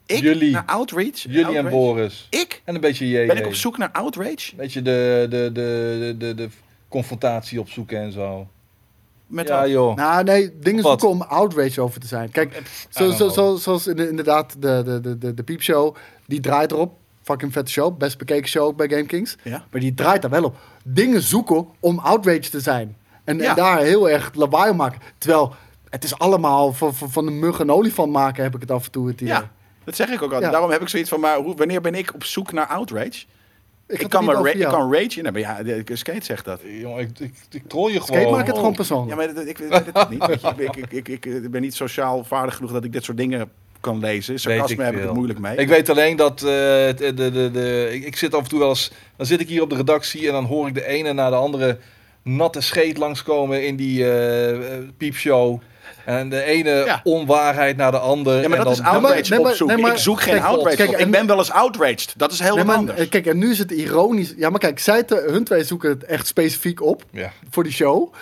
Speaker 1: Ik?
Speaker 2: Jullie.
Speaker 1: Naar Outreach?
Speaker 2: Jullie en
Speaker 1: Outrage?
Speaker 2: Boris.
Speaker 1: Ik?
Speaker 2: En een beetje jee.
Speaker 1: Ben ik
Speaker 2: jee.
Speaker 1: op zoek naar Outrage?
Speaker 2: Weet je, de, de, de, de, de, de confrontatie opzoeken en zo.
Speaker 1: Met
Speaker 2: ja,
Speaker 1: wat?
Speaker 2: joh.
Speaker 3: Nou, nee, dingen
Speaker 2: Oh. Wat?
Speaker 3: zoeken om outrage over te zijn. Kijk, zo,
Speaker 2: don't
Speaker 3: zo,
Speaker 2: know.
Speaker 3: zo, zoals in- inderdaad de, de, de, de, de piepshow, die draait erop. Fucking vette show, best bekeken show ook bij GameKings.
Speaker 1: Ja.
Speaker 3: Maar die draait daar wel op. Dingen zoeken om outrage te zijn. En,
Speaker 1: Ja.
Speaker 3: en daar heel erg lawaai om maken. Terwijl Het is allemaal van, van, van de mug een olifant maken, heb ik het af en toe het idee.
Speaker 1: Ja, dat zeg ik ook al.
Speaker 3: Ja.
Speaker 1: Daarom heb ik zoiets van, maar hoe, wanneer ben ik op zoek naar outrage? Ik,
Speaker 3: had het
Speaker 1: kan,
Speaker 3: niet
Speaker 1: me ra-
Speaker 3: over
Speaker 1: ik
Speaker 3: jou.
Speaker 1: kan rage in hebben. Ja, de- de- Skate zegt dat.
Speaker 2: Jongen, ik, ik, ik troll je gewoon.
Speaker 3: Skate maakt het
Speaker 1: Oh.
Speaker 3: gewoon persoonlijk.
Speaker 1: Ja, maar dat- ik weet het niet. weet je. Ik, ik, ik, ik, eh, ben niet sociaal vaardig genoeg dat ik dit soort dingen kan lezen.
Speaker 2: ik
Speaker 1: Sarcasme heb ik
Speaker 2: veel.
Speaker 1: het moeilijk mee.
Speaker 2: Ik weet alleen dat eh, het- de, de, de, ik, ik zit af en toe wel eens. Dan zit ik hier op de redactie en dan hoor ik de ene na de andere natte scheet langskomen in die eh, eh, piepshow. En de ene
Speaker 1: Ja.
Speaker 2: onwaarheid naar de ander.
Speaker 1: Ja, maar
Speaker 2: en
Speaker 1: dat is
Speaker 2: dan,
Speaker 1: outrage
Speaker 3: nee, maar-
Speaker 1: opzoeken.
Speaker 3: nee, maar-
Speaker 1: ik zoek geen
Speaker 3: kijk,
Speaker 1: outrage
Speaker 3: kijk,
Speaker 1: op.
Speaker 3: en-
Speaker 1: Ik ben wel eens outraged. Dat is heel
Speaker 3: Nee,
Speaker 1: wat
Speaker 3: maar-
Speaker 1: anders.
Speaker 3: eh, Kijk, en nu is het ironisch. Ja, maar kijk, zij te, hun twee zoeken het echt specifiek op
Speaker 2: ja.
Speaker 3: voor die show.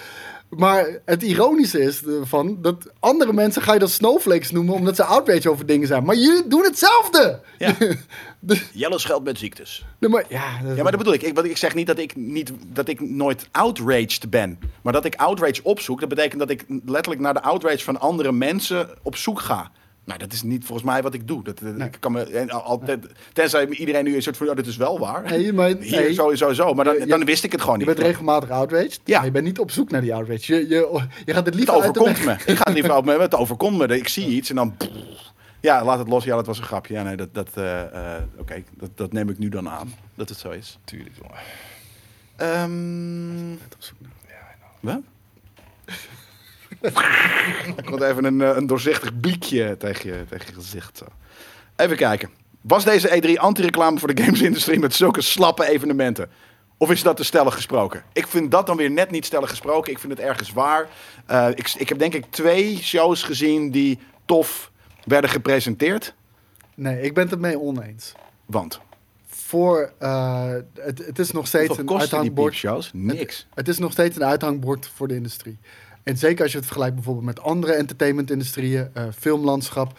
Speaker 3: Maar het ironische is ervan dat andere mensen ga je dat snowflakes noemen omdat ze outrage over dingen zijn. Maar jullie doen hetzelfde.
Speaker 1: Ja.
Speaker 3: De-
Speaker 1: Jelle scheldt met ziektes.
Speaker 3: de- maar, ja,
Speaker 1: Ja, maar dat bedoel ik. ik. want Ik zeg niet dat ik, niet dat ik nooit outraged ben. Maar dat ik outrage opzoek, dat betekent dat ik letterlijk naar de outrage van andere mensen op zoek ga. Nou, dat is niet volgens mij wat ik doe. Dat, dat- ik kan me, en al- altijd, tenzij iedereen nu een soort van, ja, dit is wel waar.
Speaker 3: Nee, maar-
Speaker 1: Hier,
Speaker 3: nee.
Speaker 1: zo, zo, zo. Maar dan,
Speaker 3: Je- je-
Speaker 1: dan wist ik het gewoon
Speaker 3: je
Speaker 1: niet.
Speaker 3: bent regelmatig outraged.
Speaker 1: Ja.
Speaker 3: maar je bent niet op zoek naar die outrage. Je, je, je gaat het
Speaker 1: het
Speaker 3: liever uit de
Speaker 1: overkomt
Speaker 3: weg.
Speaker 1: me. Ik ga het liever op me. Het overkomt me. Ik zie iets en dan... Ja, laat het los. Ja, dat was een grapje. Ja, nee, dat, dat, eh, eh, Oké, dat, dat neem ik nu dan aan. Dat het zo is.
Speaker 2: Tuurlijk, jongen.
Speaker 1: Ehm
Speaker 3: Op zoek naar-
Speaker 1: Wat? Ik had even een, eh, een doorzichtig bliekje tegen je, tegen je gezicht. zo. Even kijken. Was deze E3 anti-reclame voor de gamesindustrie met zulke slappe evenementen? Of is dat te stellig gesproken? Ik vind dat dan weer net niet stellig gesproken. Ik vind het ergens waar. Eh, ik, ik heb denk ik twee shows gezien die tof werden gepresenteerd.
Speaker 3: Nee, ik ben het ermee oneens.
Speaker 1: Want
Speaker 3: Voor, eh, het, het is nog steeds
Speaker 1: hoeveel
Speaker 3: een
Speaker 1: kosten die
Speaker 3: uithangbord.
Speaker 1: shows? Niks.
Speaker 3: Het is nog steeds een uithangbord voor de industrie. En zeker als je het vergelijkt bijvoorbeeld met andere entertainment-industrieën, eh, filmlandschap.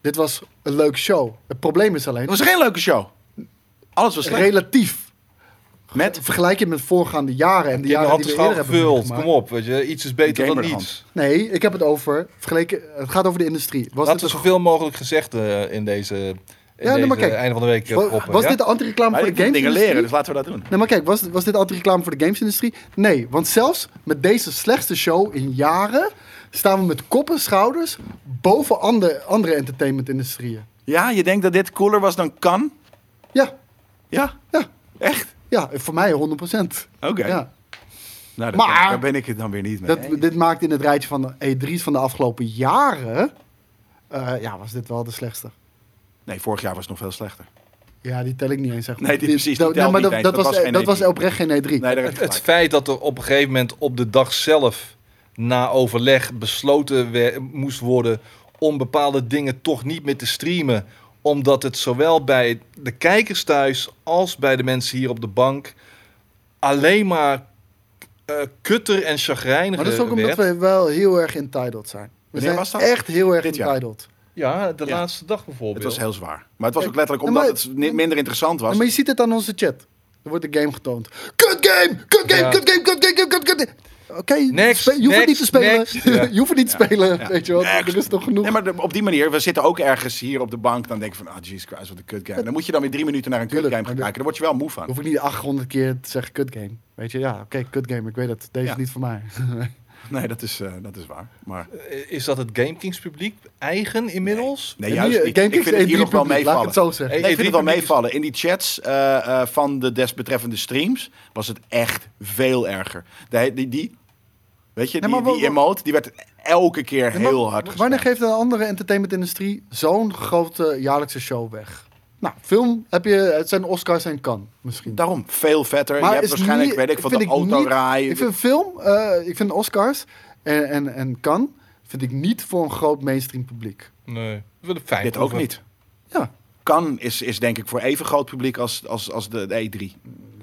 Speaker 3: Dit was een leuk show. Het probleem is alleen,
Speaker 1: Het was geen leuke show. Alles was slecht.
Speaker 3: relatief.
Speaker 1: Met
Speaker 3: Vergelijk je met voorgaande jaren en de
Speaker 2: Je hebt de
Speaker 3: jaren
Speaker 2: hand
Speaker 3: die
Speaker 2: de
Speaker 3: we
Speaker 2: schaal
Speaker 3: eerder hebben
Speaker 2: gevuld.
Speaker 3: meegemaakt.
Speaker 2: Kom op, weet je. Iets is beter dan
Speaker 1: Gamerhand.
Speaker 2: niets.
Speaker 3: Nee, ik heb het over, vergeleken, het gaat over de industrie. Was
Speaker 2: Laten
Speaker 3: dit,
Speaker 2: we zoveel mogelijk gezegd eh, in deze, in
Speaker 3: Ja, nee,
Speaker 2: deze
Speaker 3: maar kijk.
Speaker 2: einde van de week eh,
Speaker 3: wa-
Speaker 2: proppen.
Speaker 3: was
Speaker 2: ja?
Speaker 3: dit de anti-reclame
Speaker 1: Maar
Speaker 3: voor
Speaker 1: ik
Speaker 3: de
Speaker 1: wil
Speaker 3: games
Speaker 1: dingen leren, dus laten we dat doen.
Speaker 3: Nee, maar kijk, was, was dit anti-reclame voor de gamesindustrie? Nee, want zelfs met deze slechtste show in jaren... staan we met kop en schouders boven andere, andere entertainment-industrieën.
Speaker 1: Ja, je denkt dat dit cooler was dan kan?
Speaker 3: Ja,
Speaker 1: Ja,
Speaker 3: ja,
Speaker 1: echt?
Speaker 3: ja, voor mij 100
Speaker 1: Oké.
Speaker 3: Ja,
Speaker 1: Nou, dat-
Speaker 3: Maar-
Speaker 1: daar ben ik het dan weer niet mee.
Speaker 3: dat,
Speaker 1: eens.
Speaker 3: dit maakt in het rijtje van de E3's van de afgelopen jaren... eh, ja, was dit wel de slechtste.
Speaker 1: Nee, vorig jaar was het nog veel slechter.
Speaker 3: Ja, die tel ik niet eens, zeg maar.
Speaker 1: Nee, die- precies, die
Speaker 3: dat- nou,
Speaker 1: telt
Speaker 3: maar
Speaker 1: niet
Speaker 3: dat,
Speaker 1: eens.
Speaker 3: dat,
Speaker 1: Dat
Speaker 3: was,
Speaker 1: was geen
Speaker 3: dat
Speaker 1: E3.
Speaker 3: was oprecht geen E E3.
Speaker 1: Nee, daar heb
Speaker 2: Het,
Speaker 1: je
Speaker 2: het
Speaker 1: gelijk.
Speaker 2: feit dat er op een gegeven moment op de dag zelf na overleg besloten we- moest worden om bepaalde dingen toch niet meer te streamen, omdat het zowel bij de kijkers thuis als bij de mensen hier op de bank alleen maar eh, kutter en chagrijniger
Speaker 3: maar dat is ook omdat
Speaker 2: werd.
Speaker 3: we wel heel erg entitled zijn. We
Speaker 1: Wanneer
Speaker 3: zijn
Speaker 1: was dat?
Speaker 3: echt heel erg
Speaker 1: Dit jaar?
Speaker 3: entitled.
Speaker 2: Ja, de
Speaker 1: Ja.
Speaker 2: laatste dag bijvoorbeeld.
Speaker 1: Het was heel zwaar. Maar het was ook letterlijk
Speaker 3: Ja, maar-
Speaker 1: omdat het ni- minder interessant was.
Speaker 3: Ja, maar je ziet het aan onze chat. Er wordt de game getoond. Kut game! Kut game!
Speaker 2: Ja.
Speaker 3: Kut game! Kut game! Kut kut kut! Oké,
Speaker 2: Next,
Speaker 3: spe- je hoeft
Speaker 2: next,
Speaker 3: het niet te spelen.
Speaker 2: next. Ja.
Speaker 3: je hoeft het niet te spelen,
Speaker 1: ja.
Speaker 3: weet je wel.
Speaker 1: Next.
Speaker 3: Er is nog genoeg.
Speaker 1: Nee, maar de- op die manier, we zitten ook ergens hier op de bank. Dan denk je van, ah, Jesus Christ, wat een kut game. Dan moet je dan weer drie minuten naar een kut
Speaker 3: Tuurlijk,
Speaker 1: game gaan
Speaker 3: maar de-
Speaker 1: kijken. Daar word je wel moe van.
Speaker 3: hoef ik niet 800 keer te zeggen kut game. Weet je, ja, oké, kut game. Ik weet het. Deze
Speaker 1: Ja.
Speaker 3: is niet voor mij.
Speaker 1: Nee, dat is, eh, dat is waar. Maar
Speaker 2: Eh, Is dat het GameKings publiek eigen inmiddels?
Speaker 1: nee, juist niet.
Speaker 3: eh, Gamekings
Speaker 1: Ik vind het hier
Speaker 3: E3
Speaker 1: nog wel
Speaker 3: publiek, Laat ik
Speaker 1: meevallen.
Speaker 3: het zo zeggen.
Speaker 2: Hey,
Speaker 1: Nee, ik vind het wel
Speaker 2: publiek is-
Speaker 1: meevallen. In die chats eh, eh, van de desbetreffende streams was het echt veel erger. De, die, die, weet je, die,
Speaker 3: Nee, maar
Speaker 1: die
Speaker 3: wa- wa-
Speaker 1: emote die werd elke keer
Speaker 3: Maar
Speaker 1: heel hard
Speaker 3: Wanneer
Speaker 1: gespeeld.
Speaker 3: geeft een andere entertainmentindustrie zo'n grote jaarlijkse show weg? Nou, film heb je, het zijn Oscars en kan misschien.
Speaker 1: Daarom, veel vetter. je hebt
Speaker 3: is
Speaker 1: waarschijnlijk,
Speaker 3: niet-
Speaker 1: weet ik, van
Speaker 3: vind
Speaker 1: de
Speaker 3: niet-
Speaker 1: autorij.
Speaker 3: Ik vind film, eh, ik vind Oscars en, en, en Cannes, vind ik niet voor een groot mainstream publiek.
Speaker 2: Nee, we willen fijn
Speaker 1: Dit ook
Speaker 2: proeven.
Speaker 1: niet.
Speaker 3: Ja.
Speaker 1: Kan is, is denk ik voor even groot publiek als, als, als de, de E3.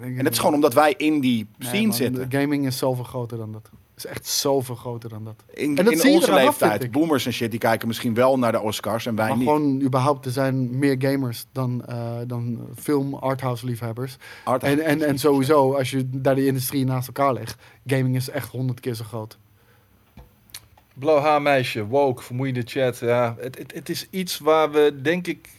Speaker 1: En dat is gewoon omdat wij in die scene
Speaker 3: man,
Speaker 1: zitten.
Speaker 3: de Gaming is zoveel groter dan dat. Is echt zoveel groter dan dat.
Speaker 1: In,
Speaker 3: en dat
Speaker 1: in
Speaker 3: zie je
Speaker 1: onze
Speaker 3: eraan af, vind
Speaker 1: leeftijd.
Speaker 3: ik.
Speaker 1: Boomers en shit, die kijken misschien wel naar de Oscars en wij
Speaker 3: maar
Speaker 1: niet.
Speaker 3: gewoon überhaupt, er zijn meer gamers dan, eh, dan film arthouse liefhebbers.
Speaker 1: Hard-
Speaker 3: En, en, en sowieso, als je daar die industrie naast elkaar legt, gaming is echt honderd keer zo groot.
Speaker 2: Blauw haar meisje, woke, vermoeiende chat. Ja, het, het, het is iets waar we denk ik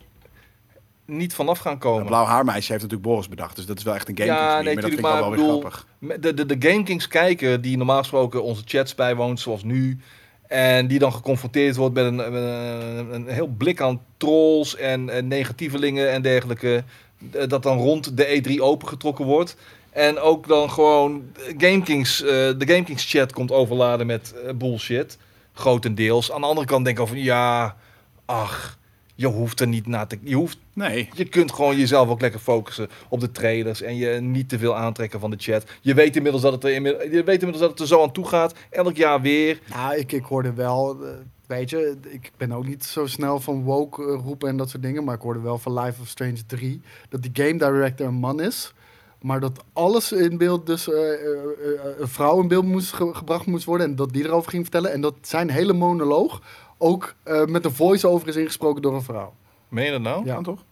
Speaker 2: niet vanaf gaan
Speaker 1: Een
Speaker 2: komen.
Speaker 1: blauw haarmeisje heeft natuurlijk Boris bedacht. Dus dat is wel echt een game.
Speaker 2: Ja,
Speaker 1: Ja,
Speaker 2: nee,
Speaker 1: maar dat vind ik
Speaker 2: tuurlijk,
Speaker 1: wel,
Speaker 2: maar
Speaker 1: weer
Speaker 2: ik bedoel-
Speaker 1: grappig.
Speaker 2: Met de, de, de GameKings kijker die normaal gesproken onze chats bijwoont, zoals nu. eh, En die dan geconfronteerd wordt met een, met een, een heel blik aan trolls en, en negatievelingen en dergelijke. eh, Dat dan rond de E3 opengetrokken wordt. En ook dan gewoon GameKings, eh, de GameKings chat komt overladen met eh, bullshit. Grotendeels. Aan de andere kant denk ik al van ja, ach, je hoeft er niet na te... Je, hoeft,
Speaker 1: Nee.
Speaker 2: je kunt gewoon jezelf ook lekker focussen op de trailers. En je niet te veel aantrekken van de chat. Je weet inmiddels dat het er, inmiddels- je weet inmiddels dat het er zo aan toe gaat. Elk jaar weer.
Speaker 3: Nou, ik, ik hoorde wel, eh, weet je, ik ben ook niet zo snel van woke eh, roepen en dat soort dingen, maar ik hoorde wel van Life of Strange 3 dat die game director een man is, maar dat alles in beeld, dus eh, eh, eh, een vrouw in beeld moest ge- gebracht moest worden en dat die erover ging vertellen en dat zijn hele monoloog ook eh, met een voice-over is ingesproken door een vrouw.
Speaker 2: Meen je dat nou?
Speaker 1: Kan toch?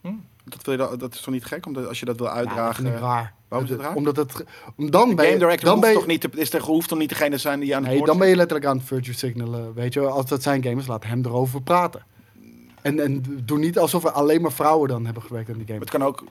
Speaker 2: Hm.
Speaker 1: Dat, wil je, dan- dat is toch niet gek? Omdat als je dat wil
Speaker 3: Ja, dat
Speaker 1: uitdragen.
Speaker 3: vind ik raar.
Speaker 1: eh,
Speaker 3: Eh,
Speaker 1: Waarom is het raar?
Speaker 3: Omdat het, ge- Dus om dan ben je-
Speaker 1: game director
Speaker 3: dan
Speaker 1: hoeft
Speaker 3: ben je,
Speaker 1: toch niet te, is er, hoeft toch niet degene te zijn die aan het
Speaker 3: Nee,
Speaker 1: woord
Speaker 3: dan ben je letterlijk aan het virtue signalen. Weet je, als dat zijn gamers, laat hem erover praten. En, en doe niet alsof er alleen maar vrouwen dan hebben gewerkt aan die game.
Speaker 1: Het kan ook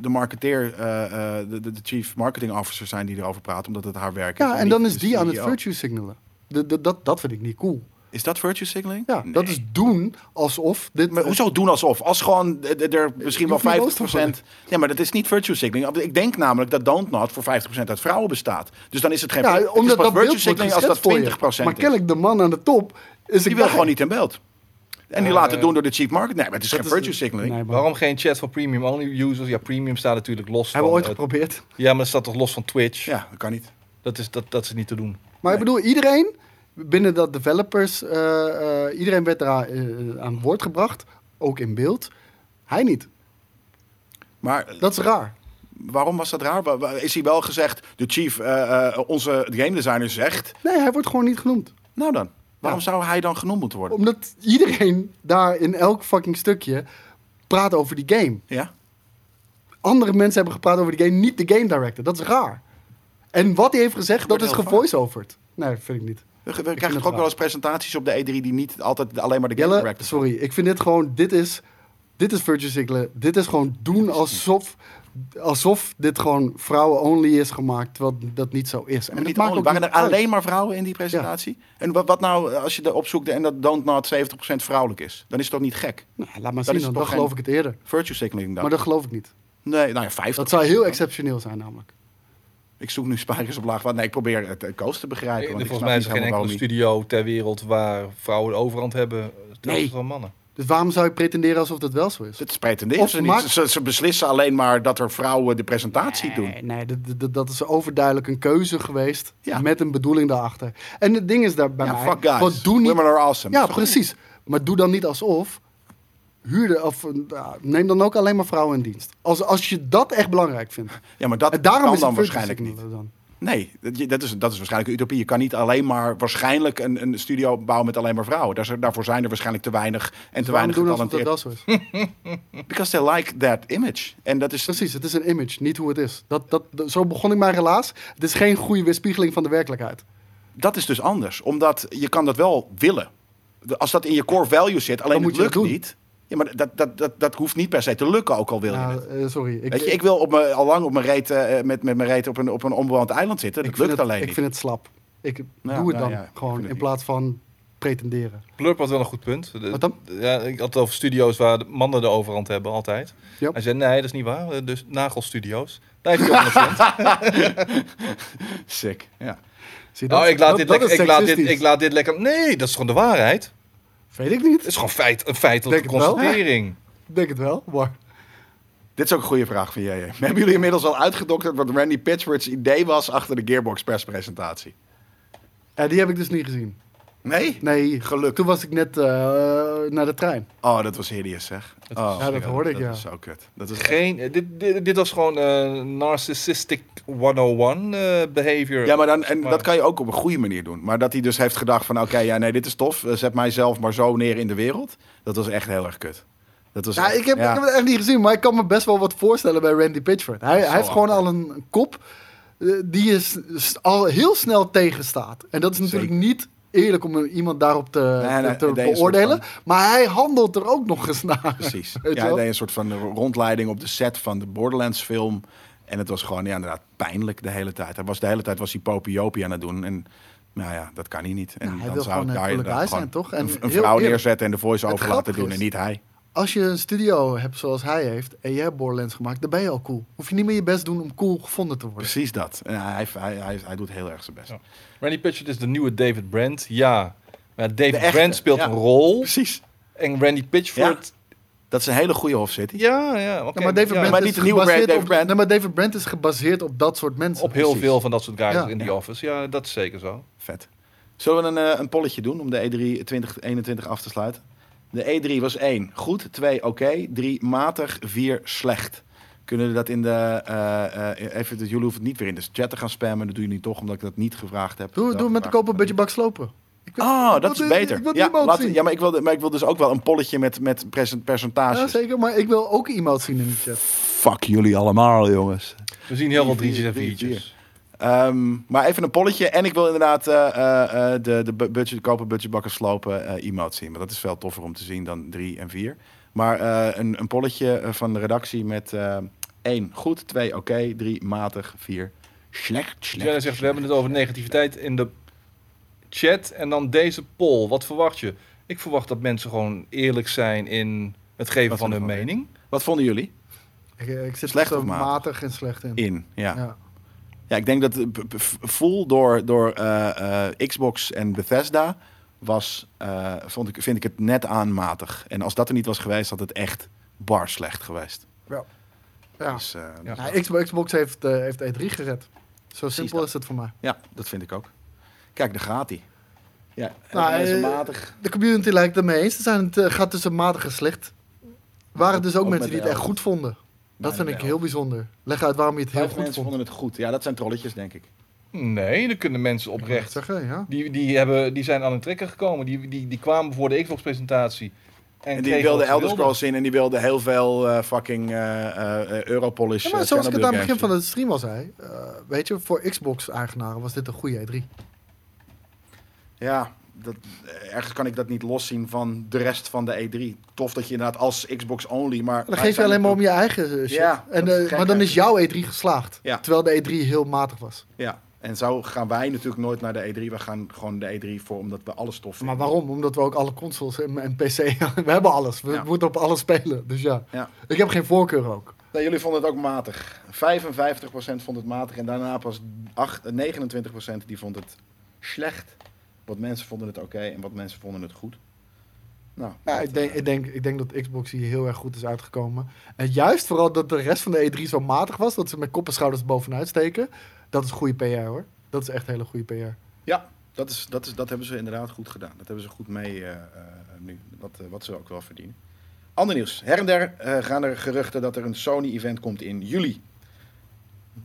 Speaker 1: de marketeer, eh, eh, de, de, de chief marketing officer zijn die erover praat, omdat het haar werk is.
Speaker 3: Ja, en
Speaker 1: niet
Speaker 3: dan is
Speaker 1: de
Speaker 3: die aan het
Speaker 1: CEO.
Speaker 3: virtue signalen. De- de- dat, dat vind ik niet cool.
Speaker 1: Is dat virtue signaling?
Speaker 3: Ja,
Speaker 1: Nee.
Speaker 3: dat is doen alsof dit...
Speaker 1: Maar hoezo doen alsof? Als gewoon eh, eh, er misschien
Speaker 3: Je
Speaker 1: wel
Speaker 3: hoeft niet
Speaker 1: 50%.
Speaker 3: boos te worden.
Speaker 1: Nee, maar dat is niet virtue signaling. Ik denk namelijk dat Don't Not voor 50% uit vrouwen bestaat. Dus dan is het geen
Speaker 3: Ja,
Speaker 1: het is
Speaker 3: omdat
Speaker 1: pas
Speaker 3: dat beeld
Speaker 1: virtue
Speaker 3: wordt
Speaker 1: signaling als dat 20%
Speaker 3: geschetst voor je.
Speaker 1: is.
Speaker 3: Maar kennelijk de man aan de top is
Speaker 1: Die
Speaker 3: een
Speaker 1: wil
Speaker 3: guy.
Speaker 1: gewoon niet in beeld. En die
Speaker 2: Ja,
Speaker 1: laat het
Speaker 2: eh,
Speaker 1: doen door de chief market. Nee, maar het is geen
Speaker 3: Dat is-
Speaker 1: virtue signaling.
Speaker 3: Nee, maar-
Speaker 2: Waarom geen chat voor premium only users? Ja, premium staat natuurlijk los
Speaker 3: Hebben we
Speaker 2: van...
Speaker 3: ooit
Speaker 2: eh,
Speaker 3: geprobeerd.
Speaker 2: ja, maar dat staat toch los van Twitch?
Speaker 1: Ja, dat kan niet.
Speaker 2: Dat, is, dat, dat is niet te doen.
Speaker 3: Maar
Speaker 1: Nee.
Speaker 3: ik bedoel, iedereen binnen dat developers, eh, eh, iedereen werd eraan eh, aan woord gebracht, ook in beeld. Hij niet.
Speaker 1: Maar eh,
Speaker 3: Dat is raar.
Speaker 1: waarom was dat raar? Wa- wa- Is hij wel gezegd, de chief, eh, eh, onze game designer zegt.
Speaker 3: Nee, hij wordt gewoon niet genoemd.
Speaker 1: Nou dan, waarom zou hij dan genoemd moeten worden?
Speaker 3: Omdat iedereen daar in elk fucking stukje praat over die game.
Speaker 1: Ja?
Speaker 3: Andere mensen hebben gepraat over die game, niet de game director. Dat is raar. En wat hij heeft gezegd, dat
Speaker 1: Gebeurt heel
Speaker 3: is
Speaker 1: vaak.
Speaker 3: gevoice-overd. Nee, dat vind ik niet.
Speaker 1: We, we
Speaker 3: het
Speaker 1: krijgen toch ook
Speaker 3: raar.
Speaker 1: wel eens presentaties op de E3 die niet altijd alleen maar de game
Speaker 3: Jelle,
Speaker 1: director
Speaker 3: sorry. Ik vind dit gewoon, dit is, dit is Virtue Signaling. Dit is gewoon doen alsof, alsof dit gewoon vrouwen-only is gemaakt, terwijl dat niet zo is.
Speaker 1: En
Speaker 3: dat
Speaker 1: niet
Speaker 3: maakt
Speaker 1: only,
Speaker 3: ook
Speaker 1: waren
Speaker 3: niet
Speaker 1: er
Speaker 3: uit.
Speaker 1: alleen maar vrouwen in die presentatie? En wat, wat nou eh, als je erop zoekt en dat Don't Not 70% vrouwelijk is? Dan is het toch niet gek?
Speaker 3: Nou, laat maar
Speaker 1: Dan
Speaker 3: zien,
Speaker 1: is
Speaker 3: dan,
Speaker 1: het
Speaker 3: dan
Speaker 1: toch
Speaker 3: geloof ik
Speaker 1: geen-
Speaker 3: het eerder.
Speaker 1: Virtue signaling dan?
Speaker 3: Maar dat geloof ik niet.
Speaker 1: Nee, nou ja, 50.
Speaker 3: Dat zou heel
Speaker 1: Dan.
Speaker 3: exceptioneel zijn namelijk.
Speaker 1: Ik zoek nu spijkers op laag. want Nee, ik probeer het eh, Koos te begrijpen. Want ik
Speaker 2: Volgens
Speaker 1: snap
Speaker 2: mij
Speaker 1: niet
Speaker 2: is er geen
Speaker 1: helemaal
Speaker 2: enkele
Speaker 1: waarom
Speaker 2: studio ter wereld waar vrouwen de overhand hebben. Nee. Van mannen.
Speaker 3: Dus waarom zou je pretenderen alsof dat wel zo is?
Speaker 1: die- Het is pretenderen
Speaker 3: Of
Speaker 1: ze
Speaker 3: maak-
Speaker 1: niet. Ze, ze beslissen alleen maar dat er vrouwen de presentatie doen.
Speaker 3: Nee, nee dat, dat- dat is overduidelijk een keuze geweest
Speaker 1: Ja. met
Speaker 3: met een bedoeling daarachter. En het ding is daar bij
Speaker 1: Ja,
Speaker 3: mij,
Speaker 1: fuck guys.
Speaker 3: wat doe niet...
Speaker 1: Women are awesome.
Speaker 3: Ja,
Speaker 1: Dat is toch
Speaker 3: precies. Maar doe dan niet alsof, huur de, of, eh, nou, neem dan ook alleen maar vrouwen in dienst. Als, als je dat echt belangrijk vindt.
Speaker 1: goed? Ja, maar dat
Speaker 3: en daarom
Speaker 1: kan
Speaker 3: is
Speaker 1: dan
Speaker 3: het virtue
Speaker 1: waarschijnlijk niet.
Speaker 3: signal Dan.
Speaker 1: Nee, dat, je- dat is, dat is waarschijnlijk een utopie. Je kan niet alleen maar waarschijnlijk een, een studio bouwen met alleen maar vrouwen. Daar, zijn- daarvoor zijn er waarschijnlijk te weinig en te
Speaker 3: Dus waarom
Speaker 1: weinig
Speaker 3: doen alsof dat
Speaker 1: getalenteerd.
Speaker 3: wel zo is?
Speaker 1: Because they like that image. En dat is
Speaker 3: Precies, het is een image, niet hoe het is. Dat, dat, dat- zo begon ik mijn relaas. Het is geen goede weerspiegeling van de werkelijkheid.
Speaker 1: Dat is dus anders, omdat je kan dat wel willen. De- Als dat in je core value zit, alleen
Speaker 3: Dan moet
Speaker 1: het
Speaker 3: je
Speaker 1: lukt
Speaker 3: dat doen.
Speaker 1: niet. Ja, maar dat, dat, dat, dat hoeft niet per se te lukken, ook al wil je
Speaker 3: Nou,
Speaker 1: het.
Speaker 3: eh, sorry, ik,
Speaker 1: Weet je, ik wil op mijn, al lang op mijn reet, eh, met, met mijn reet op een, op een onbewoond eiland zitten. Dat
Speaker 3: ik vind
Speaker 1: lukt
Speaker 3: het,
Speaker 1: alleen
Speaker 3: Ik
Speaker 1: niet.
Speaker 3: vind het slap. Ik
Speaker 1: Nou,
Speaker 3: doe het
Speaker 1: nou
Speaker 3: dan
Speaker 1: ja, ik vind
Speaker 3: gewoon
Speaker 1: het
Speaker 3: in
Speaker 1: niet.
Speaker 3: plaats van pretenderen.
Speaker 2: Blurb had wel een goed punt. De-
Speaker 3: Wat dan?
Speaker 2: Ja, ik had het over studio's waar de mannen de overhand hebben, altijd.
Speaker 3: Ja.
Speaker 2: Hij zei, nee, dat is niet waar. Eh, Dus nagelstudio's. Daar heeft hij ook een punt.
Speaker 1: Sick, ja.
Speaker 3: Zie je
Speaker 2: Oh,
Speaker 3: dat?
Speaker 2: ik laat
Speaker 3: Dat-
Speaker 2: dit
Speaker 3: dat
Speaker 2: lekker-
Speaker 3: is
Speaker 2: ik laat dit-
Speaker 3: seksistisch.
Speaker 2: ik laat dit lekker... Nee, dat is gewoon de waarheid.
Speaker 3: Weet ik
Speaker 2: Het
Speaker 3: niet.
Speaker 2: is gewoon feit, een feitelijke
Speaker 3: Denk het wel.
Speaker 2: constatering.
Speaker 3: Ik denk het wel. Maar
Speaker 1: Dit is ook een goede vraag van jij. Hebben jullie inmiddels al uitgedokterd wat Randy Pitchford's idee was achter de Gearbox perspresentatie?
Speaker 3: ja, die heb ik dus niet gezien.
Speaker 1: Nee?
Speaker 3: Nee,
Speaker 1: Gelukkig.
Speaker 3: Toen was ik net eh, naar de trein.
Speaker 1: Oh, dat was hideous, zeg.
Speaker 2: Dat
Speaker 1: Oh,
Speaker 2: is-
Speaker 3: Ja, dat hoorde ik,
Speaker 1: dat
Speaker 3: ja.
Speaker 1: is zo kut. Dat is
Speaker 2: Geen, eh, dit, dit, dit was gewoon eh, narcissistic 101 eh behavior.
Speaker 1: Ja, maar dan, en dat kan je ook op een goede manier doen. Maar dat hij dus heeft gedacht van... oké, ja, nee, dit is tof. Eh, Zet mijzelf maar zo neer in de wereld. Dat was echt heel erg kut. Dat was
Speaker 3: Ja,
Speaker 1: echt-
Speaker 3: Nou, ik, heb,
Speaker 1: ja.
Speaker 3: ik heb het echt niet gezien, maar ik kan me best wel wat voorstellen bij Randy Pitchford. Hij,
Speaker 1: Zo
Speaker 3: hij heeft gewoon al een, een kop eh, die je s- s- al heel snel tegenstaat. En dat is natuurlijk niet eerlijk om iemand daarop te,
Speaker 1: Nee, nee,
Speaker 3: te-
Speaker 1: hij
Speaker 3: te
Speaker 1: deed een soort
Speaker 3: beoordelen. Maar hij handelt er ook nog eens naar.
Speaker 1: Precies.
Speaker 3: je
Speaker 1: Ja, hij
Speaker 3: wel?
Speaker 1: deed een soort van rondleiding op de set van de Borderlands film. En het was gewoon ja, inderdaad pijnlijk de hele tijd. Hij was, de hele tijd was hij popiopie aan het doen. En Nou ja, dat kan hij niet. En
Speaker 3: Nou, hij
Speaker 1: dan
Speaker 3: wil
Speaker 1: zou ik
Speaker 3: gewoon, eh,
Speaker 1: daar
Speaker 3: polyglijs
Speaker 1: inderdaad gewoon
Speaker 3: zijn, toch? En
Speaker 1: een, een
Speaker 3: heel
Speaker 1: vrouw
Speaker 3: eerlijk.
Speaker 1: neerzetten en de voice-over
Speaker 3: Het
Speaker 1: laten
Speaker 3: grappige
Speaker 1: doen en
Speaker 3: is-
Speaker 1: niet hij.
Speaker 3: Als je een studio hebt zoals hij heeft en je hebt Borderlands gemaakt, dan ben je al cool. Hoef je niet meer je best doen om cool gevonden te worden.
Speaker 1: Precies dat. En hij, hij, hij, hij doet heel erg zijn best.
Speaker 2: Ja. Randy Pitchford is de nieuwe David Brand. Ja. Maar David
Speaker 1: echte,
Speaker 2: Brand speelt
Speaker 1: ja.
Speaker 2: een rol.
Speaker 1: Precies.
Speaker 2: En Randy Pitchford...
Speaker 1: Dat is een hele goede Hof City.
Speaker 2: Ja, ja. oké,
Speaker 3: Ja, Nou, maar David
Speaker 2: ja.
Speaker 3: Brent
Speaker 1: Maar
Speaker 3: is
Speaker 1: niet de nieuwe
Speaker 3: gebaseerd
Speaker 1: David
Speaker 3: op,
Speaker 1: Brent.
Speaker 3: Nee, maar David Brent is gebaseerd op dat soort mensen.
Speaker 2: Op heel
Speaker 1: Precies.
Speaker 2: veel van dat soort guys
Speaker 3: Ja.
Speaker 2: in The
Speaker 1: Ja.
Speaker 2: Office. Ja, dat is zeker zo.
Speaker 1: Vet. Zullen we een, eh, een polletje doen om de E3 2021 af te sluiten? De E3 was 1 goed, 2 oké, 3 matig, 4 slecht. Kunnen we dat in de. eh, eh, even, jullie hoeven het niet weer in de chat te gaan spammen. Dat doe je nu toch, omdat ik dat niet gevraagd heb.
Speaker 3: Doe,
Speaker 1: Wel
Speaker 3: doe het met de
Speaker 1: gevraagd.
Speaker 3: koper een beetje bak slopen. Ik wil-
Speaker 1: Oh, dat
Speaker 3: Want,
Speaker 1: is
Speaker 3: eh,
Speaker 1: beter.
Speaker 3: ik wil die
Speaker 1: ja,
Speaker 3: emotie.
Speaker 1: laten- ja, maar ik wil, maar ik wil dus ook wel een polletje met, met present- percentages.
Speaker 3: ja, zeker, maar ik wil ook iemand zien in de chat.
Speaker 1: Fuck jullie allemaal, jongens.
Speaker 2: We zien heel veel drietjes en
Speaker 1: Drie, vier.
Speaker 2: viertjes.
Speaker 1: Ehm, maar even een polletje. En ik wil inderdaad eh, eh, eh, de, de bu- budget, kopen budgetbakken slopen eh, emote zien. Maar dat is veel toffer om te zien dan drie en vier. Maar eh, een, een polletje eh, van de redactie met eh, één goed, twee oké, drie matig, vier slecht, slecht.
Speaker 2: Jenna zegt, we hebben het over negativiteit in de chat. En dan deze poll. Wat verwacht je? Ik verwacht dat mensen gewoon eerlijk zijn in het geven
Speaker 1: Wat
Speaker 2: van
Speaker 1: ze
Speaker 2: hun
Speaker 1: ervan
Speaker 2: mening.
Speaker 1: Wat vonden jullie?
Speaker 3: Ik, eh, ik zit
Speaker 1: Slecht
Speaker 3: er
Speaker 1: of matig?
Speaker 3: matig en slecht in.
Speaker 1: In, ja. ja.
Speaker 3: Ja.
Speaker 1: ik denk dat eh, p- p- full door, door eh, eh, Xbox en Bethesda was, eh, vond ik, vind ik het net aanmatig. En als dat er niet was geweest, had het echt bar slecht geweest.
Speaker 3: Ja.
Speaker 1: Dus, eh,
Speaker 2: Ja.
Speaker 1: dus-
Speaker 3: Ja, Xbox, Xbox heeft, eh, heeft E3 gered. Zo simpel
Speaker 1: dat.
Speaker 3: is het voor mij.
Speaker 1: Ja, dat vind ik ook. Kijk, daar gaat hij. Ja,
Speaker 3: Nou,
Speaker 1: en
Speaker 3: eh,
Speaker 1: matig.
Speaker 3: De community lijkt ermee eens te zijn. Het eh, gaat tussen matig en slecht. Waren dus ook,
Speaker 1: Ook
Speaker 3: mensen
Speaker 1: met
Speaker 3: die het
Speaker 1: de
Speaker 3: echt
Speaker 1: elf.
Speaker 3: goed vonden. Dat
Speaker 1: de
Speaker 3: vind ik
Speaker 1: elf.
Speaker 3: heel bijzonder. Leg uit waarom je het heel
Speaker 1: Vijf
Speaker 3: goed
Speaker 1: mensen
Speaker 3: vond.
Speaker 1: vonden het goed. Ja, dat zijn trolletjes, denk ik.
Speaker 2: Nee, dan kunnen mensen oprecht
Speaker 3: Zeggen, ja.
Speaker 2: Die, die, hebben, die zijn aan het trekken gekomen. Die, die, die kwamen voor de Xbox-presentatie.
Speaker 1: En, die
Speaker 2: kregen wat
Speaker 1: wilde
Speaker 2: ze
Speaker 1: Elder
Speaker 2: wilden.
Speaker 1: Scrolls in en die wilde heel veel eh, fucking eh, eh, eh, Europolis.
Speaker 3: Ja,
Speaker 1: eh,
Speaker 3: maar zoals ik het aan het
Speaker 1: Chernobyl
Speaker 3: begin van
Speaker 1: games
Speaker 3: de stream al zei, eh, weet je, voor Xbox-eigenaren was dit een goede E E3.
Speaker 1: doen. Ja, dat, eh, ergens kan ik dat niet loszien van de rest van de E3. Tof dat je inderdaad als Xbox only, maar...
Speaker 3: Dan geef je alleen maar om je eigen eh, shit.
Speaker 1: Ja,
Speaker 3: en,
Speaker 1: dat is
Speaker 3: eh,
Speaker 1: gek
Speaker 3: maar dan is jouw E3
Speaker 1: eigenlijk.
Speaker 3: geslaagd.
Speaker 1: Ja.
Speaker 3: Terwijl de E3 heel matig was.
Speaker 1: Ja, en zo gaan wij natuurlijk nooit naar de E3. We gaan gewoon de E3 voor, omdat we alles tof vinden.
Speaker 3: Maar waarom? Omdat we ook alle consoles en, en PC... we hebben alles. We
Speaker 1: Ja.
Speaker 3: moeten op alles spelen. Dus ja.
Speaker 1: Ja.
Speaker 3: Ik heb geen voorkeur ook.
Speaker 1: Nee, jullie vonden het ook matig. 55% vond het matig en daarna pas 8, 29% die vond het slecht. Wat mensen vonden het oké en wat mensen vonden het goed. Nou,
Speaker 3: Ja,
Speaker 1: dat,
Speaker 3: ik, denk,
Speaker 1: eh,
Speaker 3: ik, denk, ik denk dat Xbox hier heel erg goed is uitgekomen. En juist vooral dat de rest van de E3 zo matig was... dat ze met kop en schouders bovenuit steken. Dat is goede PR hoor. Dat is echt hele goede PR.
Speaker 1: ja dat, is, dat, is, dat hebben ze inderdaad goed gedaan. Dat hebben ze goed mee eh, eh, nu, wat, eh, wat ze ook wel verdienen. Ander nieuws. Her en der eh, gaan er geruchten dat er een Sony-event komt in juli.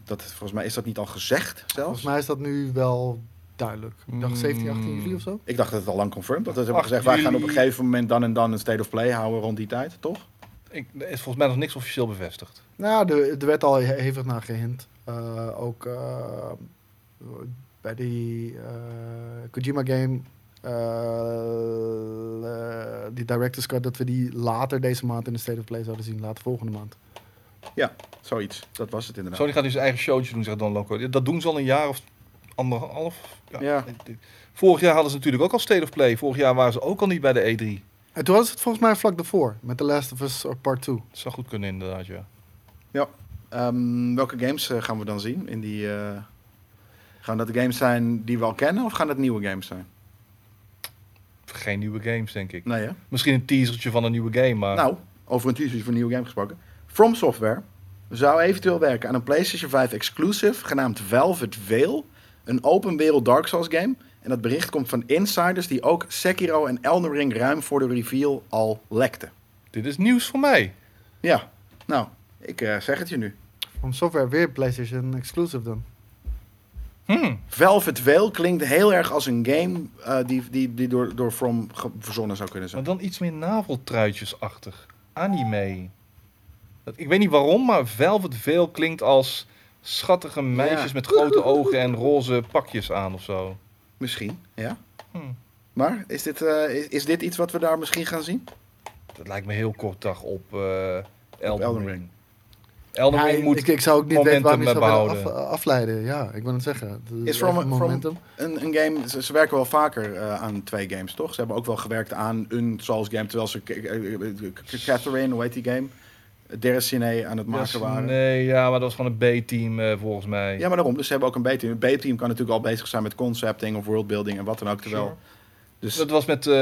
Speaker 1: Dat, volgens mij is dat niet al gezegd zelfs.
Speaker 3: Volgens mij is dat nu wel duidelijk. Ik dacht 17, 18 juli of zo.
Speaker 1: Ik dacht dat het al lang confirmed was. Dat ze hebben
Speaker 2: Acht
Speaker 1: gezegd, wij gaan op
Speaker 2: juli.
Speaker 1: een gegeven moment dan en dan een State of Play houden rond die tijd, toch?
Speaker 2: Ik, er is volgens mij nog niks officieel bevestigd.
Speaker 3: Nou, er, er werd al he- hevig naar gehind. Eh, ook eh, bij die eh, Kojima game, eh, eh, die Director's Cut, dat we die later deze maand in de State of Play zouden zien. Later volgende maand.
Speaker 1: Zoiets. Dat was het inderdaad.
Speaker 2: Sony gaat nu zijn eigen showtje doen, zegt Don Loco. Dat doen ze al een jaar of anderhalf.
Speaker 1: Ja.
Speaker 2: Vorig jaar hadden ze natuurlijk ook al State of Play. Vorig jaar waren ze ook al niet bij de E E3.
Speaker 3: En toen was het volgens mij vlak daarvoor, met The Last of Us eh, Part 2.
Speaker 2: Dat zou goed kunnen inderdaad, ja.
Speaker 1: Ehm, welke games eh, gaan we dan zien? In die, eh, gaan dat de games zijn die we al kennen of gaan dat nieuwe games zijn?
Speaker 2: Geen nieuwe games, denk ik.
Speaker 1: Nee, hè?
Speaker 2: Misschien een teasertje van een nieuwe game, maar...
Speaker 1: Nou, over een teaser voor een nieuwe game gesproken. From Software zou eventueel werken aan een PlayStation 5 exclusive genaamd Velvet Veil. Een open wereld Dark Souls game. En dat bericht komt van insiders die ook Sekiro en Elden Ring ruim voor de reveal al lekten.
Speaker 2: Dit is nieuws voor mij.
Speaker 1: Ja, nou, ik eh, zeg het je nu.
Speaker 3: Om software weer PlayStation exclusive dan.
Speaker 2: Hm.
Speaker 1: Velvet Veil klinkt heel erg als een game eh, die, die, die door, door From ge- verzonnen zou kunnen
Speaker 2: Maar
Speaker 1: zijn.
Speaker 2: dan iets meer naveltruitjesachtig. Anime. Dat, ik weet niet waarom, maar Velvet Veil klinkt als schattige meisjes met grote ogen en roze pakjes aan of zo.
Speaker 1: Misschien, ja.
Speaker 2: Hm.
Speaker 1: Maar is dit, eh, is, is dit iets wat we daar misschien gaan zien?
Speaker 2: Dat lijkt me heel kort dag op eh Elden,
Speaker 1: Elden
Speaker 2: Ring.
Speaker 1: Ring.
Speaker 2: Elden
Speaker 3: Ja,
Speaker 2: Ring
Speaker 3: ik-
Speaker 2: moet
Speaker 3: ik, ik zou ook niet weten
Speaker 2: momentum
Speaker 3: waarom je zou willen
Speaker 2: behouden.
Speaker 3: af- afleiden. Ja, ik wil het zeggen. Het
Speaker 1: Is
Speaker 3: echt
Speaker 1: From-
Speaker 3: een
Speaker 1: From-
Speaker 3: momentum.
Speaker 1: Een, een game, ze, ze werken wel vaker eh, aan twee games, toch? Ze hebben ook wel gewerkt aan een Souls game, terwijl ze K- eh, K- K- Catherine, hoe heet die game? Deracine aan het maken
Speaker 2: Yes,
Speaker 1: waren.
Speaker 2: Nee, ja, maar dat was gewoon een B-team eh, volgens mij.
Speaker 1: Ja, maar daarom. Dus ze hebben ook een B-team. Een B-team kan natuurlijk al bezig zijn met concepting of worldbuilding en wat dan ook. Terwijl,
Speaker 2: Sure.
Speaker 1: dus,
Speaker 2: Dat was met eh,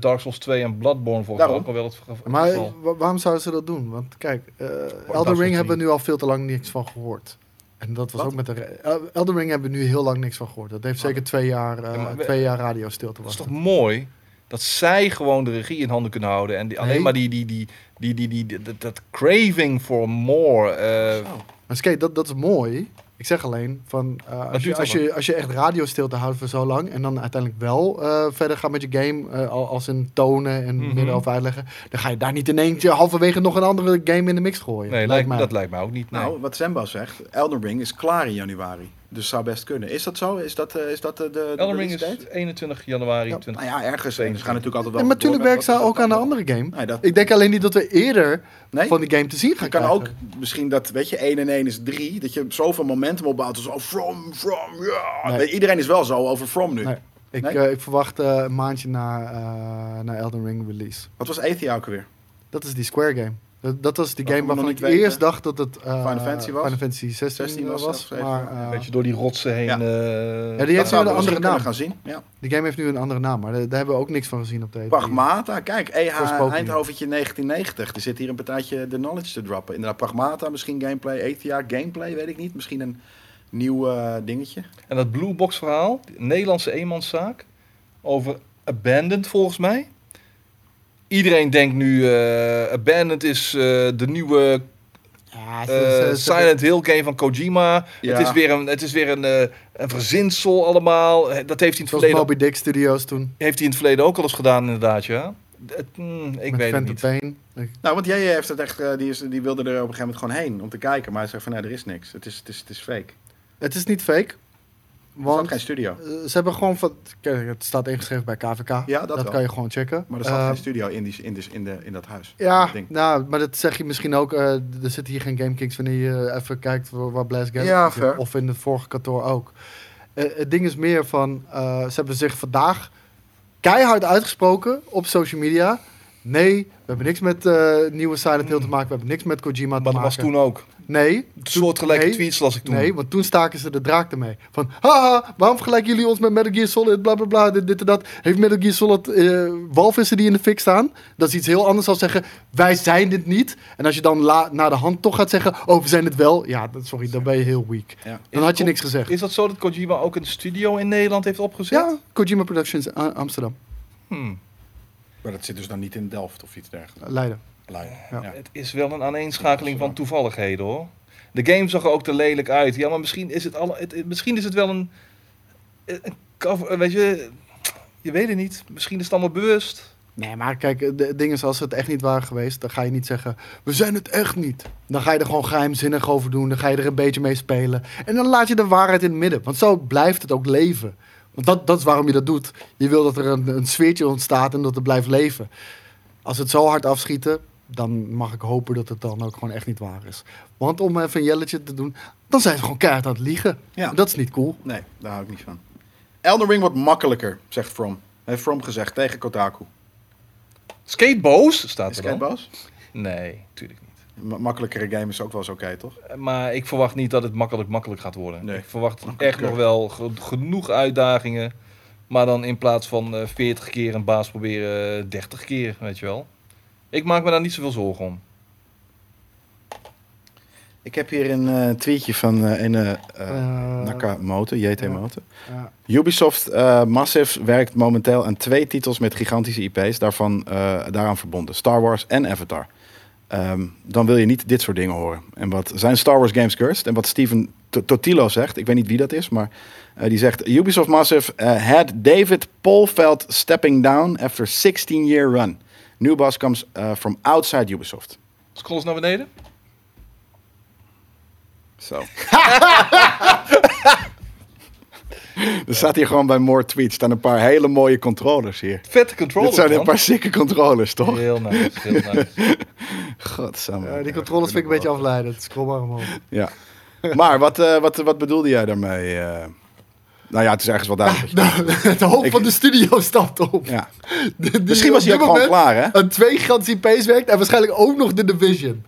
Speaker 2: Dark Souls 2 en Bloodborne volgens mij
Speaker 1: Daarom.
Speaker 2: ook al wel het geval.
Speaker 3: Maar wa- waarom zouden ze dat doen? Want kijk, eh,
Speaker 2: dat soort
Speaker 3: Elden Ring hebben
Speaker 2: dingen.
Speaker 3: we nu al veel te lang niks van gehoord. En dat was
Speaker 1: Wat?
Speaker 3: ook met de... re- El- Elden Ring hebben we nu heel lang niks van gehoord. Dat heeft zeker twee jaar, eh,
Speaker 2: Ja, maar we-
Speaker 3: twee jaar radio stil te
Speaker 2: Dat is
Speaker 3: wachten.
Speaker 2: toch mooi dat zij gewoon de regie in handen kunnen houden. En die, alleen
Speaker 3: Nee.
Speaker 2: maar die, die, die, die, die, die, die- dat, dat craving for more. eh,
Speaker 1: Oh.
Speaker 3: Maar skate, dat, dat is mooi. Ik zeg alleen, van, eh, als, je,
Speaker 2: duurt
Speaker 3: als,
Speaker 2: al
Speaker 3: je, als je echt radio stil te houden voor zo lang... en dan uiteindelijk wel eh, verder gaat met je game... eh, al- als in tonen en
Speaker 2: Mhm.
Speaker 3: midden over uitleggen... dan ga je daar niet in eentje halverwege nog een andere game in de mix gooien.
Speaker 2: nee, lijkt, dat lijkt mij ook niet. nee.
Speaker 1: nou, wat Zemba zegt, Elden Ring is klaar in januari. Dus zou best kunnen. Is dat zo? Is dat, eh, is dat eh, de, de
Speaker 2: Elden Ring
Speaker 1: release
Speaker 2: is
Speaker 1: date?
Speaker 2: 21 januari
Speaker 3: Ja,
Speaker 2: 20.
Speaker 1: Nou ja, ergens. En ze gaan natuurlijk altijd wel...
Speaker 3: En natuurlijk
Speaker 1: door
Speaker 3: werkt
Speaker 1: met-
Speaker 3: zij
Speaker 1: wat is
Speaker 3: ook
Speaker 1: dat
Speaker 3: aan de
Speaker 1: dan
Speaker 3: andere game.
Speaker 1: wel? Nee, dat,
Speaker 3: Ik denk alleen niet dat we eerder
Speaker 1: nee.
Speaker 3: van die game te zien gaan
Speaker 1: Je kan
Speaker 3: krijgen.
Speaker 1: ook misschien dat, weet je, 1 en 1 is 3. Dat je zoveel momentum opbouwt. Zo, oh, from, from, ja.
Speaker 3: Nee.
Speaker 1: Weet je, Iedereen is wel zo over from nu.
Speaker 3: Nee. Ik,
Speaker 1: Nee?
Speaker 3: eh, ik verwacht eh, een maandje na, eh, na Elden Ring release.
Speaker 1: Wat was Athia ook alweer?
Speaker 3: Dat is die Square game. Dat, dat was die
Speaker 1: Wat
Speaker 3: game
Speaker 1: we nog
Speaker 3: waarvan ik
Speaker 1: niet weten.
Speaker 3: eerst dacht dat het eh,
Speaker 1: Final Fantasy was?
Speaker 3: Final Fantasy 16,
Speaker 1: 16 was,
Speaker 3: was.
Speaker 1: of 17,
Speaker 3: maar,
Speaker 1: ja.
Speaker 3: eh,
Speaker 2: Een beetje door die rotsen heen.
Speaker 1: Ja.
Speaker 2: eh,
Speaker 3: Ja, die
Speaker 1: Dat zouden
Speaker 3: heeft nu
Speaker 1: we
Speaker 3: een andere
Speaker 1: misschien kunnen
Speaker 3: naam.
Speaker 1: gaan zien. Ja.
Speaker 3: Die game heeft nu een andere naam, maar daar, daar hebben we ook niks van gezien op de E3.
Speaker 1: Pragmata, kijk,
Speaker 3: Voor
Speaker 1: EH
Speaker 3: Spoken.
Speaker 1: Eindhoventje 1990. Er zit hier een partijtje de knowledge te droppen. Inderdaad, Pragmata, misschien gameplay, ETA, gameplay, weet ik niet. Misschien een nieuw eh, dingetje.
Speaker 2: En dat Blue Box verhaal, die Nederlandse eenmanszaak, over Abandoned volgens mij. Iedereen denkt nu, eh Abandoned is eh, de nieuwe
Speaker 3: Ja, ze-
Speaker 2: eh,
Speaker 3: ze- ze-
Speaker 2: Silent Hill game van Kojima.
Speaker 1: Ja.
Speaker 2: Het is weer, een, het is weer een, eh, een verzinsel allemaal. Eh, Dat heeft hij, in het
Speaker 3: Zoals
Speaker 2: verleden,
Speaker 3: Moby Dick Studios toen.
Speaker 2: heeft hij in het verleden ook al eens gedaan inderdaad, ja. Het, mm, ik
Speaker 3: met
Speaker 2: weet het
Speaker 3: Phantom
Speaker 2: niet.
Speaker 3: Pain. Ik-
Speaker 1: Nou, want jij heeft het echt, eh, die, is, die wilde er op een gegeven moment gewoon heen om te kijken. Maar hij zegt van, nee, er is niks. Het is, het is, het is fake.
Speaker 3: Het is niet fake.
Speaker 1: Er staat
Speaker 3: Want
Speaker 1: geen studio.
Speaker 3: eh, ze hebben gewoon van... Kijk, het staat ingeschreven bij KVK.
Speaker 1: Ja, dat wel.
Speaker 3: kan je gewoon checken.
Speaker 1: Maar er staat
Speaker 3: Eh,
Speaker 1: geen studio in, die, in, die- in, de, in dat huis.
Speaker 3: Ja,
Speaker 1: Dat ding.
Speaker 3: nou, maar dat zeg je misschien ook. eh, d- er zitten hier geen Game Kings wanneer je eh, even kijkt waar, waar Blast Games
Speaker 1: Ja,
Speaker 3: zit.
Speaker 1: fair.
Speaker 3: Of in het vorige kantoor ook. Eh, het ding is meer van, eh, ze hebben zich vandaag keihard uitgesproken op social media. Nee, we hebben niks met eh, nieuwe Silent Hill te maken. We hebben niks met Kojima te
Speaker 2: Mm. Maar dat
Speaker 3: maken.
Speaker 2: was toen ook.
Speaker 3: Nee,
Speaker 2: Een soortgelijke
Speaker 3: nee,
Speaker 2: tweets las ik toen.
Speaker 3: nee, want toen staken ze de draak ermee. Van, haha, waarom vergelijken jullie ons met Metal Gear Solid, bla bla bla, dit, dit en dat. Heeft Metal Gear Solid eh, walvissen die in de fik staan? Dat is iets heel anders dan zeggen, wij zijn dit niet. En als je dan la, na de hand toch gaat zeggen, oh, we zijn het wel. Ja, dat- sorry, dan ben je heel weak.
Speaker 1: Ja.
Speaker 3: Dan had je niks gezegd.
Speaker 2: Is dat zo dat Kojima ook een studio in Nederland heeft opgezet?
Speaker 3: Ja, Kojima Productions eh, Amsterdam,
Speaker 2: Hmm.
Speaker 1: Maar dat zit dus dan niet in Delft of iets dergelijks.
Speaker 3: eh, Leiden.
Speaker 1: Leiden.
Speaker 3: Ja.
Speaker 1: Ja.
Speaker 2: Het is wel een aaneenschakeling van toevalligheden hoor. De game zag er ook te lelijk uit. Ja, maar misschien is het, alle, het, het- misschien is het wel een, een cover. eh, Weet je, je weet het niet. Misschien is het allemaal bewust.
Speaker 3: Nee, maar kijk, eh, de- het ding is, als ze het echt niet waren geweest, dan ga je niet zeggen, we zijn het echt niet. Dan ga je er gewoon geheimzinnig over doen, dan ga je er een beetje mee spelen. En dan laat je de waarheid in het midden, want zo blijft het ook leven. Want dat, dat is waarom je dat doet. Je wil dat er een, een sfeertje ontstaat en dat het blijft leven. Als ze het zo hard afschieten, dan mag ik hopen dat het dan ook gewoon echt niet waar is. Want om even een jelletje te doen, dan zijn ze gewoon keihard aan het liegen.
Speaker 1: Ja.
Speaker 3: Dat is niet cool.
Speaker 1: Nee, daar hou ik niet van. Elden Ring wordt makkelijker, zegt From. Heeft From gezegd tegen Kotaku.
Speaker 2: Skateboos staat
Speaker 1: Is
Speaker 2: er
Speaker 1: Kate
Speaker 2: dan.
Speaker 1: boos?
Speaker 2: Nee, natuurlijk niet.
Speaker 1: Ma- makkelijkere game is ook wel eens oké, toch?
Speaker 2: Maar ik verwacht niet dat het makkelijk makkelijk gaat worden.
Speaker 1: Nee.
Speaker 2: Ik verwacht echt nog wel ge- genoeg uitdagingen. Maar dan in plaats van eh, 40 keer een baas proberen, eh, 30 keer, weet je wel. Ik maak me daar niet zoveel zorgen om.
Speaker 1: Ik heb hier een eh, tweetje van eh een eh, eh,
Speaker 3: Eh,
Speaker 1: Nakamoto, JT
Speaker 3: ja.
Speaker 1: Moto.
Speaker 3: ja.
Speaker 1: Ubisoft eh, Massive werkt momenteel aan twee titels met gigantische IP's, daarvan, eh, daaraan verbonden. Star Wars en Avatar. Ehm, dan wil je niet dit soort dingen horen. En wat zijn Star Wars games cursed? En wat Steven T- Totilo zegt, ik weet niet wie dat is, maar eh, die zegt... Ubisoft Massive eh, had David Polveld stepping down after 16-year run. New boss comes eh, from outside Ubisoft.
Speaker 2: Scroll eens naar beneden.
Speaker 1: Zo. Er staat hier gewoon bij More Tweets. staan een paar hele mooie controllers hier.
Speaker 2: Vette
Speaker 1: Dit
Speaker 2: controller,
Speaker 1: zijn een
Speaker 2: man.
Speaker 1: paar sikke controllers, toch?
Speaker 2: Heel nice, heel nice.
Speaker 1: Godsamme.
Speaker 3: Ja, eh, die controles vind ik een beetje afleidend. Scroll maar omhoog.
Speaker 1: Ja. Maar wat, eh, wat, wat bedoelde jij daarmee? eh? nou ja, het is ergens wel duidelijk.
Speaker 3: Nou, De, de hoop
Speaker 1: Ik-
Speaker 3: van de studio stapt op.
Speaker 1: Ja.
Speaker 3: Die- die
Speaker 1: Misschien
Speaker 3: op
Speaker 1: was hij
Speaker 3: dit
Speaker 1: ook gewoon
Speaker 3: moment
Speaker 1: klaar, hè?
Speaker 3: Een twee garantie pace werkt en waarschijnlijk ook nog de Division.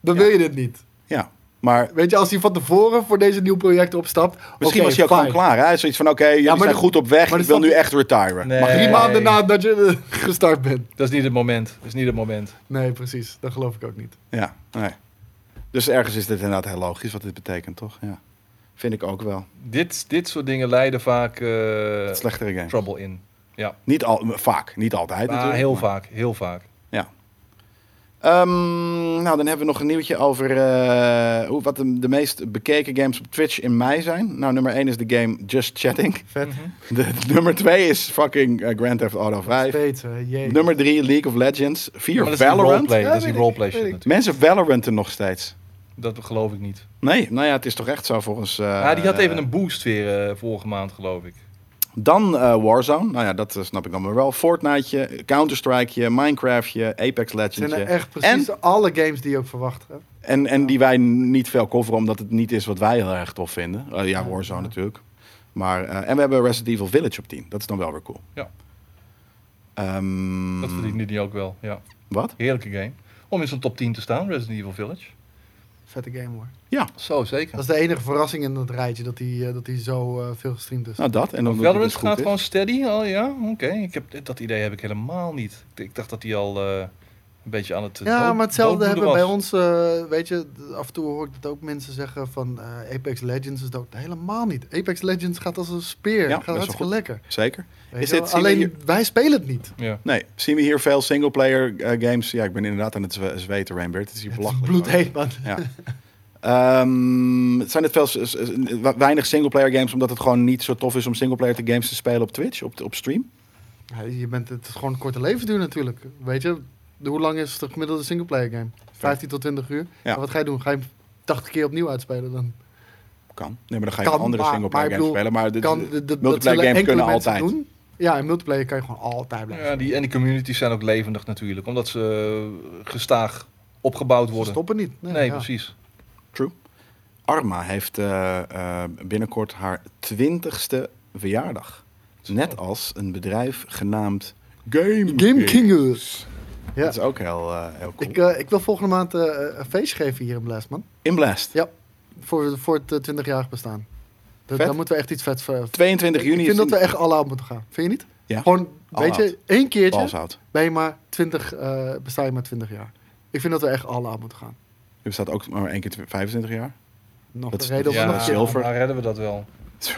Speaker 3: Dan wil je dit niet.
Speaker 1: Ja. Maar
Speaker 3: Weet je, als hij van tevoren voor deze nieuwe projecten opstapt...
Speaker 1: misschien was hij ook gewoon klaar, hè? Hij is Zoiets van, oké, jullie
Speaker 3: maar
Speaker 1: zijn
Speaker 3: dat-
Speaker 1: goed op weg.
Speaker 3: maar
Speaker 1: Ik
Speaker 3: dat
Speaker 1: wil nu
Speaker 3: staat-
Speaker 1: echt retiren.
Speaker 2: Nee.
Speaker 3: Maar drie
Speaker 2: Hey.
Speaker 3: maanden nadat je eh, gestart bent.
Speaker 2: Dat is niet het moment. Dat is niet het moment.
Speaker 3: Nee, precies. Dat geloof ik ook niet.
Speaker 1: Ja, nee. Dus ergens is dit inderdaad heel logisch wat dit betekent, toch? Ja. Vind ik ook wel.
Speaker 2: Dit, dit soort dingen leiden vaak eh,
Speaker 1: Slechtere game.
Speaker 2: trouble in.
Speaker 1: Niet al, vaak, niet altijd
Speaker 2: Ah,
Speaker 1: natuurlijk.
Speaker 2: heel
Speaker 1: maar-
Speaker 2: vaak, heel vaak.
Speaker 1: Ehm, nou, dan hebben we nog een nieuwtje over eh, hoe, wat de, de meest bekeken games op Twitch in mei zijn. Nou, nummer 1 is de game Just Chatting.
Speaker 3: Vet.
Speaker 2: Mhm.
Speaker 1: De, nummer 2 is fucking eh, Grand Theft Auto 5.
Speaker 3: Steeds, hè. Jee.
Speaker 1: Nummer 3 League of Legends.
Speaker 2: Maar
Speaker 1: 4
Speaker 2: dat is die
Speaker 1: Valorant.
Speaker 2: roleplay, dat is die
Speaker 3: Ja, weet ik,
Speaker 2: roleplay shit
Speaker 3: weet ik.
Speaker 2: natuurlijk.
Speaker 1: Mensen Valoranten nog steeds.
Speaker 2: Dat geloof ik niet.
Speaker 1: Nee, nou ja, het is toch echt zo volgens... eh,
Speaker 2: ah, die had even een boost weer eh, vorige maand, geloof ik.
Speaker 1: Dan eh, Warzone. Nou ja, dat eh, snap ik allemaal wel. Fortniteje, Counter-Strikeje, Minecraftje, Apex
Speaker 3: Het zijn
Speaker 1: Legendsje.
Speaker 3: echt precies alle games die je ook verwacht. Hè?
Speaker 1: En, en die wij niet veel coveren, omdat het niet is wat wij heel erg tof vinden. Eh, ja, Warzone natuurlijk. Maar, eh, en we hebben Resident Evil Village op 10. Dat is dan wel weer cool.
Speaker 2: Ja.
Speaker 1: Ehm,
Speaker 3: Mm.
Speaker 2: Dat verdient nu die ook wel, ja.
Speaker 1: Wat?
Speaker 2: Heerlijke game. Om in zo'n top 10 te staan, Resident Evil Village.
Speaker 3: Vette game hoor.
Speaker 2: Zo, zeker.
Speaker 3: Dat is de enige verrassing in dat rijtje, dat hij eh, dat hij zo eh, veel gestreamd is.
Speaker 1: Nou, dat. En dan doet hij
Speaker 2: Valorant
Speaker 1: dus goed,
Speaker 2: gaat
Speaker 1: hè?
Speaker 2: gewoon steady. Oh ja, oké. Ik heb- Dat idee heb ik helemaal niet. Ik- Ik dacht dat die al eh, een beetje aan het eh,
Speaker 3: Ja,
Speaker 2: dood-
Speaker 3: maar hetzelfde
Speaker 2: doodbloeden
Speaker 3: hebben we bij
Speaker 2: was.
Speaker 3: ons, eh, weet je, d- af en toe hoor ik dat ook mensen zeggen van eh, Apex Legends is dood. Helemaal niet. Apex Legends gaat als een
Speaker 1: Ja,
Speaker 3: speer. gaat
Speaker 1: best wel
Speaker 3: hartstikke
Speaker 1: goed.
Speaker 3: lekker.
Speaker 1: Zeker.
Speaker 3: Weet
Speaker 1: Is
Speaker 3: je wel.
Speaker 1: dit- zien we
Speaker 3: Alleen
Speaker 1: hier-
Speaker 3: wij spelen het niet.
Speaker 2: Ja.
Speaker 1: Nee, zien we hier veel singleplayer eh, games? Ja, ik ben inderdaad aan het zwe- zweten, Rainbeard. Het is hier
Speaker 3: Het is
Speaker 1: belachelijk.
Speaker 3: bloedheet, man.
Speaker 1: Ja. Ehm, zijn het veel, s- s- s- weinig singleplayer games omdat het gewoon niet zo tof is om singleplayer te games te spelen op Twitch, op, op stream?
Speaker 3: Ja, je bent, het is gewoon een korte levensduur natuurlijk. Weet je, de- hoe lang is de gemiddelde singleplayer game? 15 tot 20 uur.
Speaker 1: Ja.
Speaker 3: En wat ga je doen? Ga je hem 80 keer opnieuw uitspelen dan?
Speaker 1: Kan. Nee, maar dan ga je
Speaker 3: Kan,
Speaker 1: andere
Speaker 3: maar-
Speaker 1: singleplayer
Speaker 3: maar ik
Speaker 1: games
Speaker 3: bedoel,
Speaker 1: spelen. Maar de,
Speaker 3: Kan,
Speaker 1: de-
Speaker 3: d- d- dat
Speaker 1: multiplayer
Speaker 3: zullen
Speaker 1: games
Speaker 3: enkele
Speaker 1: kunnen
Speaker 3: mensen
Speaker 1: altijd.
Speaker 3: Doen. Ja, in multiplayer kan je gewoon altijd blijven.
Speaker 2: Ja, die, en die communities zijn ook levendig natuurlijk, omdat ze eh, gestaag opgebouwd
Speaker 3: Ze
Speaker 2: worden.
Speaker 3: stoppen niet. Nee,
Speaker 2: nee,
Speaker 3: ja.
Speaker 2: precies.
Speaker 1: Arma heeft eh, eh, binnenkort haar twintigste verjaardag. Net als een bedrijf genaamd Game,
Speaker 3: Game Kingers. Ja.
Speaker 1: Dat is ook heel, eh, heel cool.
Speaker 3: Ik, eh, ik wil volgende maand eh, een feestje geven hier in Blast, man.
Speaker 1: In Blast.
Speaker 3: Ja. Voor, voor het eh, 20-jarig bestaan. Dat,
Speaker 1: Vet.
Speaker 3: daar moeten we echt iets vet voor.
Speaker 1: 22 juni
Speaker 3: ik
Speaker 1: is
Speaker 3: vind dat we
Speaker 1: in-
Speaker 3: echt alle out moeten gaan. Vind je niet?
Speaker 1: Ja.
Speaker 3: Gewoon,
Speaker 1: All
Speaker 3: weet je,
Speaker 1: out.
Speaker 3: één keertje
Speaker 1: Balzout.
Speaker 3: ben je maar 20, eh besta je maar 20 jaar. Ik vind dat we echt alle out moeten gaan.
Speaker 1: Je bestaat ook maar één keer tw- 25 jaar.
Speaker 3: Nog
Speaker 1: Dat is-
Speaker 3: een reden om
Speaker 1: ja, dat
Speaker 3: nog een
Speaker 1: is
Speaker 3: keer-
Speaker 1: heel- zilver.
Speaker 2: Maar redden we dat wel?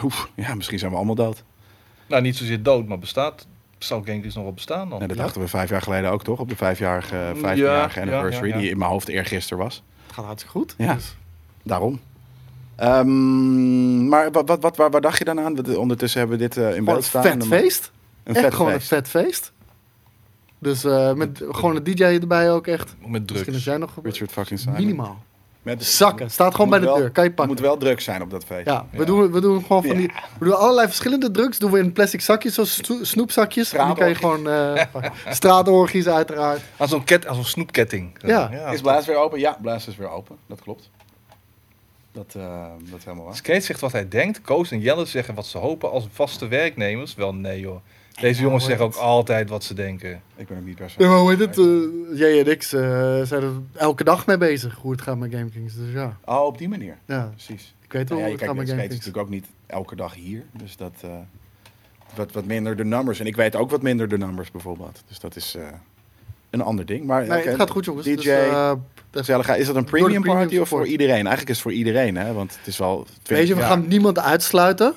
Speaker 1: Oef, ja, misschien zijn we allemaal dood.
Speaker 2: Nou, niet zozeer dood, maar bestaat. Zou Genghis nog wel bestaan dan?
Speaker 1: Nou, dat
Speaker 3: Ja.
Speaker 1: dachten we vijf jaar geleden ook, toch? Op de vijfjarige, eh,
Speaker 2: Ja,
Speaker 1: 15-jarige
Speaker 2: Mm, ja,
Speaker 1: anniversary,
Speaker 2: ja, ja.
Speaker 1: die in mijn hoofd eergisteren was.
Speaker 3: Het gaat hartstikke goed.
Speaker 1: Ja.
Speaker 3: Dus,
Speaker 1: Daarom. Ehm, maar wat, wat, wat, waar, waar dacht je dan aan? Want, eh, Ondertussen hebben we dit eh, in
Speaker 3: gewoon
Speaker 1: beeld
Speaker 3: een
Speaker 1: staan.
Speaker 3: vet
Speaker 1: En dan-
Speaker 3: feest.
Speaker 1: Een
Speaker 3: echt
Speaker 1: vet
Speaker 3: gewoon
Speaker 1: feest.
Speaker 3: een vet feest. Dus eh, met gewoon een DJ erbij ook echt.
Speaker 2: Met
Speaker 3: Misschien is
Speaker 2: drugs.
Speaker 3: jij nog
Speaker 1: Richard fucking Simon.
Speaker 3: minimaal.
Speaker 1: Met
Speaker 3: Zakken. Staat gewoon
Speaker 1: Moet
Speaker 3: bij de
Speaker 1: wel-
Speaker 3: deur. Kan je
Speaker 1: Het
Speaker 3: pakken.
Speaker 1: moet wel druk zijn op dat feest.
Speaker 3: Ja, we,
Speaker 2: Ja.
Speaker 3: Doen, we doen gewoon van
Speaker 1: Ja.
Speaker 3: die... We doen allerlei verschillende drugs. Doen we in plastic zakjes, zoals snoe- snoepzakjes. En die kan je gewoon... eh, pakken. straatorgies uiteraard.
Speaker 2: Aan zo'n ket- aan zo'n snoepketting.
Speaker 3: Ja.
Speaker 1: Is Blaas weer open? Ja, Blaas is weer open. Dat klopt. Dat, eh, dat is helemaal waar.
Speaker 2: Skate zegt wat hij denkt. Koos en Jelle zeggen wat ze hopen als vaste werknemers. Wel, nee joh. Deze jongens
Speaker 3: hoor
Speaker 2: zeggen ook
Speaker 3: het.
Speaker 2: altijd wat ze denken.
Speaker 1: Ik ben ook niet best
Speaker 3: Ja,
Speaker 1: wel.
Speaker 3: maar hoe heet het? eh, jij en ik eh, zijn er elke dag mee bezig. Hoe het gaat met GameKings. Dus ja.
Speaker 1: Oh, op die manier.
Speaker 3: ja.
Speaker 1: Precies.
Speaker 3: Ik weet
Speaker 1: Nou ja,
Speaker 3: wel
Speaker 1: je
Speaker 3: hoe het gaat
Speaker 1: kijkt
Speaker 3: met
Speaker 1: skates
Speaker 3: GameKings.
Speaker 1: natuurlijk ook niet elke dag hier. Dus dat eh, wat, wat minder de numbers. En ik weet ook wat minder de numbers bijvoorbeeld. Dus dat is eh, een ander ding. Maar
Speaker 3: Nee,
Speaker 1: oké,
Speaker 3: het gaat goed jongens.
Speaker 1: DJ,
Speaker 3: Dus, eh,
Speaker 1: gezelligheid. is dat een
Speaker 3: de
Speaker 1: premium,
Speaker 3: premium
Speaker 1: party of voor
Speaker 3: support.
Speaker 1: iedereen? Eigenlijk is het voor iedereen, hè? Want het is wel.
Speaker 3: weet je, we
Speaker 1: ja.
Speaker 3: gaan niemand uitsluiten.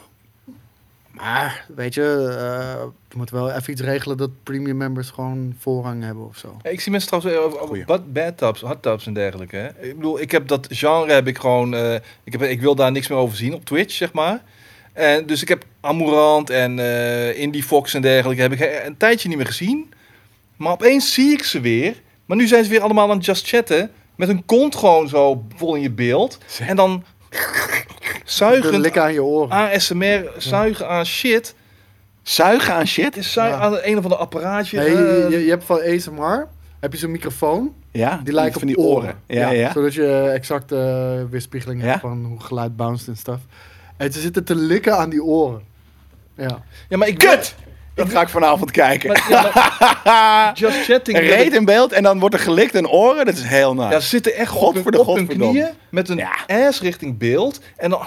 Speaker 3: Maar, weet je, eh, we moeten wel even iets regelen dat premium members gewoon voorrang hebben of zo.
Speaker 2: Ja, Ik zie mensen trouwens eh, over-
Speaker 1: Goeie.
Speaker 2: over bad, bad tubs, hot tubs en dergelijke. Hè? Ik bedoel, ik heb dat genre heb ik gewoon. eh, ik, heb, ik wil daar niks meer over zien op Twitch, zeg maar. En, dus ik heb Amourant en eh, Indie Fox en dergelijke heb ik eh, een tijdje niet meer gezien. Maar opeens zie ik ze weer. Maar nu zijn ze weer allemaal aan het just chatten. Met hun kont gewoon zo vol in je beeld. En dan
Speaker 3: De
Speaker 2: zuigen
Speaker 3: likken aan je
Speaker 1: Ah,
Speaker 3: oren.
Speaker 2: ASMR, zuigen aan shit.
Speaker 1: Zuigen aan shit.
Speaker 2: Het is zuigen
Speaker 3: Ja.
Speaker 2: aan een of ander apparaatje.
Speaker 3: Nee,
Speaker 2: eh,
Speaker 3: je, je- je hebt van ASMR heb je zo'n microfoon.
Speaker 1: Ja,
Speaker 3: Die lijken
Speaker 1: van
Speaker 3: op
Speaker 1: die oren. Ja, ja.
Speaker 3: Zodat je exact eh weerspiegeling
Speaker 1: Ja?
Speaker 3: hebt van hoe geluid bounced en stuff. En ze zitten te likken aan die oren. Ja.
Speaker 2: ja, maar ik
Speaker 1: Kut!
Speaker 2: Dat-
Speaker 1: Dat ga ik vanavond kijken.
Speaker 2: Maar, ja, maar
Speaker 1: Haha.
Speaker 2: just chatting.
Speaker 1: Een reet in beeld en dan wordt er gelikt en oren. Dat is heel
Speaker 2: Ja,
Speaker 1: nice.
Speaker 2: ze zitten echt op hun,
Speaker 1: Godverde-
Speaker 2: op hun
Speaker 1: Ah. godverdomme.
Speaker 2: knieën met een
Speaker 1: Ja.
Speaker 2: ass richting beeld. En dan,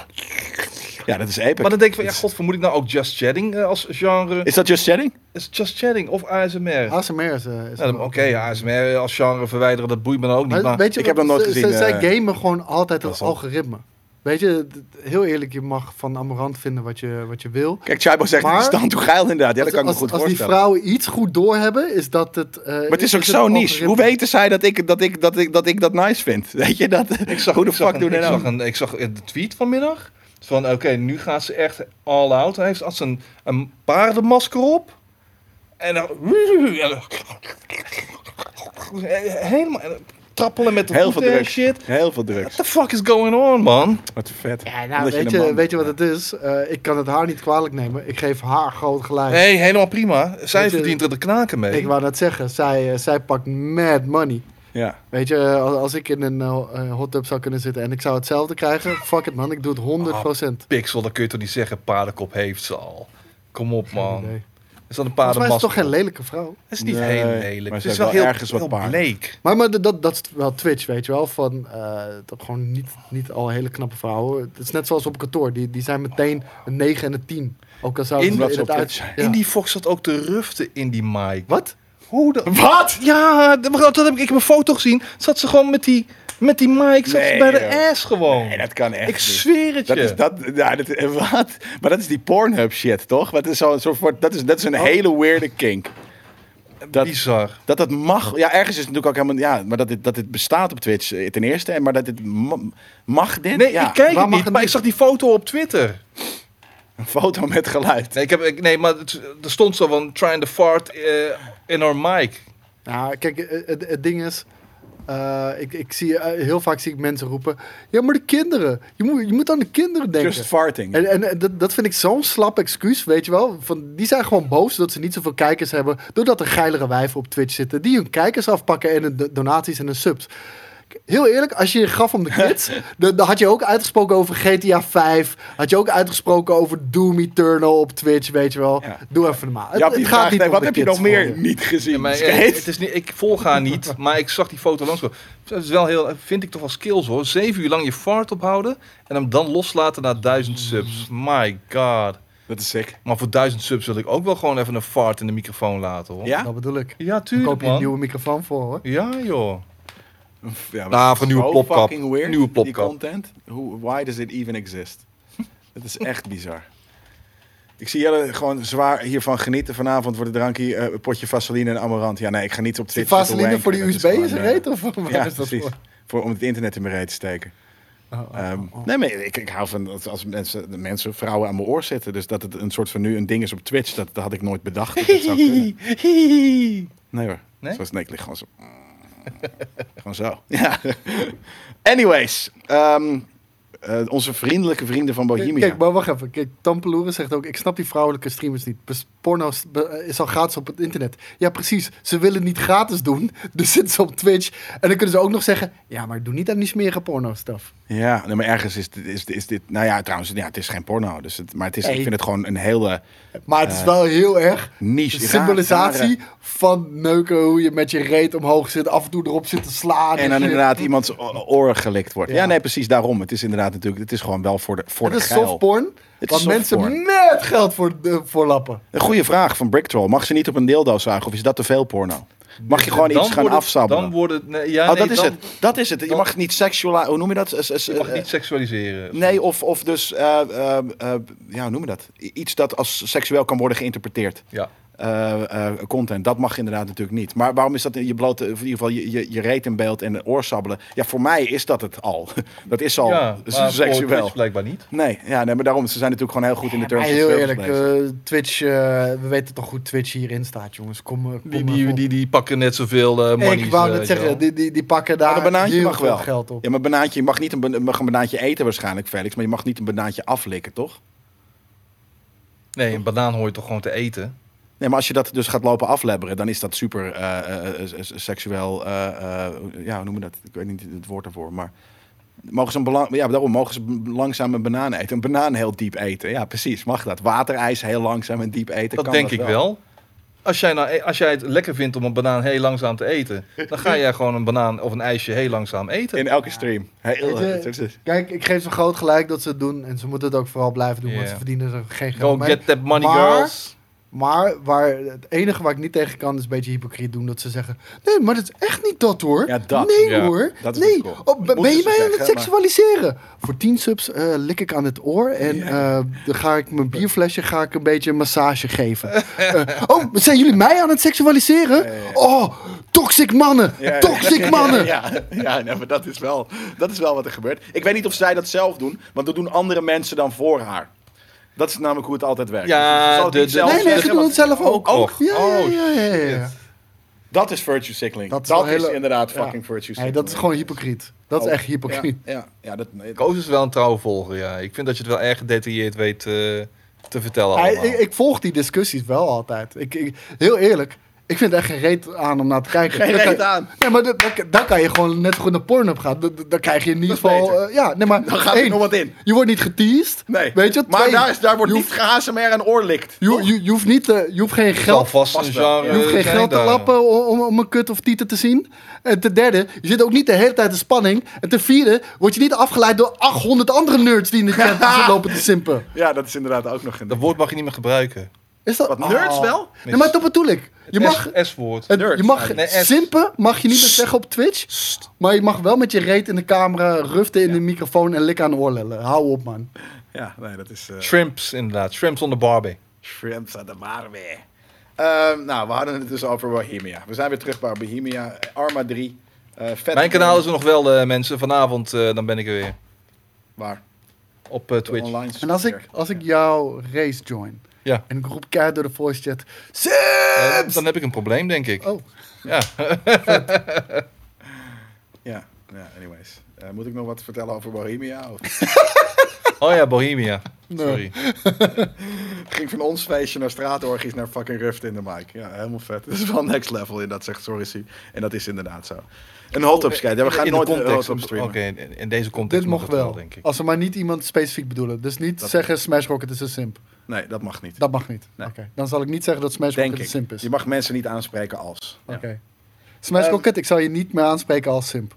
Speaker 1: Ja, dat is epic.
Speaker 2: maar dan denk ik van, ja, godver, moet ik nou ook just chatting eh, als genre?
Speaker 1: Is dat just chatting?
Speaker 2: Is just chatting of ASMR?
Speaker 3: ASMR is... eh, is
Speaker 2: Ja, dan- Oké, ASMR eh, als genre verwijderen, dat boeit me dan ook niet. Maar,
Speaker 3: weet je,
Speaker 1: ik heb dat nooit
Speaker 3: ze- ze-
Speaker 1: gezien, eh,
Speaker 3: Zij gamen gewoon altijd
Speaker 1: dat
Speaker 3: het
Speaker 1: zal.
Speaker 3: algoritme. Weet je, d- heel eerlijk, je mag van Amorant vinden wat je, wat je wil.
Speaker 1: Kijk, Chaibo zegt,
Speaker 3: Maar-
Speaker 1: het is dan toe geil inderdaad. Ja, dat kan ik me
Speaker 3: als,
Speaker 1: goed
Speaker 3: als die
Speaker 1: voorstellen.
Speaker 3: vrouwen iets goed doorhebben, is dat het... eh,
Speaker 1: Maar het is ook
Speaker 3: het
Speaker 1: zo niche.
Speaker 3: algoritme.
Speaker 1: Hoe weten zij dat ik dat, ik, dat, ik, dat ik dat nice vind? Weet je, dat,
Speaker 2: ik zag,
Speaker 1: hoe de
Speaker 2: ik zag
Speaker 1: fuck
Speaker 2: een-
Speaker 1: doen die
Speaker 2: ik
Speaker 1: nou?
Speaker 2: zag, een, ik zag een tweet vanmiddag. Van oké, nu gaat ze echt all out. Hij heeft als een, een paardenmasker op. En dan... en dan- Helemaal... en dan Trappelen met de
Speaker 1: Heel
Speaker 2: voeten
Speaker 1: veel
Speaker 2: en
Speaker 1: druk.
Speaker 2: shit.
Speaker 1: Heel veel
Speaker 2: What
Speaker 1: drugs.
Speaker 2: the fuck is going on, man?
Speaker 1: Wat vet.
Speaker 3: Ja, nou,
Speaker 1: Omdat
Speaker 3: weet,
Speaker 1: een
Speaker 3: je,
Speaker 1: man
Speaker 3: weet je wat
Speaker 1: bent.
Speaker 3: het is? Eh, ik kan het haar niet kwalijk nemen. Ik geef haar groot gelijk.
Speaker 2: Nee, helemaal prima. Zij
Speaker 3: Weet je-
Speaker 2: verdient er de knaken mee.
Speaker 3: Ik wou net zeggen, zij, eh, zij pakt mad money.
Speaker 1: Ja.
Speaker 3: Weet je, eh, als, als ik in een eh, eh, hot tub zou kunnen zitten en ik zou hetzelfde krijgen, fuck it man, ik doe het 100 procent.
Speaker 2: Pixel, dan kun je toch niet zeggen, paardenkop heeft ze al. Kom op,
Speaker 1: Ah,
Speaker 2: man. Is dat een
Speaker 3: Volgens mij is
Speaker 2: paardenmasker?
Speaker 3: het toch geen lelijke vrouw.
Speaker 2: Het is niet
Speaker 1: Nee,
Speaker 2: heel lelijk.
Speaker 1: maar
Speaker 2: Het
Speaker 1: ze heeft
Speaker 2: is wel
Speaker 1: wel
Speaker 2: heel,
Speaker 1: ergens wat
Speaker 2: heel
Speaker 1: paars.
Speaker 2: bleek.
Speaker 3: Maar, maar dat, dat is wel Twitch, weet je wel. Van eh, dat gewoon niet, niet al hele knappe vrouwen. Het is net zoals op kantoor. Die, die zijn meteen een 9 en een 10. Ook al zouden
Speaker 2: In-
Speaker 3: ze
Speaker 1: omdat ze op
Speaker 3: uit-
Speaker 1: Twitch
Speaker 3: ja.
Speaker 2: In die Fox zat ook te ruften in die mic.
Speaker 3: Wat?
Speaker 2: Hoe dan?
Speaker 1: Wat?
Speaker 2: Ja, dat dat heb ik, ik heb een foto gezien. Zat ze gewoon met die, met die mic zat ze
Speaker 1: Nee,
Speaker 2: bij de
Speaker 1: joh.
Speaker 2: ass gewoon.
Speaker 1: Nee, dat kan echt
Speaker 2: ik
Speaker 1: niet.
Speaker 2: zweer het
Speaker 1: Dat
Speaker 2: je.
Speaker 1: is dat, ja, dat, eh, wat? Maar dat is die Pornhub shit, toch? Dat is, zo'n soort, van- dat is, dat is een hele weirde kink. Dat,
Speaker 2: Bizar.
Speaker 1: dat dat mag. Ja, ergens is het natuurlijk ook helemaal. Ja, maar dat dit, dat dit bestaat op Twitch eh, ten eerste. en Maar dat dit ma- mag dit?
Speaker 2: Nee,
Speaker 1: ja,
Speaker 2: ik kijk
Speaker 3: waar
Speaker 2: het
Speaker 3: mag
Speaker 2: niet,
Speaker 3: het
Speaker 2: maar ik
Speaker 3: niet?
Speaker 2: zag die foto op Twitter.
Speaker 1: Een foto met geluid.
Speaker 2: Nee, ik heb, ik, nee maar het, er stond zo van trying to fart eh, in our mic.
Speaker 3: Nou, kijk, eh, het, het ding is. eh, ik, ik zie, eh, heel vaak zie ik mensen roepen. Ja, maar de kinderen. Je moet, je moet aan de kinderen denken.
Speaker 1: Just farting.
Speaker 3: En, en eh, dat, dat vind ik zo'n slap excuus, weet je wel. Van, die zijn gewoon boos dat ze niet zoveel kijkers hebben. Doordat er geilere wijven op Twitch zitten. Die hun kijkers afpakken en hun do- donaties en hun subs. K- Heel eerlijk, als je je gaf om de kids, dan dan had je ook uitgesproken over GTA 5. Had je ook uitgesproken over Doom Eternal op Twitch, weet je wel.
Speaker 1: Ja.
Speaker 3: Doe even normaal. Het,
Speaker 1: Ja,
Speaker 3: het
Speaker 1: die
Speaker 3: gaat
Speaker 1: vraagt,
Speaker 3: niet
Speaker 1: nee,
Speaker 3: om
Speaker 1: wat
Speaker 3: de
Speaker 1: heb je
Speaker 3: kids
Speaker 1: nog meer
Speaker 3: voor je.
Speaker 1: niet gezien?
Speaker 2: Ja, maar, eh,
Speaker 1: Skate?
Speaker 2: het is niet, ik volg haar niet, maar ik zag die foto langskomen. Dat is wel heel, vind ik toch wel skills hoor. Zeven uur lang je fart ophouden en hem dan loslaten naar duizend subs. My god.
Speaker 1: Dat is sick.
Speaker 2: Maar voor duizend subs wil ik ook wel gewoon even een fart in de microfoon laten hoor.
Speaker 1: Ja?
Speaker 3: Dat bedoel ik.
Speaker 2: Ja,
Speaker 3: Dan
Speaker 2: tuurlijk
Speaker 3: koop je een
Speaker 2: man.
Speaker 3: nieuwe microfoon voor, hoor.
Speaker 2: Ja joh.
Speaker 1: ja maar
Speaker 2: Nou,
Speaker 1: het
Speaker 2: voor een
Speaker 1: is
Speaker 2: nieuwe
Speaker 1: zo
Speaker 2: plopkap.
Speaker 1: fucking weird,
Speaker 2: Nieuwe
Speaker 1: Die
Speaker 2: plopkap.
Speaker 1: content. Hoe, why does it even exist? Dat is echt bizar. Ik zie jullie gewoon zwaar hiervan genieten. Vanavond wordt het drankje, eh, een potje Vaseline en Amarant. Ja, nee, ik ga niet op
Speaker 3: Die
Speaker 1: Twitch. zitten
Speaker 3: vaseline voor die
Speaker 1: wanken.
Speaker 3: USB
Speaker 1: Dat
Speaker 3: is
Speaker 1: gewoon,
Speaker 3: er
Speaker 1: eh,
Speaker 3: heet, of waar
Speaker 1: Ja,
Speaker 3: is dat
Speaker 1: precies.
Speaker 3: voor? Oh,
Speaker 1: Voor, om het internet in mijn reet te steken. Ehm, Nee, maar ik, ik hou van dat als mensen, de mensen, vrouwen aan mijn oor zitten. Dus dat het een soort van nu een ding is op Twitch, dat, dat had ik nooit bedacht. dat dat zou kunnen. Nee hoor.
Speaker 2: Nee?
Speaker 1: Zoals nee, ik lig gewoon zo. gewoon zo. Ja. Anyways. ehm, eh, onze vriendelijke vrienden van Bohemia.
Speaker 3: Kijk, maar wacht even. Kijk, Tampeloeren zegt ook, ik snap die vrouwelijke streamers niet. Bes- Porno s- be- eh, is al gratis op het internet. Ja, precies. Ze willen het niet gratis doen, dus zitten ze op Twitch. En dan kunnen ze ook nog zeggen, ja, maar doe niet aan die smerige porno-stuff.
Speaker 1: Ja, nee, maar ergens is, dit- is, is dit... Nou ja, trouwens, ja, het is geen porno. Dus het, maar het is, ik
Speaker 3: Nee.
Speaker 1: vind het gewoon een hele
Speaker 3: Maar het is wel heel erg
Speaker 1: niche.
Speaker 3: de
Speaker 1: raar-
Speaker 3: symbolisatie
Speaker 1: rare-
Speaker 3: van neuken, hoe je met je reet omhoog zit, af en toe erop zit te slaan.
Speaker 1: En dan
Speaker 3: shit.
Speaker 1: inderdaad iemands o- oren gelikt wordt. Ja.
Speaker 3: Ja.
Speaker 1: nee, precies daarom. Het is inderdaad natuurlijk... Het is gewoon wel voor de, voor
Speaker 3: Het
Speaker 1: de
Speaker 3: is
Speaker 1: geil.
Speaker 3: softporn,
Speaker 1: is
Speaker 3: want mensen
Speaker 1: softporn.
Speaker 3: net geld voor, eh, voor lappen.
Speaker 1: Een goede vraag van Bricktroll. Mag ze niet op een dildo zuigen of is dat te veel porno? Mag je gewoon
Speaker 2: Dan
Speaker 1: iets gaan
Speaker 2: wordt het-
Speaker 1: afsabbelen?
Speaker 2: Dan wordt het... nee, ja,
Speaker 1: oh,
Speaker 2: nee,
Speaker 1: dat is
Speaker 2: dan-
Speaker 1: het. Dat is het. Je
Speaker 2: dan-
Speaker 1: mag het niet seksueel... Hoe noem je dat? S- s-
Speaker 2: Je mag
Speaker 1: eh,
Speaker 2: niet seksualiseren.
Speaker 1: Nee, of, of ehm, dus, eh, eh, eh, ja, hoe noem je dat? I- Iets dat als seksueel kan worden geïnterpreteerd.
Speaker 2: Ja.
Speaker 1: eh, eh, content. Dat mag inderdaad natuurlijk niet. Maar waarom is dat in je blote, of in ieder geval je, je, je reet in beeld en de oorsabbelen? Ja, voor mij is dat het al. Dat is al
Speaker 2: ja, maar voor
Speaker 1: Oh, dus seksueel.
Speaker 2: Twitch blijkbaar niet.
Speaker 1: Nee, ja, nee, maar daarom, ze zijn natuurlijk gewoon heel goed in de terms
Speaker 3: Ja,
Speaker 1: of
Speaker 3: heel
Speaker 1: service
Speaker 3: eerlijk,
Speaker 1: bezig.
Speaker 3: eh, Twitch, eh, we weten toch hoe Twitch hierin staat, jongens. Kom, eh, kom
Speaker 2: Die,
Speaker 3: maar
Speaker 2: die,
Speaker 3: op.
Speaker 2: die, die pakken net zoveel eh monies.
Speaker 3: ik wou
Speaker 2: eh, weet
Speaker 3: net
Speaker 2: je wel.
Speaker 3: zeggen, die, die, die pakken
Speaker 1: Maar
Speaker 3: daar
Speaker 1: een banaantje
Speaker 3: heel
Speaker 1: mag
Speaker 3: veel
Speaker 1: wel.
Speaker 3: geld op.
Speaker 1: Ja, maar banaantje, je mag, niet een, ban- mag een banaantje eten waarschijnlijk, Felix. Maar je mag niet een banaantje aflikken, toch?
Speaker 2: Nee, een banaan hoor je toch gewoon te eten.
Speaker 1: Nee, maar als je dat dus gaat lopen aflebberen, dan is dat super eh, eh, eh, s- seksueel. eh, eh, ja, hoe noemen we dat? Ik weet niet het woord daarvoor. Maar mogen ze, een belang, ja, daarom mogen ze b- langzaam een banaan eten. Een banaan heel diep eten. Ja, precies. Mag dat? Waterijs heel langzaam en diep eten.
Speaker 2: Dat
Speaker 1: kan
Speaker 2: denk
Speaker 1: dat
Speaker 2: ik wel. Als, jij nou, als jij het lekker vindt om een banaan heel langzaam te eten, dan ga jij gewoon een banaan of een ijsje heel langzaam eten.
Speaker 1: In elke stream. Heel,
Speaker 3: Weet je, Kijk, ik geef ze groot gelijk dat ze het doen. En ze moeten het ook vooral blijven doen, want
Speaker 2: Ja.
Speaker 3: ze verdienen er geen geld
Speaker 2: Go
Speaker 3: mee.
Speaker 2: get that money,
Speaker 3: Maar-
Speaker 2: girls.
Speaker 3: Maar waar, het enige waar ik niet tegen kan, is een beetje hypocriet doen. Dat ze zeggen, nee, maar dat is echt niet dat hoor.
Speaker 1: Ja, dat.
Speaker 3: Nee
Speaker 2: Ja,
Speaker 3: hoor.
Speaker 1: dat is
Speaker 3: nee.
Speaker 1: niet cool.
Speaker 3: Oh, ben- ben
Speaker 1: Moeten
Speaker 3: je
Speaker 1: ze
Speaker 3: mij aan het
Speaker 1: zeggen, maar-
Speaker 3: seksualiseren? Voor 10 subs eh, lik ik aan het oor. En eh, dan ga ik mijn bierflesje ga ik een beetje een massage geven. Eh, oh, zijn jullie mij aan het seksualiseren?
Speaker 1: Ja, ja, ja.
Speaker 3: Oh, toxic mannen. Toxic mannen.
Speaker 1: Ja, ja, ja nee, maar dat is, wel, dat is wel wat er gebeurt. Ik weet niet of zij dat zelf doen, want dat doen andere mensen dan voor haar. Dat is namelijk hoe het altijd werkt.
Speaker 2: Ja,
Speaker 1: Dus ze zal het
Speaker 2: de-
Speaker 1: niet
Speaker 2: de-
Speaker 1: zelf
Speaker 3: Nee, nee, ze
Speaker 1: zeggen,
Speaker 3: doen het
Speaker 1: want
Speaker 3: zelf ook.
Speaker 2: Ook nog.
Speaker 3: Ja,
Speaker 2: Oh,
Speaker 3: ja, ja, ja, ja.
Speaker 1: Dat is virtue signaling.
Speaker 3: Dat
Speaker 1: Dat,
Speaker 3: is wel
Speaker 1: is
Speaker 3: hele-
Speaker 1: inderdaad
Speaker 3: Ja.
Speaker 1: fucking virtue
Speaker 3: Nee,
Speaker 1: signaling.
Speaker 3: dat is gewoon hypocriet. Dat is
Speaker 1: Oh,
Speaker 3: echt hypocriet.
Speaker 1: Ja, ja, ja, dat, nee,
Speaker 2: Koos is wel een trouwvolger, ja. Ik vind dat je het wel erg gedetailleerd weet eh, te vertellen
Speaker 3: Ja,
Speaker 2: allemaal.
Speaker 3: ik, ik volg die discussies wel altijd. Ik, ik, heel eerlijk, ik vind er echt geen reet aan om naar te kijken.
Speaker 1: Geen
Speaker 3: Dan kan-
Speaker 1: reet aan.
Speaker 3: Nee, maar dat- dat- dan kan je gewoon net zo goed naar Pornhub gaan. Dan, dan- dan krijg je in ieder
Speaker 1: Dat is
Speaker 3: geval...
Speaker 1: beter.
Speaker 3: eh, ja, nee, maar
Speaker 1: Dan gaat er
Speaker 3: één,
Speaker 1: nog wat in.
Speaker 3: je wordt niet geteased.
Speaker 1: Nee.
Speaker 3: Weet je,
Speaker 1: maar
Speaker 3: twee,
Speaker 1: daar, is, daar wordt
Speaker 3: je
Speaker 1: niet
Speaker 3: hoeft-
Speaker 1: geasmeer en oorlikt.
Speaker 3: Je, je, je hoeft niet, eh, je hoeft geen
Speaker 2: Zal
Speaker 3: geld...
Speaker 2: vast
Speaker 1: vast
Speaker 2: een
Speaker 1: wel.
Speaker 2: genre eh,
Speaker 3: Je hoeft geen
Speaker 2: zijn
Speaker 3: geld te
Speaker 2: daar.
Speaker 3: lappen o- om, om een kut of tieten te zien. En ten derde, je zit ook niet de hele tijd in spanning. En ten vierde, word je niet afgeleid door 800 andere nerds die in de chat zitten lopen te simpen.
Speaker 1: Ja, dat is inderdaad ook nog
Speaker 2: Dat
Speaker 1: een...
Speaker 2: woord mag je niet meer gebruiken.
Speaker 3: Is dat...
Speaker 1: Wat, nerds
Speaker 3: Oh.
Speaker 1: wel?
Speaker 3: Nee, maar dat bedoel ik. Je mag,
Speaker 2: Het S-woord.
Speaker 3: het-
Speaker 1: nerds.
Speaker 3: je mag
Speaker 2: Nee, echt.
Speaker 3: simpen, mag je niet meer zeggen op Twitch. Maar je mag wel met je reet in de camera, ruften in de microfoon en likken aan de oorlellen. Hou op, man.
Speaker 1: Ja, nee, dat is... eh,
Speaker 2: Shrimps, inderdaad. Shrimps on the barbie.
Speaker 1: Shrimps aan de bar weer. Ehm, nou, we hadden het dus over Bohemia. We zijn weer terug bij Bohemia. Arma 3. eh, vet
Speaker 2: Mijn kanaal is er nog wel, eh, mensen. Vanavond eh, dan ben ik er weer.
Speaker 1: Waar?
Speaker 2: Op eh,
Speaker 1: De
Speaker 2: Twitch.
Speaker 1: Online
Speaker 3: En als ik, als ik jouw race join
Speaker 2: Ja.
Speaker 3: en ik roep keihard door de voice chat... "Sim!"
Speaker 2: Eh, dan heb ik een probleem, denk ik.
Speaker 3: Oh,
Speaker 2: Ja.
Speaker 1: Ja, ja anyways. Eh, moet ik nog wat vertellen over Bohemia? Of...
Speaker 2: Oh ja, Bohemia.
Speaker 3: Nee.
Speaker 2: Sorry.
Speaker 1: ging van ons feestje naar straatorgies naar fucking Ruft in de mic. Ja, helemaal vet. Dat is wel next level in dat zegt Sorry. En dat is inderdaad zo. Een hot-up skate. Ja, we gaan
Speaker 2: Oh, in
Speaker 1: nooit
Speaker 2: de
Speaker 1: een
Speaker 2: context.
Speaker 1: hot-up
Speaker 2: Oké,
Speaker 1: streamen.
Speaker 2: in, in deze context
Speaker 3: dit mag
Speaker 2: het
Speaker 3: wel.
Speaker 2: denk ik.
Speaker 1: Oh,
Speaker 3: Als ze maar niet iemand specifiek bedoelen. Dus niet
Speaker 1: Dat-
Speaker 3: zeggen Smash Rocket is een simp.
Speaker 1: Nee, dat mag niet.
Speaker 3: Dat mag niet.
Speaker 1: Nee.
Speaker 3: Oké. Dan zal ik niet zeggen dat Smash
Speaker 1: Denk
Speaker 3: Rocket een simp
Speaker 1: ik.
Speaker 3: is.
Speaker 1: Je mag mensen niet aanspreken als.
Speaker 3: Oké. Smash
Speaker 1: Ehm,
Speaker 3: Rocket, ik zal je niet meer aanspreken als simp.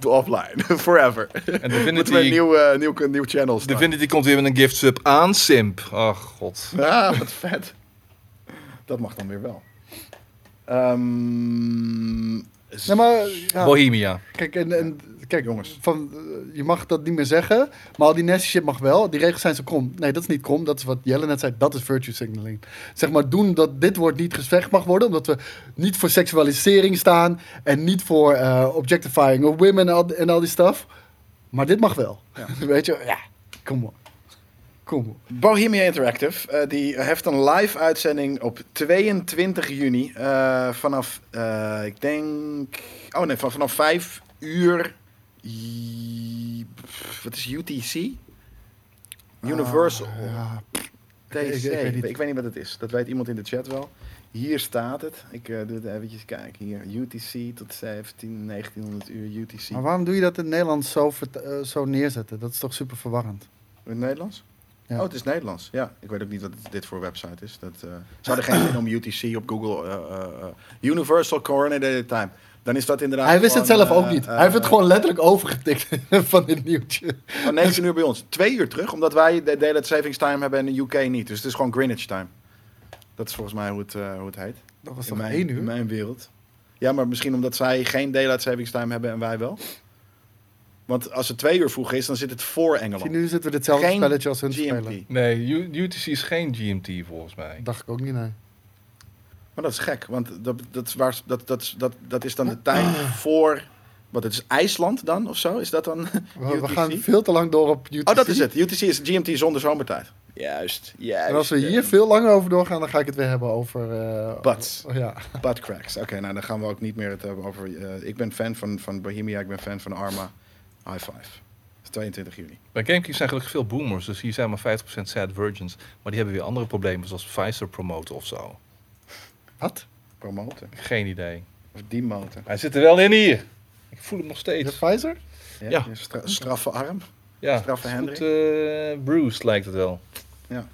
Speaker 1: De offline. Forever.
Speaker 2: En
Speaker 1: Moeten we een
Speaker 2: Divinity,
Speaker 1: nieuw, eh, nieuw, nieuw channel starten.
Speaker 2: Divinity komt weer met een gift sub aan Simp. Ach, god.
Speaker 1: Ah, wat vet. Dat mag dan weer wel. Ehm, z-
Speaker 3: Nee, maar... ja.
Speaker 2: Bohemia.
Speaker 3: Kijk, en, en, kijk
Speaker 1: Jongens.
Speaker 3: Van, eh, je mag dat niet meer zeggen, maar al die nasty shit mag wel. Die regels zijn zo krom. Nee, dat is niet krom. Dat is wat Jelle net zei. Dat is virtue signaling. Zeg maar doen dat dit woord niet gezegd mag worden, omdat we niet voor seksualisering staan en niet voor eh, objectifying of women en al, en al die stuff. Maar dit mag wel. Weet je, ja, kom op. Kom op.
Speaker 1: Bohemia Interactive, eh, die heeft een live uitzending op 22 juni. eh, vanaf, eh, ik denk, oh nee, van, vanaf 5 uur, i- pff, wat is UTC? Universal
Speaker 3: Ah, ja.
Speaker 1: TC.
Speaker 3: ik-
Speaker 1: Ik,
Speaker 3: ik weet niet.
Speaker 1: weet niet wat het is, dat weet iemand in de chat wel. Hier staat het, ik eh, doe het eventjes kijken, hier, UTC tot 17, 1900 uur UTC.
Speaker 3: Maar waarom doe je dat in het Nederlands zo, vert- eh, zo neerzetten? Dat is toch super verwarrend?
Speaker 1: In het Nederlands?
Speaker 3: Ja.
Speaker 1: Oh, het is Nederlands. Ja, ik weet ook niet wat het- dit voor website is. Dat, eh ze hadden geen zin om UTC op Google. eh, eh, eh, Universal Coordinated Time. Dan is dat inderdaad.
Speaker 3: Hij wist het
Speaker 1: gewoon,
Speaker 3: zelf ook
Speaker 1: eh,
Speaker 3: niet.
Speaker 1: eh,
Speaker 3: Hij heeft het gewoon letterlijk overgetikt van dit nieuwtje.
Speaker 1: Van 19 uur bij ons. Twee uur terug, omdat wij de Daylight Savings Time hebben en de UK niet. Dus het is gewoon Greenwich Time. Dat is volgens mij hoe het, eh, hoe het heet.
Speaker 3: Dat was
Speaker 1: in
Speaker 3: toch
Speaker 1: mijn, in
Speaker 3: één uur?
Speaker 1: mijn wereld. Ja, maar misschien omdat zij geen Daylight Savings Time hebben en wij wel. Want als het twee uur vroeg is, dan zit het voor
Speaker 3: Zie,
Speaker 1: Engeland.
Speaker 3: nu zitten we hetzelfde
Speaker 1: Geen
Speaker 3: spelletje als hun te spelen.
Speaker 1: GMT.
Speaker 2: Nee, U- UTC is geen GMT volgens mij.
Speaker 3: Dacht ik ook niet, nee.
Speaker 1: Maar dat is gek, want dat, dat, is, waar, dat, dat, dat, dat is dan
Speaker 3: Ah.
Speaker 1: de tijd voor... Wat, het is IJsland dan of zo? Is dat dan
Speaker 3: We, we
Speaker 1: UTC?
Speaker 3: gaan veel te lang door op UTC.
Speaker 1: Oh, dat is het. UTC is GMT zonder zomertijd. Eh, Juist, juist.
Speaker 3: En als we hier veel langer over doorgaan, dan ga ik het weer hebben over... eh,
Speaker 1: Bats.
Speaker 3: oh, ja.
Speaker 1: Butt cracks. Oké, nou dan gaan we ook niet meer het hebben over... eh, ik ben fan van, van Bohemia, ik ben fan van Arma. High five. Het is 22 juni.
Speaker 2: Bij GameKings zijn gelukkig veel boomers, dus hier zijn maar 50% sad virgins. Maar die hebben weer andere problemen, zoals Pfizer promoten of zo.
Speaker 3: Wat?
Speaker 1: Promoten.
Speaker 2: Geen idee.
Speaker 1: Of die motor.
Speaker 2: Hij zit er wel in hier. Ik voel hem nog
Speaker 3: De
Speaker 2: steeds.
Speaker 3: Pfizer?
Speaker 1: Ja.
Speaker 2: Ja.
Speaker 1: je stra- straffe arm.
Speaker 2: Ja,
Speaker 1: Straffe
Speaker 2: is goed,
Speaker 1: Hendrik.
Speaker 2: eh, bruised lijkt het wel.
Speaker 1: Ja.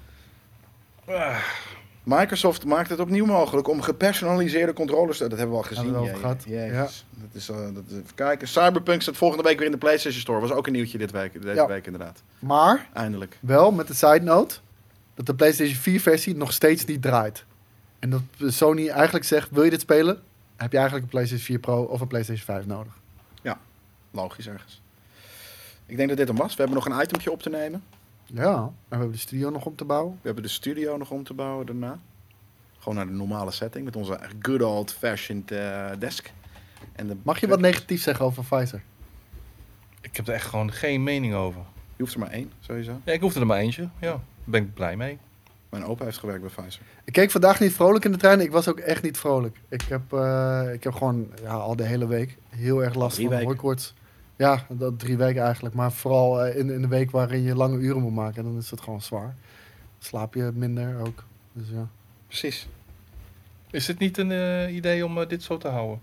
Speaker 2: Ah,
Speaker 1: Microsoft maakt het opnieuw mogelijk om gepersonaliseerde controllers te... Dat hebben we al gezien.
Speaker 3: Hebben we al
Speaker 1: jee.
Speaker 3: gehad.
Speaker 1: Jezus. Dat is, eh, dat is, even kijken. Cyberpunk staat volgende week weer in de PlayStation Store. Was ook een nieuwtje dit week, deze
Speaker 3: Ja.
Speaker 1: week inderdaad.
Speaker 3: Maar
Speaker 1: Eindelijk.
Speaker 3: Wel met de side note dat de PlayStation 4-versie nog steeds niet draait. En dat Sony eigenlijk zegt: wil je dit spelen? Heb je eigenlijk een PlayStation 4 Pro of een PlayStation 5 nodig?
Speaker 1: Logisch ergens. Ik denk dat dit hem was. We hebben nog een itempje op te nemen.
Speaker 3: Ja, en we hebben de studio nog om te bouwen.
Speaker 1: We hebben de studio nog om te bouwen daarna. Gewoon naar de normale setting met onze good old fashioned eh, desk. En de
Speaker 3: Mag je wat negatief zeggen over Pfizer?
Speaker 2: ik heb er echt gewoon geen mening over.
Speaker 1: Je hoeft er maar één, sowieso.
Speaker 2: Ja, ik hoefde er maar eentje. Ja, daar ben ik blij mee.
Speaker 1: Mijn opa heeft gewerkt bij Pfizer.
Speaker 3: Ik keek vandaag niet vrolijk in de trein. Ik was ook echt niet vrolijk. Ik heb, eh, ik heb gewoon ja, al de hele week heel erg last
Speaker 1: Drie
Speaker 3: van
Speaker 1: weken.
Speaker 3: hooikoorts. Ja, dat drie weken eigenlijk. Maar vooral eh, in, in de week waarin je lange uren moet maken. Dan is het gewoon zwaar. Slaap je minder ook. Dus ja.
Speaker 1: Precies.
Speaker 2: Is het niet een eh, idee om eh, dit zo te houden?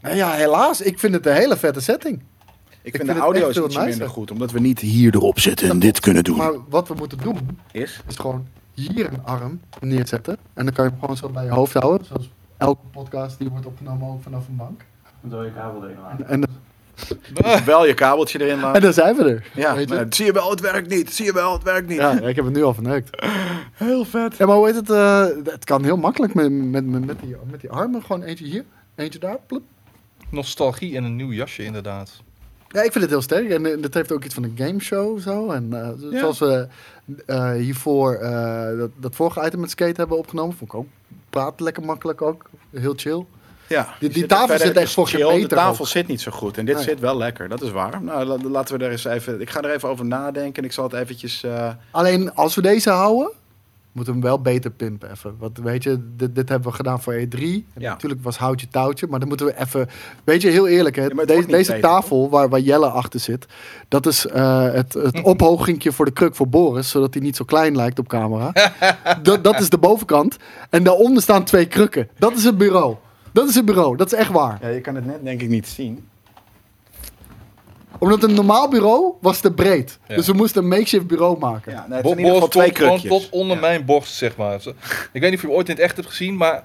Speaker 3: Nou ja, helaas. Ik vind het een hele vette setting.
Speaker 1: Ik,
Speaker 3: vind
Speaker 1: vind
Speaker 3: het
Speaker 1: de audio
Speaker 3: echt
Speaker 1: is
Speaker 3: heel
Speaker 1: ietsje
Speaker 3: nice,
Speaker 1: minder
Speaker 3: hè?
Speaker 1: goed, omdat we niet hier erop zitten en dit kunnen doen.
Speaker 3: Maar wat we moeten doen,
Speaker 1: is?
Speaker 3: is gewoon hier een arm neerzetten. En dan kan je hem gewoon zo bij je hoofd houden. Zoals elke podcast die wordt opgenomen ook vanaf een bank.
Speaker 4: Dan zou je kabel erin laten.
Speaker 3: En,
Speaker 1: Wel je kabeltje erin
Speaker 3: en
Speaker 1: laten.
Speaker 3: dan zijn we er.
Speaker 1: Ja, nou,
Speaker 3: weet je?
Speaker 1: maar zie je wel, het werkt niet. Zie je wel, het werkt niet.
Speaker 3: Ja, ik heb het nu al verneukt.
Speaker 1: Heel vet.
Speaker 3: Ja, maar hoe heet het? eh, het kan heel makkelijk met, met, met, met, die, met die armen. Gewoon eentje hier, eentje daar. Plop.
Speaker 2: Nostalgie en een nieuw jasje, inderdaad.
Speaker 3: Ja, ik vind het heel sterk. En eh, dat heeft ook iets van een gameshow zo. En eh, zo-
Speaker 1: Ja.
Speaker 3: zoals we eh, hiervoor eh, dat, dat vorige item met skate hebben opgenomen, vond ik ook. Praat lekker makkelijk ook. Heel chill.
Speaker 1: Ja.
Speaker 3: die
Speaker 1: Je zit er
Speaker 3: tafel
Speaker 1: verder
Speaker 3: zit echt voor
Speaker 1: chill.
Speaker 3: geen meter
Speaker 1: De tafel
Speaker 3: ook.
Speaker 1: zit niet zo goed en dit
Speaker 3: Nee.
Speaker 1: zit wel lekker. Dat is waar. Nou, la- laten we daar eens even... Ik ga er even over nadenken en ik zal het eventjes... eh,
Speaker 3: Alleen als we deze houden, moeten we hem wel beter pimpen even. Want weet je, dit, dit hebben we gedaan voor E3. En
Speaker 1: Ja.
Speaker 3: Natuurlijk was houtje touwtje, maar dan moeten we even... Weet je, heel eerlijk, hè,
Speaker 1: maar het
Speaker 3: deze,
Speaker 1: wordt niet
Speaker 3: deze
Speaker 1: beter,
Speaker 3: tafel waar, waar Jelle achter zit... dat is eh, het, het ophogingje voor de kruk voor Boris... zodat hij niet zo klein lijkt op camera. dat, dat is de bovenkant. En daaronder staan twee krukken. Dat is het bureau. Dat is het bureau, dat is echt waar.
Speaker 1: ja, je kan het net denk ik niet zien.
Speaker 3: Omdat een normaal bureau was te breed.
Speaker 2: Ja.
Speaker 3: Dus we moesten een makeshift bureau maken.
Speaker 1: Ja, nee, het
Speaker 2: Bo-
Speaker 1: zijn in ieder geval
Speaker 2: Boris
Speaker 1: twee
Speaker 2: komt gewoon
Speaker 1: krukjes.
Speaker 2: tot onder mijn borst, zeg maar. Ze- Ik weet niet of je hem ooit in het echt hebt gezien, maar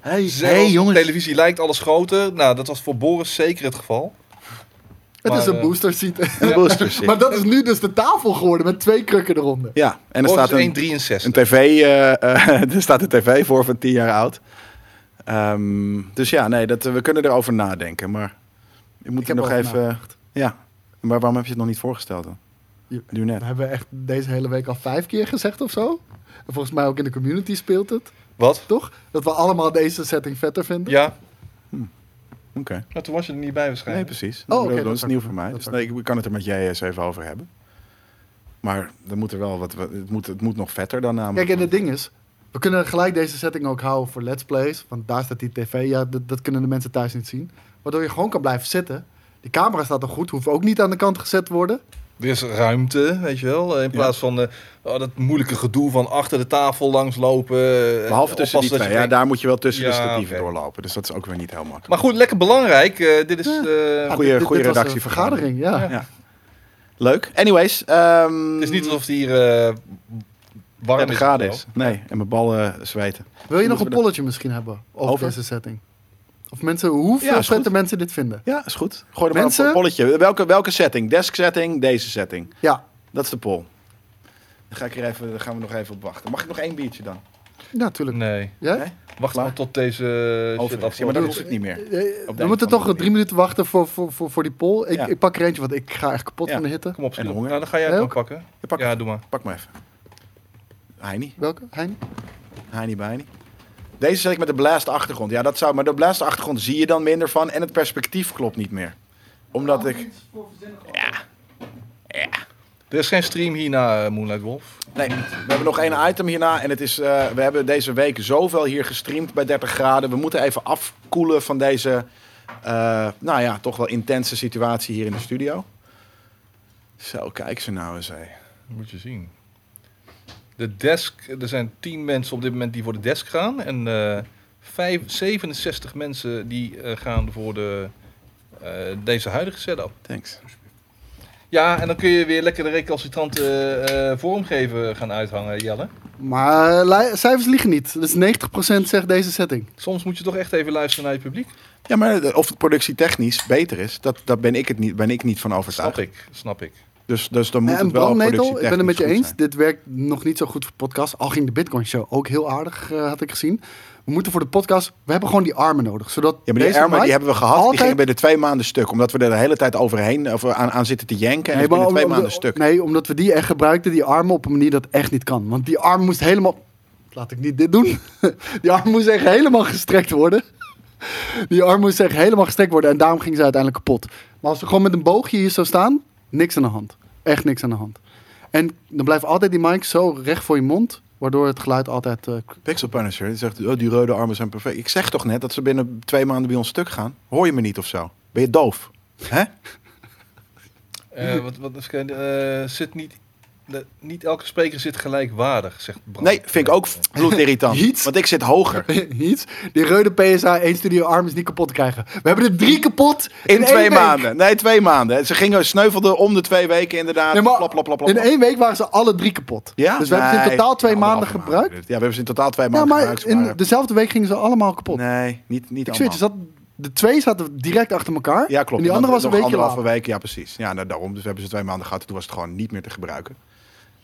Speaker 1: Hey,
Speaker 2: zelfs op televisie lijkt alles groter. Nou, dat was voor Boris zeker het geval.
Speaker 3: het
Speaker 2: maar,
Speaker 3: is een
Speaker 2: eh,
Speaker 3: booster seat.
Speaker 1: De boosters, ja.
Speaker 3: Maar dat is nu dus de tafel geworden met twee krukken eronder.
Speaker 1: Ja, en er
Speaker 2: Boris
Speaker 1: staat
Speaker 2: is
Speaker 1: een,
Speaker 2: 1,63.
Speaker 1: een tv, eh, eh, er staat een tv voor van 10 jaar oud. Ehm, dus ja, nee, dat, eh, we kunnen erover nadenken. Maar je moet
Speaker 3: Ik
Speaker 1: er
Speaker 3: heb
Speaker 1: nog
Speaker 3: erover
Speaker 1: even... ja, maar waarom heb je het nog niet voorgesteld dan?
Speaker 3: Je-
Speaker 1: Nu net.
Speaker 3: Dat hebben we echt deze hele week al vijf keer gezegd of zo. En volgens mij ook in de community speelt het,
Speaker 2: Wat?
Speaker 3: toch? Dat we allemaal deze setting vetter vinden.
Speaker 2: Ja,
Speaker 1: Oké.
Speaker 2: maar toen was je er niet bij
Speaker 1: Nee,
Speaker 2: waarschijnlijk.
Speaker 1: precies.
Speaker 3: Oh,
Speaker 1: Oh,
Speaker 3: oké,
Speaker 1: dat,
Speaker 3: dat
Speaker 1: is
Speaker 3: pak
Speaker 1: nieuw
Speaker 3: ik.
Speaker 1: voor mij.
Speaker 3: Dat
Speaker 1: Dus
Speaker 3: pak
Speaker 1: nee, ik ik kan het er met jij eens even over hebben. Maar er moet er wel wat, wat- het, moet, het moet nog vetter dan namelijk.
Speaker 3: Kijk, en het ding is, we kunnen gelijk deze setting ook houden voor Let's Plays. Want daar staat die tv, ja, dat, dat kunnen de mensen thuis niet zien. Waardoor je gewoon kan blijven zitten. Die camera staat nog goed, hoeft ook niet aan de kant gezet te worden.
Speaker 2: Er is ruimte, weet je wel. eh, In plaats van eh, oh, dat moeilijke gedoe van achter de tafel langslopen. eh,
Speaker 1: Behalve tussen die
Speaker 2: oppassen dat
Speaker 1: twee.
Speaker 2: je
Speaker 1: Ja, daar moet je wel tussen de
Speaker 2: Ja,
Speaker 1: statieven
Speaker 2: oké.
Speaker 1: doorlopen. Dus dat is ook weer niet heel makkelijk.
Speaker 2: Maar goed, lekker belangrijk. Eh, dit is. eh,
Speaker 1: Ja. Goeie-
Speaker 3: Dit- dit-
Speaker 1: goeie
Speaker 3: dit was een
Speaker 1: redactievergadering.
Speaker 3: vergadering. Ja.
Speaker 1: Ja. Leuk. Anyways. ehm,
Speaker 2: Het is niet alsof het hier eh warm
Speaker 1: het
Speaker 2: is.
Speaker 1: graden
Speaker 2: of
Speaker 1: is.
Speaker 2: zo.
Speaker 1: Nee, en mijn ballen zweten.
Speaker 3: Wil je
Speaker 1: Moeten
Speaker 3: nog een
Speaker 1: we dat-
Speaker 3: polletje misschien hebben over,
Speaker 1: Over?
Speaker 3: deze setting? Of mensen, hoeveel
Speaker 1: Ja, is goed.
Speaker 3: vetter mensen dit vinden?
Speaker 1: Ja, is goed. Gooi er maar
Speaker 3: Mensen?
Speaker 1: een po- polletje. Welke, welke setting? Desk setting, deze setting.
Speaker 3: Ja,
Speaker 1: Dat is de poll. Dan ga ik er even, daar gaan we nog even op wachten. Mag ik nog één biertje dan?
Speaker 3: Ja, natuurlijk.
Speaker 2: Nee.
Speaker 3: Ja?
Speaker 1: Nee?
Speaker 2: Wacht
Speaker 1: Klaar?
Speaker 2: maar tot deze shit
Speaker 1: Overweg.
Speaker 2: af.
Speaker 1: Ja, maar dat hoeft het niet meer.
Speaker 3: Eh,
Speaker 1: of
Speaker 3: We moeten toch
Speaker 1: andere
Speaker 3: drie minuten wachten voor, voor, voor, voor die poll. Ik,
Speaker 1: Ja.
Speaker 3: ik pak er eentje, want ik ga echt kapot
Speaker 1: Ja.
Speaker 3: van de hitte.
Speaker 2: Kom op, Sjoerd.
Speaker 1: En honger.
Speaker 2: Nou, dan ga jij
Speaker 3: Nee,
Speaker 2: het
Speaker 3: ook.
Speaker 2: wel pakken.
Speaker 1: Ja, pak,
Speaker 2: Ja, doe maar.
Speaker 1: pak maar even. Heini.
Speaker 3: Welke? Hein?
Speaker 1: Heini Bijni. Deze zet ik met de blaast achtergrond. Ja, dat zou... Maar de blaast achtergrond zie je dan minder van. En het perspectief klopt niet meer. Omdat ik...
Speaker 2: Er is geen stream hierna, eh, Moonlight Wolf.
Speaker 1: Nee, we hebben nog één item hierna. En het is... eh, we hebben deze week zoveel hier gestreamd bij 30 graden. We moeten even afkoelen van deze... eh, nou ja, toch wel intense situatie hier in de studio. Zo, kijk ze nou eens, hé.
Speaker 2: Moet je zien. De desk, er zijn 10 mensen op dit moment die voor de desk gaan. En eh, vijf- 67 mensen die eh, gaan voor de, eh, deze huidige setup.
Speaker 1: Thanks.
Speaker 2: Ja, en dan kun je weer lekker de recalcitrante eh, eh, vormgeven gaan uithangen, Jelle.
Speaker 3: Maar eh, li- cijfers liegen niet. Dus 90% zegt deze setting.
Speaker 2: Soms moet je toch echt even luisteren naar je publiek.
Speaker 1: Ja, maar de- of het productietechnisch beter is, dat, dat ben, ik het niet, ben ik niet van
Speaker 2: Snap
Speaker 1: overtuigd.
Speaker 2: ik, snap ik.
Speaker 1: Dus, dus dan moet
Speaker 3: en
Speaker 1: het wel
Speaker 3: brandnetel, ik ben het met je
Speaker 1: productietechnisch goed
Speaker 3: eens.
Speaker 1: zijn.
Speaker 3: Dit werkt nog niet zo goed voor podcast. Al ging de Bitcoin Show ook heel aardig, eh, had ik gezien. We moeten voor de podcast, we hebben gewoon die armen nodig. Zodat
Speaker 1: Ja, maar die
Speaker 3: deze
Speaker 1: ermen die
Speaker 3: mic
Speaker 1: hebben we gehad. Die
Speaker 3: altijd-
Speaker 1: gingen bij de twee maanden stuk. Omdat we er de hele tijd overheen of eh, aan, aan zitten te janken. En nee,
Speaker 3: Nee,
Speaker 1: binnen
Speaker 3: maar
Speaker 1: twee
Speaker 3: om- om-
Speaker 1: maanden stuk.
Speaker 3: Nee, omdat we die echt gebruikten, die armen, op een manier dat echt niet kan. Want die arm moest helemaal... Laat ik niet dit doen. Die arm moest echt helemaal gestrekt worden. Die arm moest echt helemaal gestrekt worden. En daarom ging ze uiteindelijk kapot. Maar als we gewoon met een boogje hier zo staan, niks aan de hand. Echt niks aan de hand. En dan blijft altijd die mic zo recht voor je mond, waardoor het geluid altijd... eh, k-
Speaker 1: Pixel Punisher die zegt, oh, die rode armen zijn perfect. Ik zeg toch net dat ze binnen twee maanden bij ons stuk gaan. Hoor je me niet of zo? Ben je doof? Hè?
Speaker 2: Eh, wat, wat, is- eh, zit niet, de- niet elke spreker zit gelijkwaardig, zegt Bram.
Speaker 1: Nee, vind ik ook bloedirritant.
Speaker 3: Iets.
Speaker 1: want ik zit hoger.
Speaker 3: Iets. Die reude PSA 1 Studio arm is niet kapot te krijgen. We hebben er drie kapot in,
Speaker 1: In
Speaker 3: één
Speaker 1: twee
Speaker 3: week.
Speaker 1: maanden. Nee, twee maanden. Ze gingen sneuvelden om de twee weken inderdaad.
Speaker 3: Nee, maar
Speaker 1: plap, plap, plap, plap,
Speaker 3: In
Speaker 1: plap.
Speaker 3: één week waren ze alle drie kapot.
Speaker 1: Ja?
Speaker 3: dus we hebben ze in
Speaker 1: Nee.
Speaker 3: totaal twee maanden
Speaker 1: Anderhalve maand.
Speaker 3: gebruikt.
Speaker 1: Ja, we hebben ze in totaal twee
Speaker 3: Ja,
Speaker 1: maanden
Speaker 3: maar
Speaker 1: gebruikt.
Speaker 3: in
Speaker 1: maar-
Speaker 3: dezelfde week gingen ze allemaal kapot.
Speaker 1: Nee, niet, niet
Speaker 3: ik zweer,
Speaker 1: allemaal.
Speaker 3: het, er zat, de twee zaten direct achter elkaar.
Speaker 1: Ja, klopt.
Speaker 3: En die andere was een
Speaker 1: Nog
Speaker 3: beetje later.
Speaker 1: anderhalve week, ja precies. Ja, nou, daarom. Dus we hebben ze twee maanden gehad. Toen was het gewoon niet meer te gebruiken.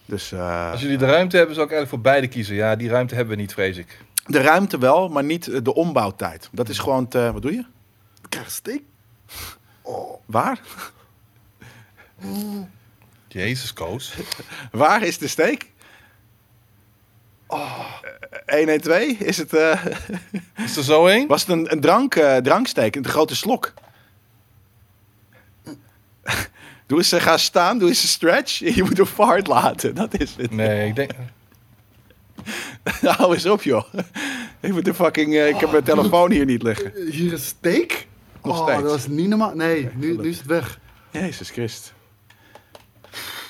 Speaker 1: Dus eh,
Speaker 2: Als jullie de ruimte hebben, zou ik eigenlijk voor beide kiezen. Ja, die ruimte hebben we niet, vrees ik.
Speaker 1: de ruimte wel, maar niet eh, de ombouwtijd. Dat is gewoon te... Wat doe je? Waar?
Speaker 2: Jezus, Koos.
Speaker 1: Waar is de steek? Oh. 112? Is het, eh,
Speaker 2: Is er zo één?
Speaker 1: was het een, een drank, eh, dranksteek? Een grote slok? Doe eens, eh, ga staan, doe eens een stretch. Je moet een fart laten, dat is het.
Speaker 2: Nee, ik denk...
Speaker 1: Hou eens op, joh. Ik, moet de fucking, eh, ik heb mijn telefoon hier niet liggen.
Speaker 3: Hier een steek?
Speaker 1: Nog
Speaker 3: oh,
Speaker 1: steeds.
Speaker 3: dat was niet normaal. Nee, nu, nu is het weg.
Speaker 1: Jezus Christ.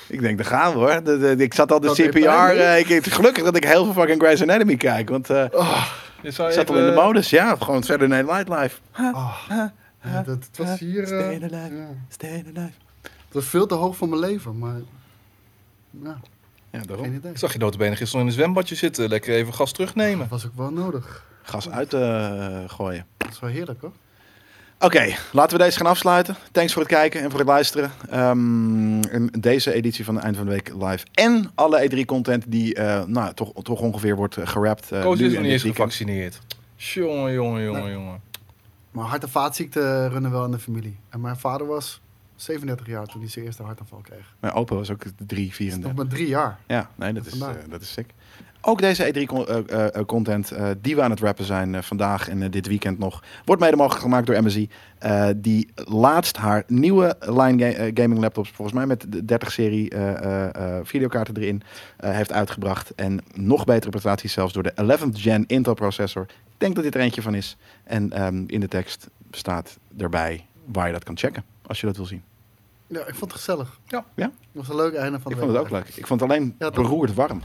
Speaker 1: Ik denk, daar gaan we hoor. De, de- ik zat al de
Speaker 3: Dat deed
Speaker 1: CPR.
Speaker 3: pijn, hè?
Speaker 1: eh, ik, ik- gelukkig dat ik heel veel fucking Grey's Anatomy kijk. Want eh,
Speaker 2: Dit zou
Speaker 1: ik zat al
Speaker 2: Oh, even-
Speaker 1: in de modus. Ja, gewoon verder Night Live.
Speaker 3: Ah, ja, dat, het was hier... eh,
Speaker 1: Stay alive.
Speaker 3: ja.
Speaker 1: Stay alive.
Speaker 3: Het was veel te hoog voor mijn leven, maar... Ja,
Speaker 1: Ja, daarom.
Speaker 3: geen idee.
Speaker 2: Ik zag je notabene gisteren in een zwembadje zitten. Lekker even gas terugnemen.
Speaker 3: Dat was ook wel nodig.
Speaker 1: Gas uit eh, gooien.
Speaker 3: Dat is wel heerlijk, hoor.
Speaker 1: Oké, laten we deze gaan afsluiten. Thanks voor het kijken en voor het luisteren. Ehm, en deze editie van de Eind van de Week live. En alle E3-content die eh, nou, toch, toch ongeveer wordt eh, gerapt. eh,
Speaker 2: Koos
Speaker 1: nu en
Speaker 2: is nog niet
Speaker 1: dit
Speaker 2: eens
Speaker 1: weekend.
Speaker 2: gevaccineerd. Jongen, jongen, jongen, jongen.
Speaker 3: Maar hart- en vaatziekten runnen wel in de familie. En mijn vader was 37 jaar toen hij zijn eerste hartaanval kreeg.
Speaker 1: Mijn opa was ook 3,
Speaker 3: Dat is
Speaker 1: 34.
Speaker 3: nog maar drie jaar.
Speaker 1: Ja, nee, dat is,
Speaker 3: Vandaar.
Speaker 1: eh, dat is sick. Ook deze E eh, E3-content die we aan het rappen zijn eh, vandaag en eh, dit weekend nog, wordt mede mogelijk gemaakt door MSI. eh, die laatst haar nieuwe line ga- eh, gaming laptops, volgens mij met de 30-serie eh, videokaarten erin, eh, heeft uitgebracht. En nog betere prestaties zelfs door de 11th gen Intel processor. Ik denk dat dit er eentje van is. En ehm, in de tekst staat erbij waar je dat kan checken, als je dat wil zien.
Speaker 3: Ja, ik vond het gezellig.
Speaker 2: Ja.
Speaker 1: Ja.
Speaker 3: Het was een leuk einde van
Speaker 1: Ik
Speaker 3: de
Speaker 1: vond het
Speaker 3: week.
Speaker 1: ook leuk. Ik vond het alleen
Speaker 3: Ja, toch?
Speaker 1: beroerd warm.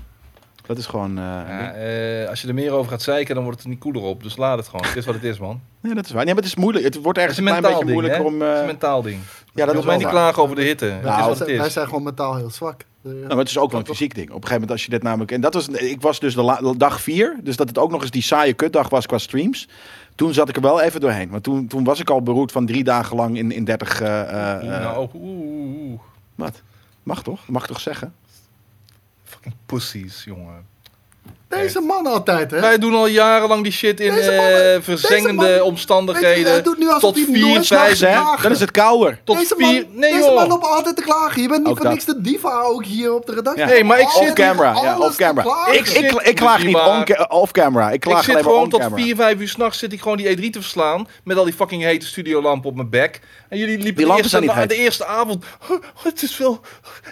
Speaker 1: Dat is gewoon... eh, een ding.
Speaker 2: Ja, eh, als je er meer over gaat zeiken, dan wordt het er niet koeler op. Dus laat het gewoon. Het is wat het is, man.
Speaker 1: Nee, dat is waar. Nee, maar het is moeilijk. Het wordt
Speaker 2: Het is
Speaker 1: ergens
Speaker 2: een
Speaker 1: een klein
Speaker 2: mentaal
Speaker 1: beetje
Speaker 2: ding,
Speaker 1: moeilijker om... eh,
Speaker 2: hè? Het is een mentaal ding.
Speaker 1: ja, dat is
Speaker 2: Volgens mij
Speaker 1: wel
Speaker 2: niet
Speaker 1: waar.
Speaker 2: klagen over de hitte.
Speaker 1: Nou,
Speaker 2: het
Speaker 3: Wij
Speaker 2: is wat
Speaker 3: zijn-
Speaker 2: het
Speaker 3: Wij
Speaker 2: is.
Speaker 3: zijn gewoon mentaal heel zwak.
Speaker 1: Nou, maar het is ook wel een fysiek ding. Op een gegeven moment als je dit namelijk... En dat was, ik was dus de la- dag vier. Dus dat het ook nog eens die saaie kutdag was qua streams. Toen zat ik er wel even doorheen. Want toen, toen was ik al beroerd van drie dagen lang in, in 30... eh, eh, eh,
Speaker 2: Nou, oeh, oeh, oeh.
Speaker 1: Wat? Mag toch? Mag toch zeggen?
Speaker 2: Fucking pussies, jongen.
Speaker 3: Deze man altijd, hè?
Speaker 2: Wij doen al jarenlang die shit in
Speaker 3: Deze mannen-
Speaker 2: eh verzengende
Speaker 3: deze man- Weet je,
Speaker 2: omstandigheden.
Speaker 3: hij doet nu alsof
Speaker 2: tot
Speaker 3: hij
Speaker 2: vier,
Speaker 3: nooit
Speaker 2: vijf,
Speaker 1: Thuis,
Speaker 3: mag
Speaker 1: hè?
Speaker 3: klagen.
Speaker 1: Dan is het kouder.
Speaker 2: Tot
Speaker 3: deze
Speaker 2: vier.
Speaker 3: man,
Speaker 2: nee,
Speaker 3: deze
Speaker 2: joh.
Speaker 3: man op altijd te klagen. Je bent niet
Speaker 1: Ook
Speaker 3: voor
Speaker 1: dat.
Speaker 3: niks de diva ook hier op de redactie.
Speaker 1: Ja.
Speaker 2: Nee, maar ik
Speaker 3: Altijd
Speaker 2: zit-
Speaker 1: Off camera. Ja,
Speaker 3: alles
Speaker 1: off
Speaker 3: te
Speaker 1: camera.
Speaker 3: klagen.
Speaker 1: Ik, ik, ik klaag niet on ca- off camera. Ik klaag
Speaker 2: ik zit
Speaker 1: alleen maar
Speaker 2: gewoon
Speaker 1: on
Speaker 2: tot
Speaker 1: camera.
Speaker 2: 4, 5 uur s'nachts zit ik gewoon die E3 te verslaan. Met al die fucking hete studiolampen op mijn bek. En jullie liepen de,
Speaker 1: lampen
Speaker 2: eerste,
Speaker 1: zijn niet
Speaker 2: na-
Speaker 1: heet.
Speaker 2: de eerste avond. "Oh, het is wel.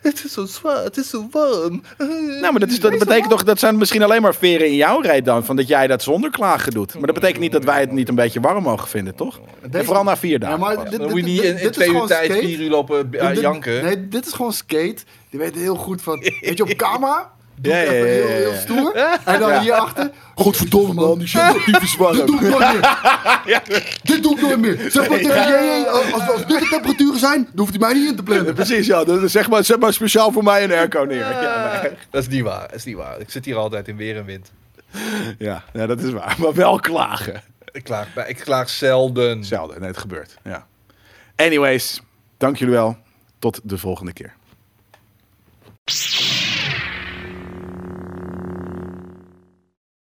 Speaker 2: Het is zo zwaar. Het is zo warm.
Speaker 1: Nou, maar dat, is, dat betekent toch, dat zijn misschien alleen maar veren in jouw reet dan. Van dat jij dat zonder klagen doet. Maar dat betekent niet dat wij het niet een beetje warm mogen vinden, toch? En vooral na vier dagen.
Speaker 3: Ja, maar
Speaker 1: pas.
Speaker 3: dit-
Speaker 2: Dan moet je niet in, in
Speaker 3: dit is
Speaker 2: twee uur
Speaker 3: gewoon
Speaker 2: tijd
Speaker 3: skate.
Speaker 2: 4 uur lopen eh,
Speaker 3: Dit- dit-
Speaker 2: janken.
Speaker 3: Nee, dit is gewoon skate. Die weet heel goed van. Weet je, op camera. Doe
Speaker 1: Ja,
Speaker 3: ik
Speaker 1: ja,
Speaker 3: even
Speaker 1: ja,
Speaker 3: heel,
Speaker 1: ja,
Speaker 3: heel
Speaker 1: ja.
Speaker 3: stoer. En dan
Speaker 1: Ja.
Speaker 3: hierachter.
Speaker 1: Godverdomme man, die shit wordt niet
Speaker 3: Dit doe
Speaker 1: verzwarren.
Speaker 3: ik nooit meer. Dit doe ik nooit meer. Zeg maar tegen JJ, als, als, als dit de temperaturen zijn, dan hoeft hij mij niet in te plannen.
Speaker 1: Precies, ja. dat is zeg maar, zet maar speciaal voor mij een airco neer. Ja, nee.
Speaker 2: Dat is niet waar. Dat is niet waar. Ik zit hier altijd in weer en wind.
Speaker 1: ja, ja, dat is waar. Maar wel klagen.
Speaker 2: Ik klaag, bij- ik klaag zelden.
Speaker 1: Zelden. Nee, het gebeurt. Ja. Anyways, dank jullie wel. Tot de volgende keer.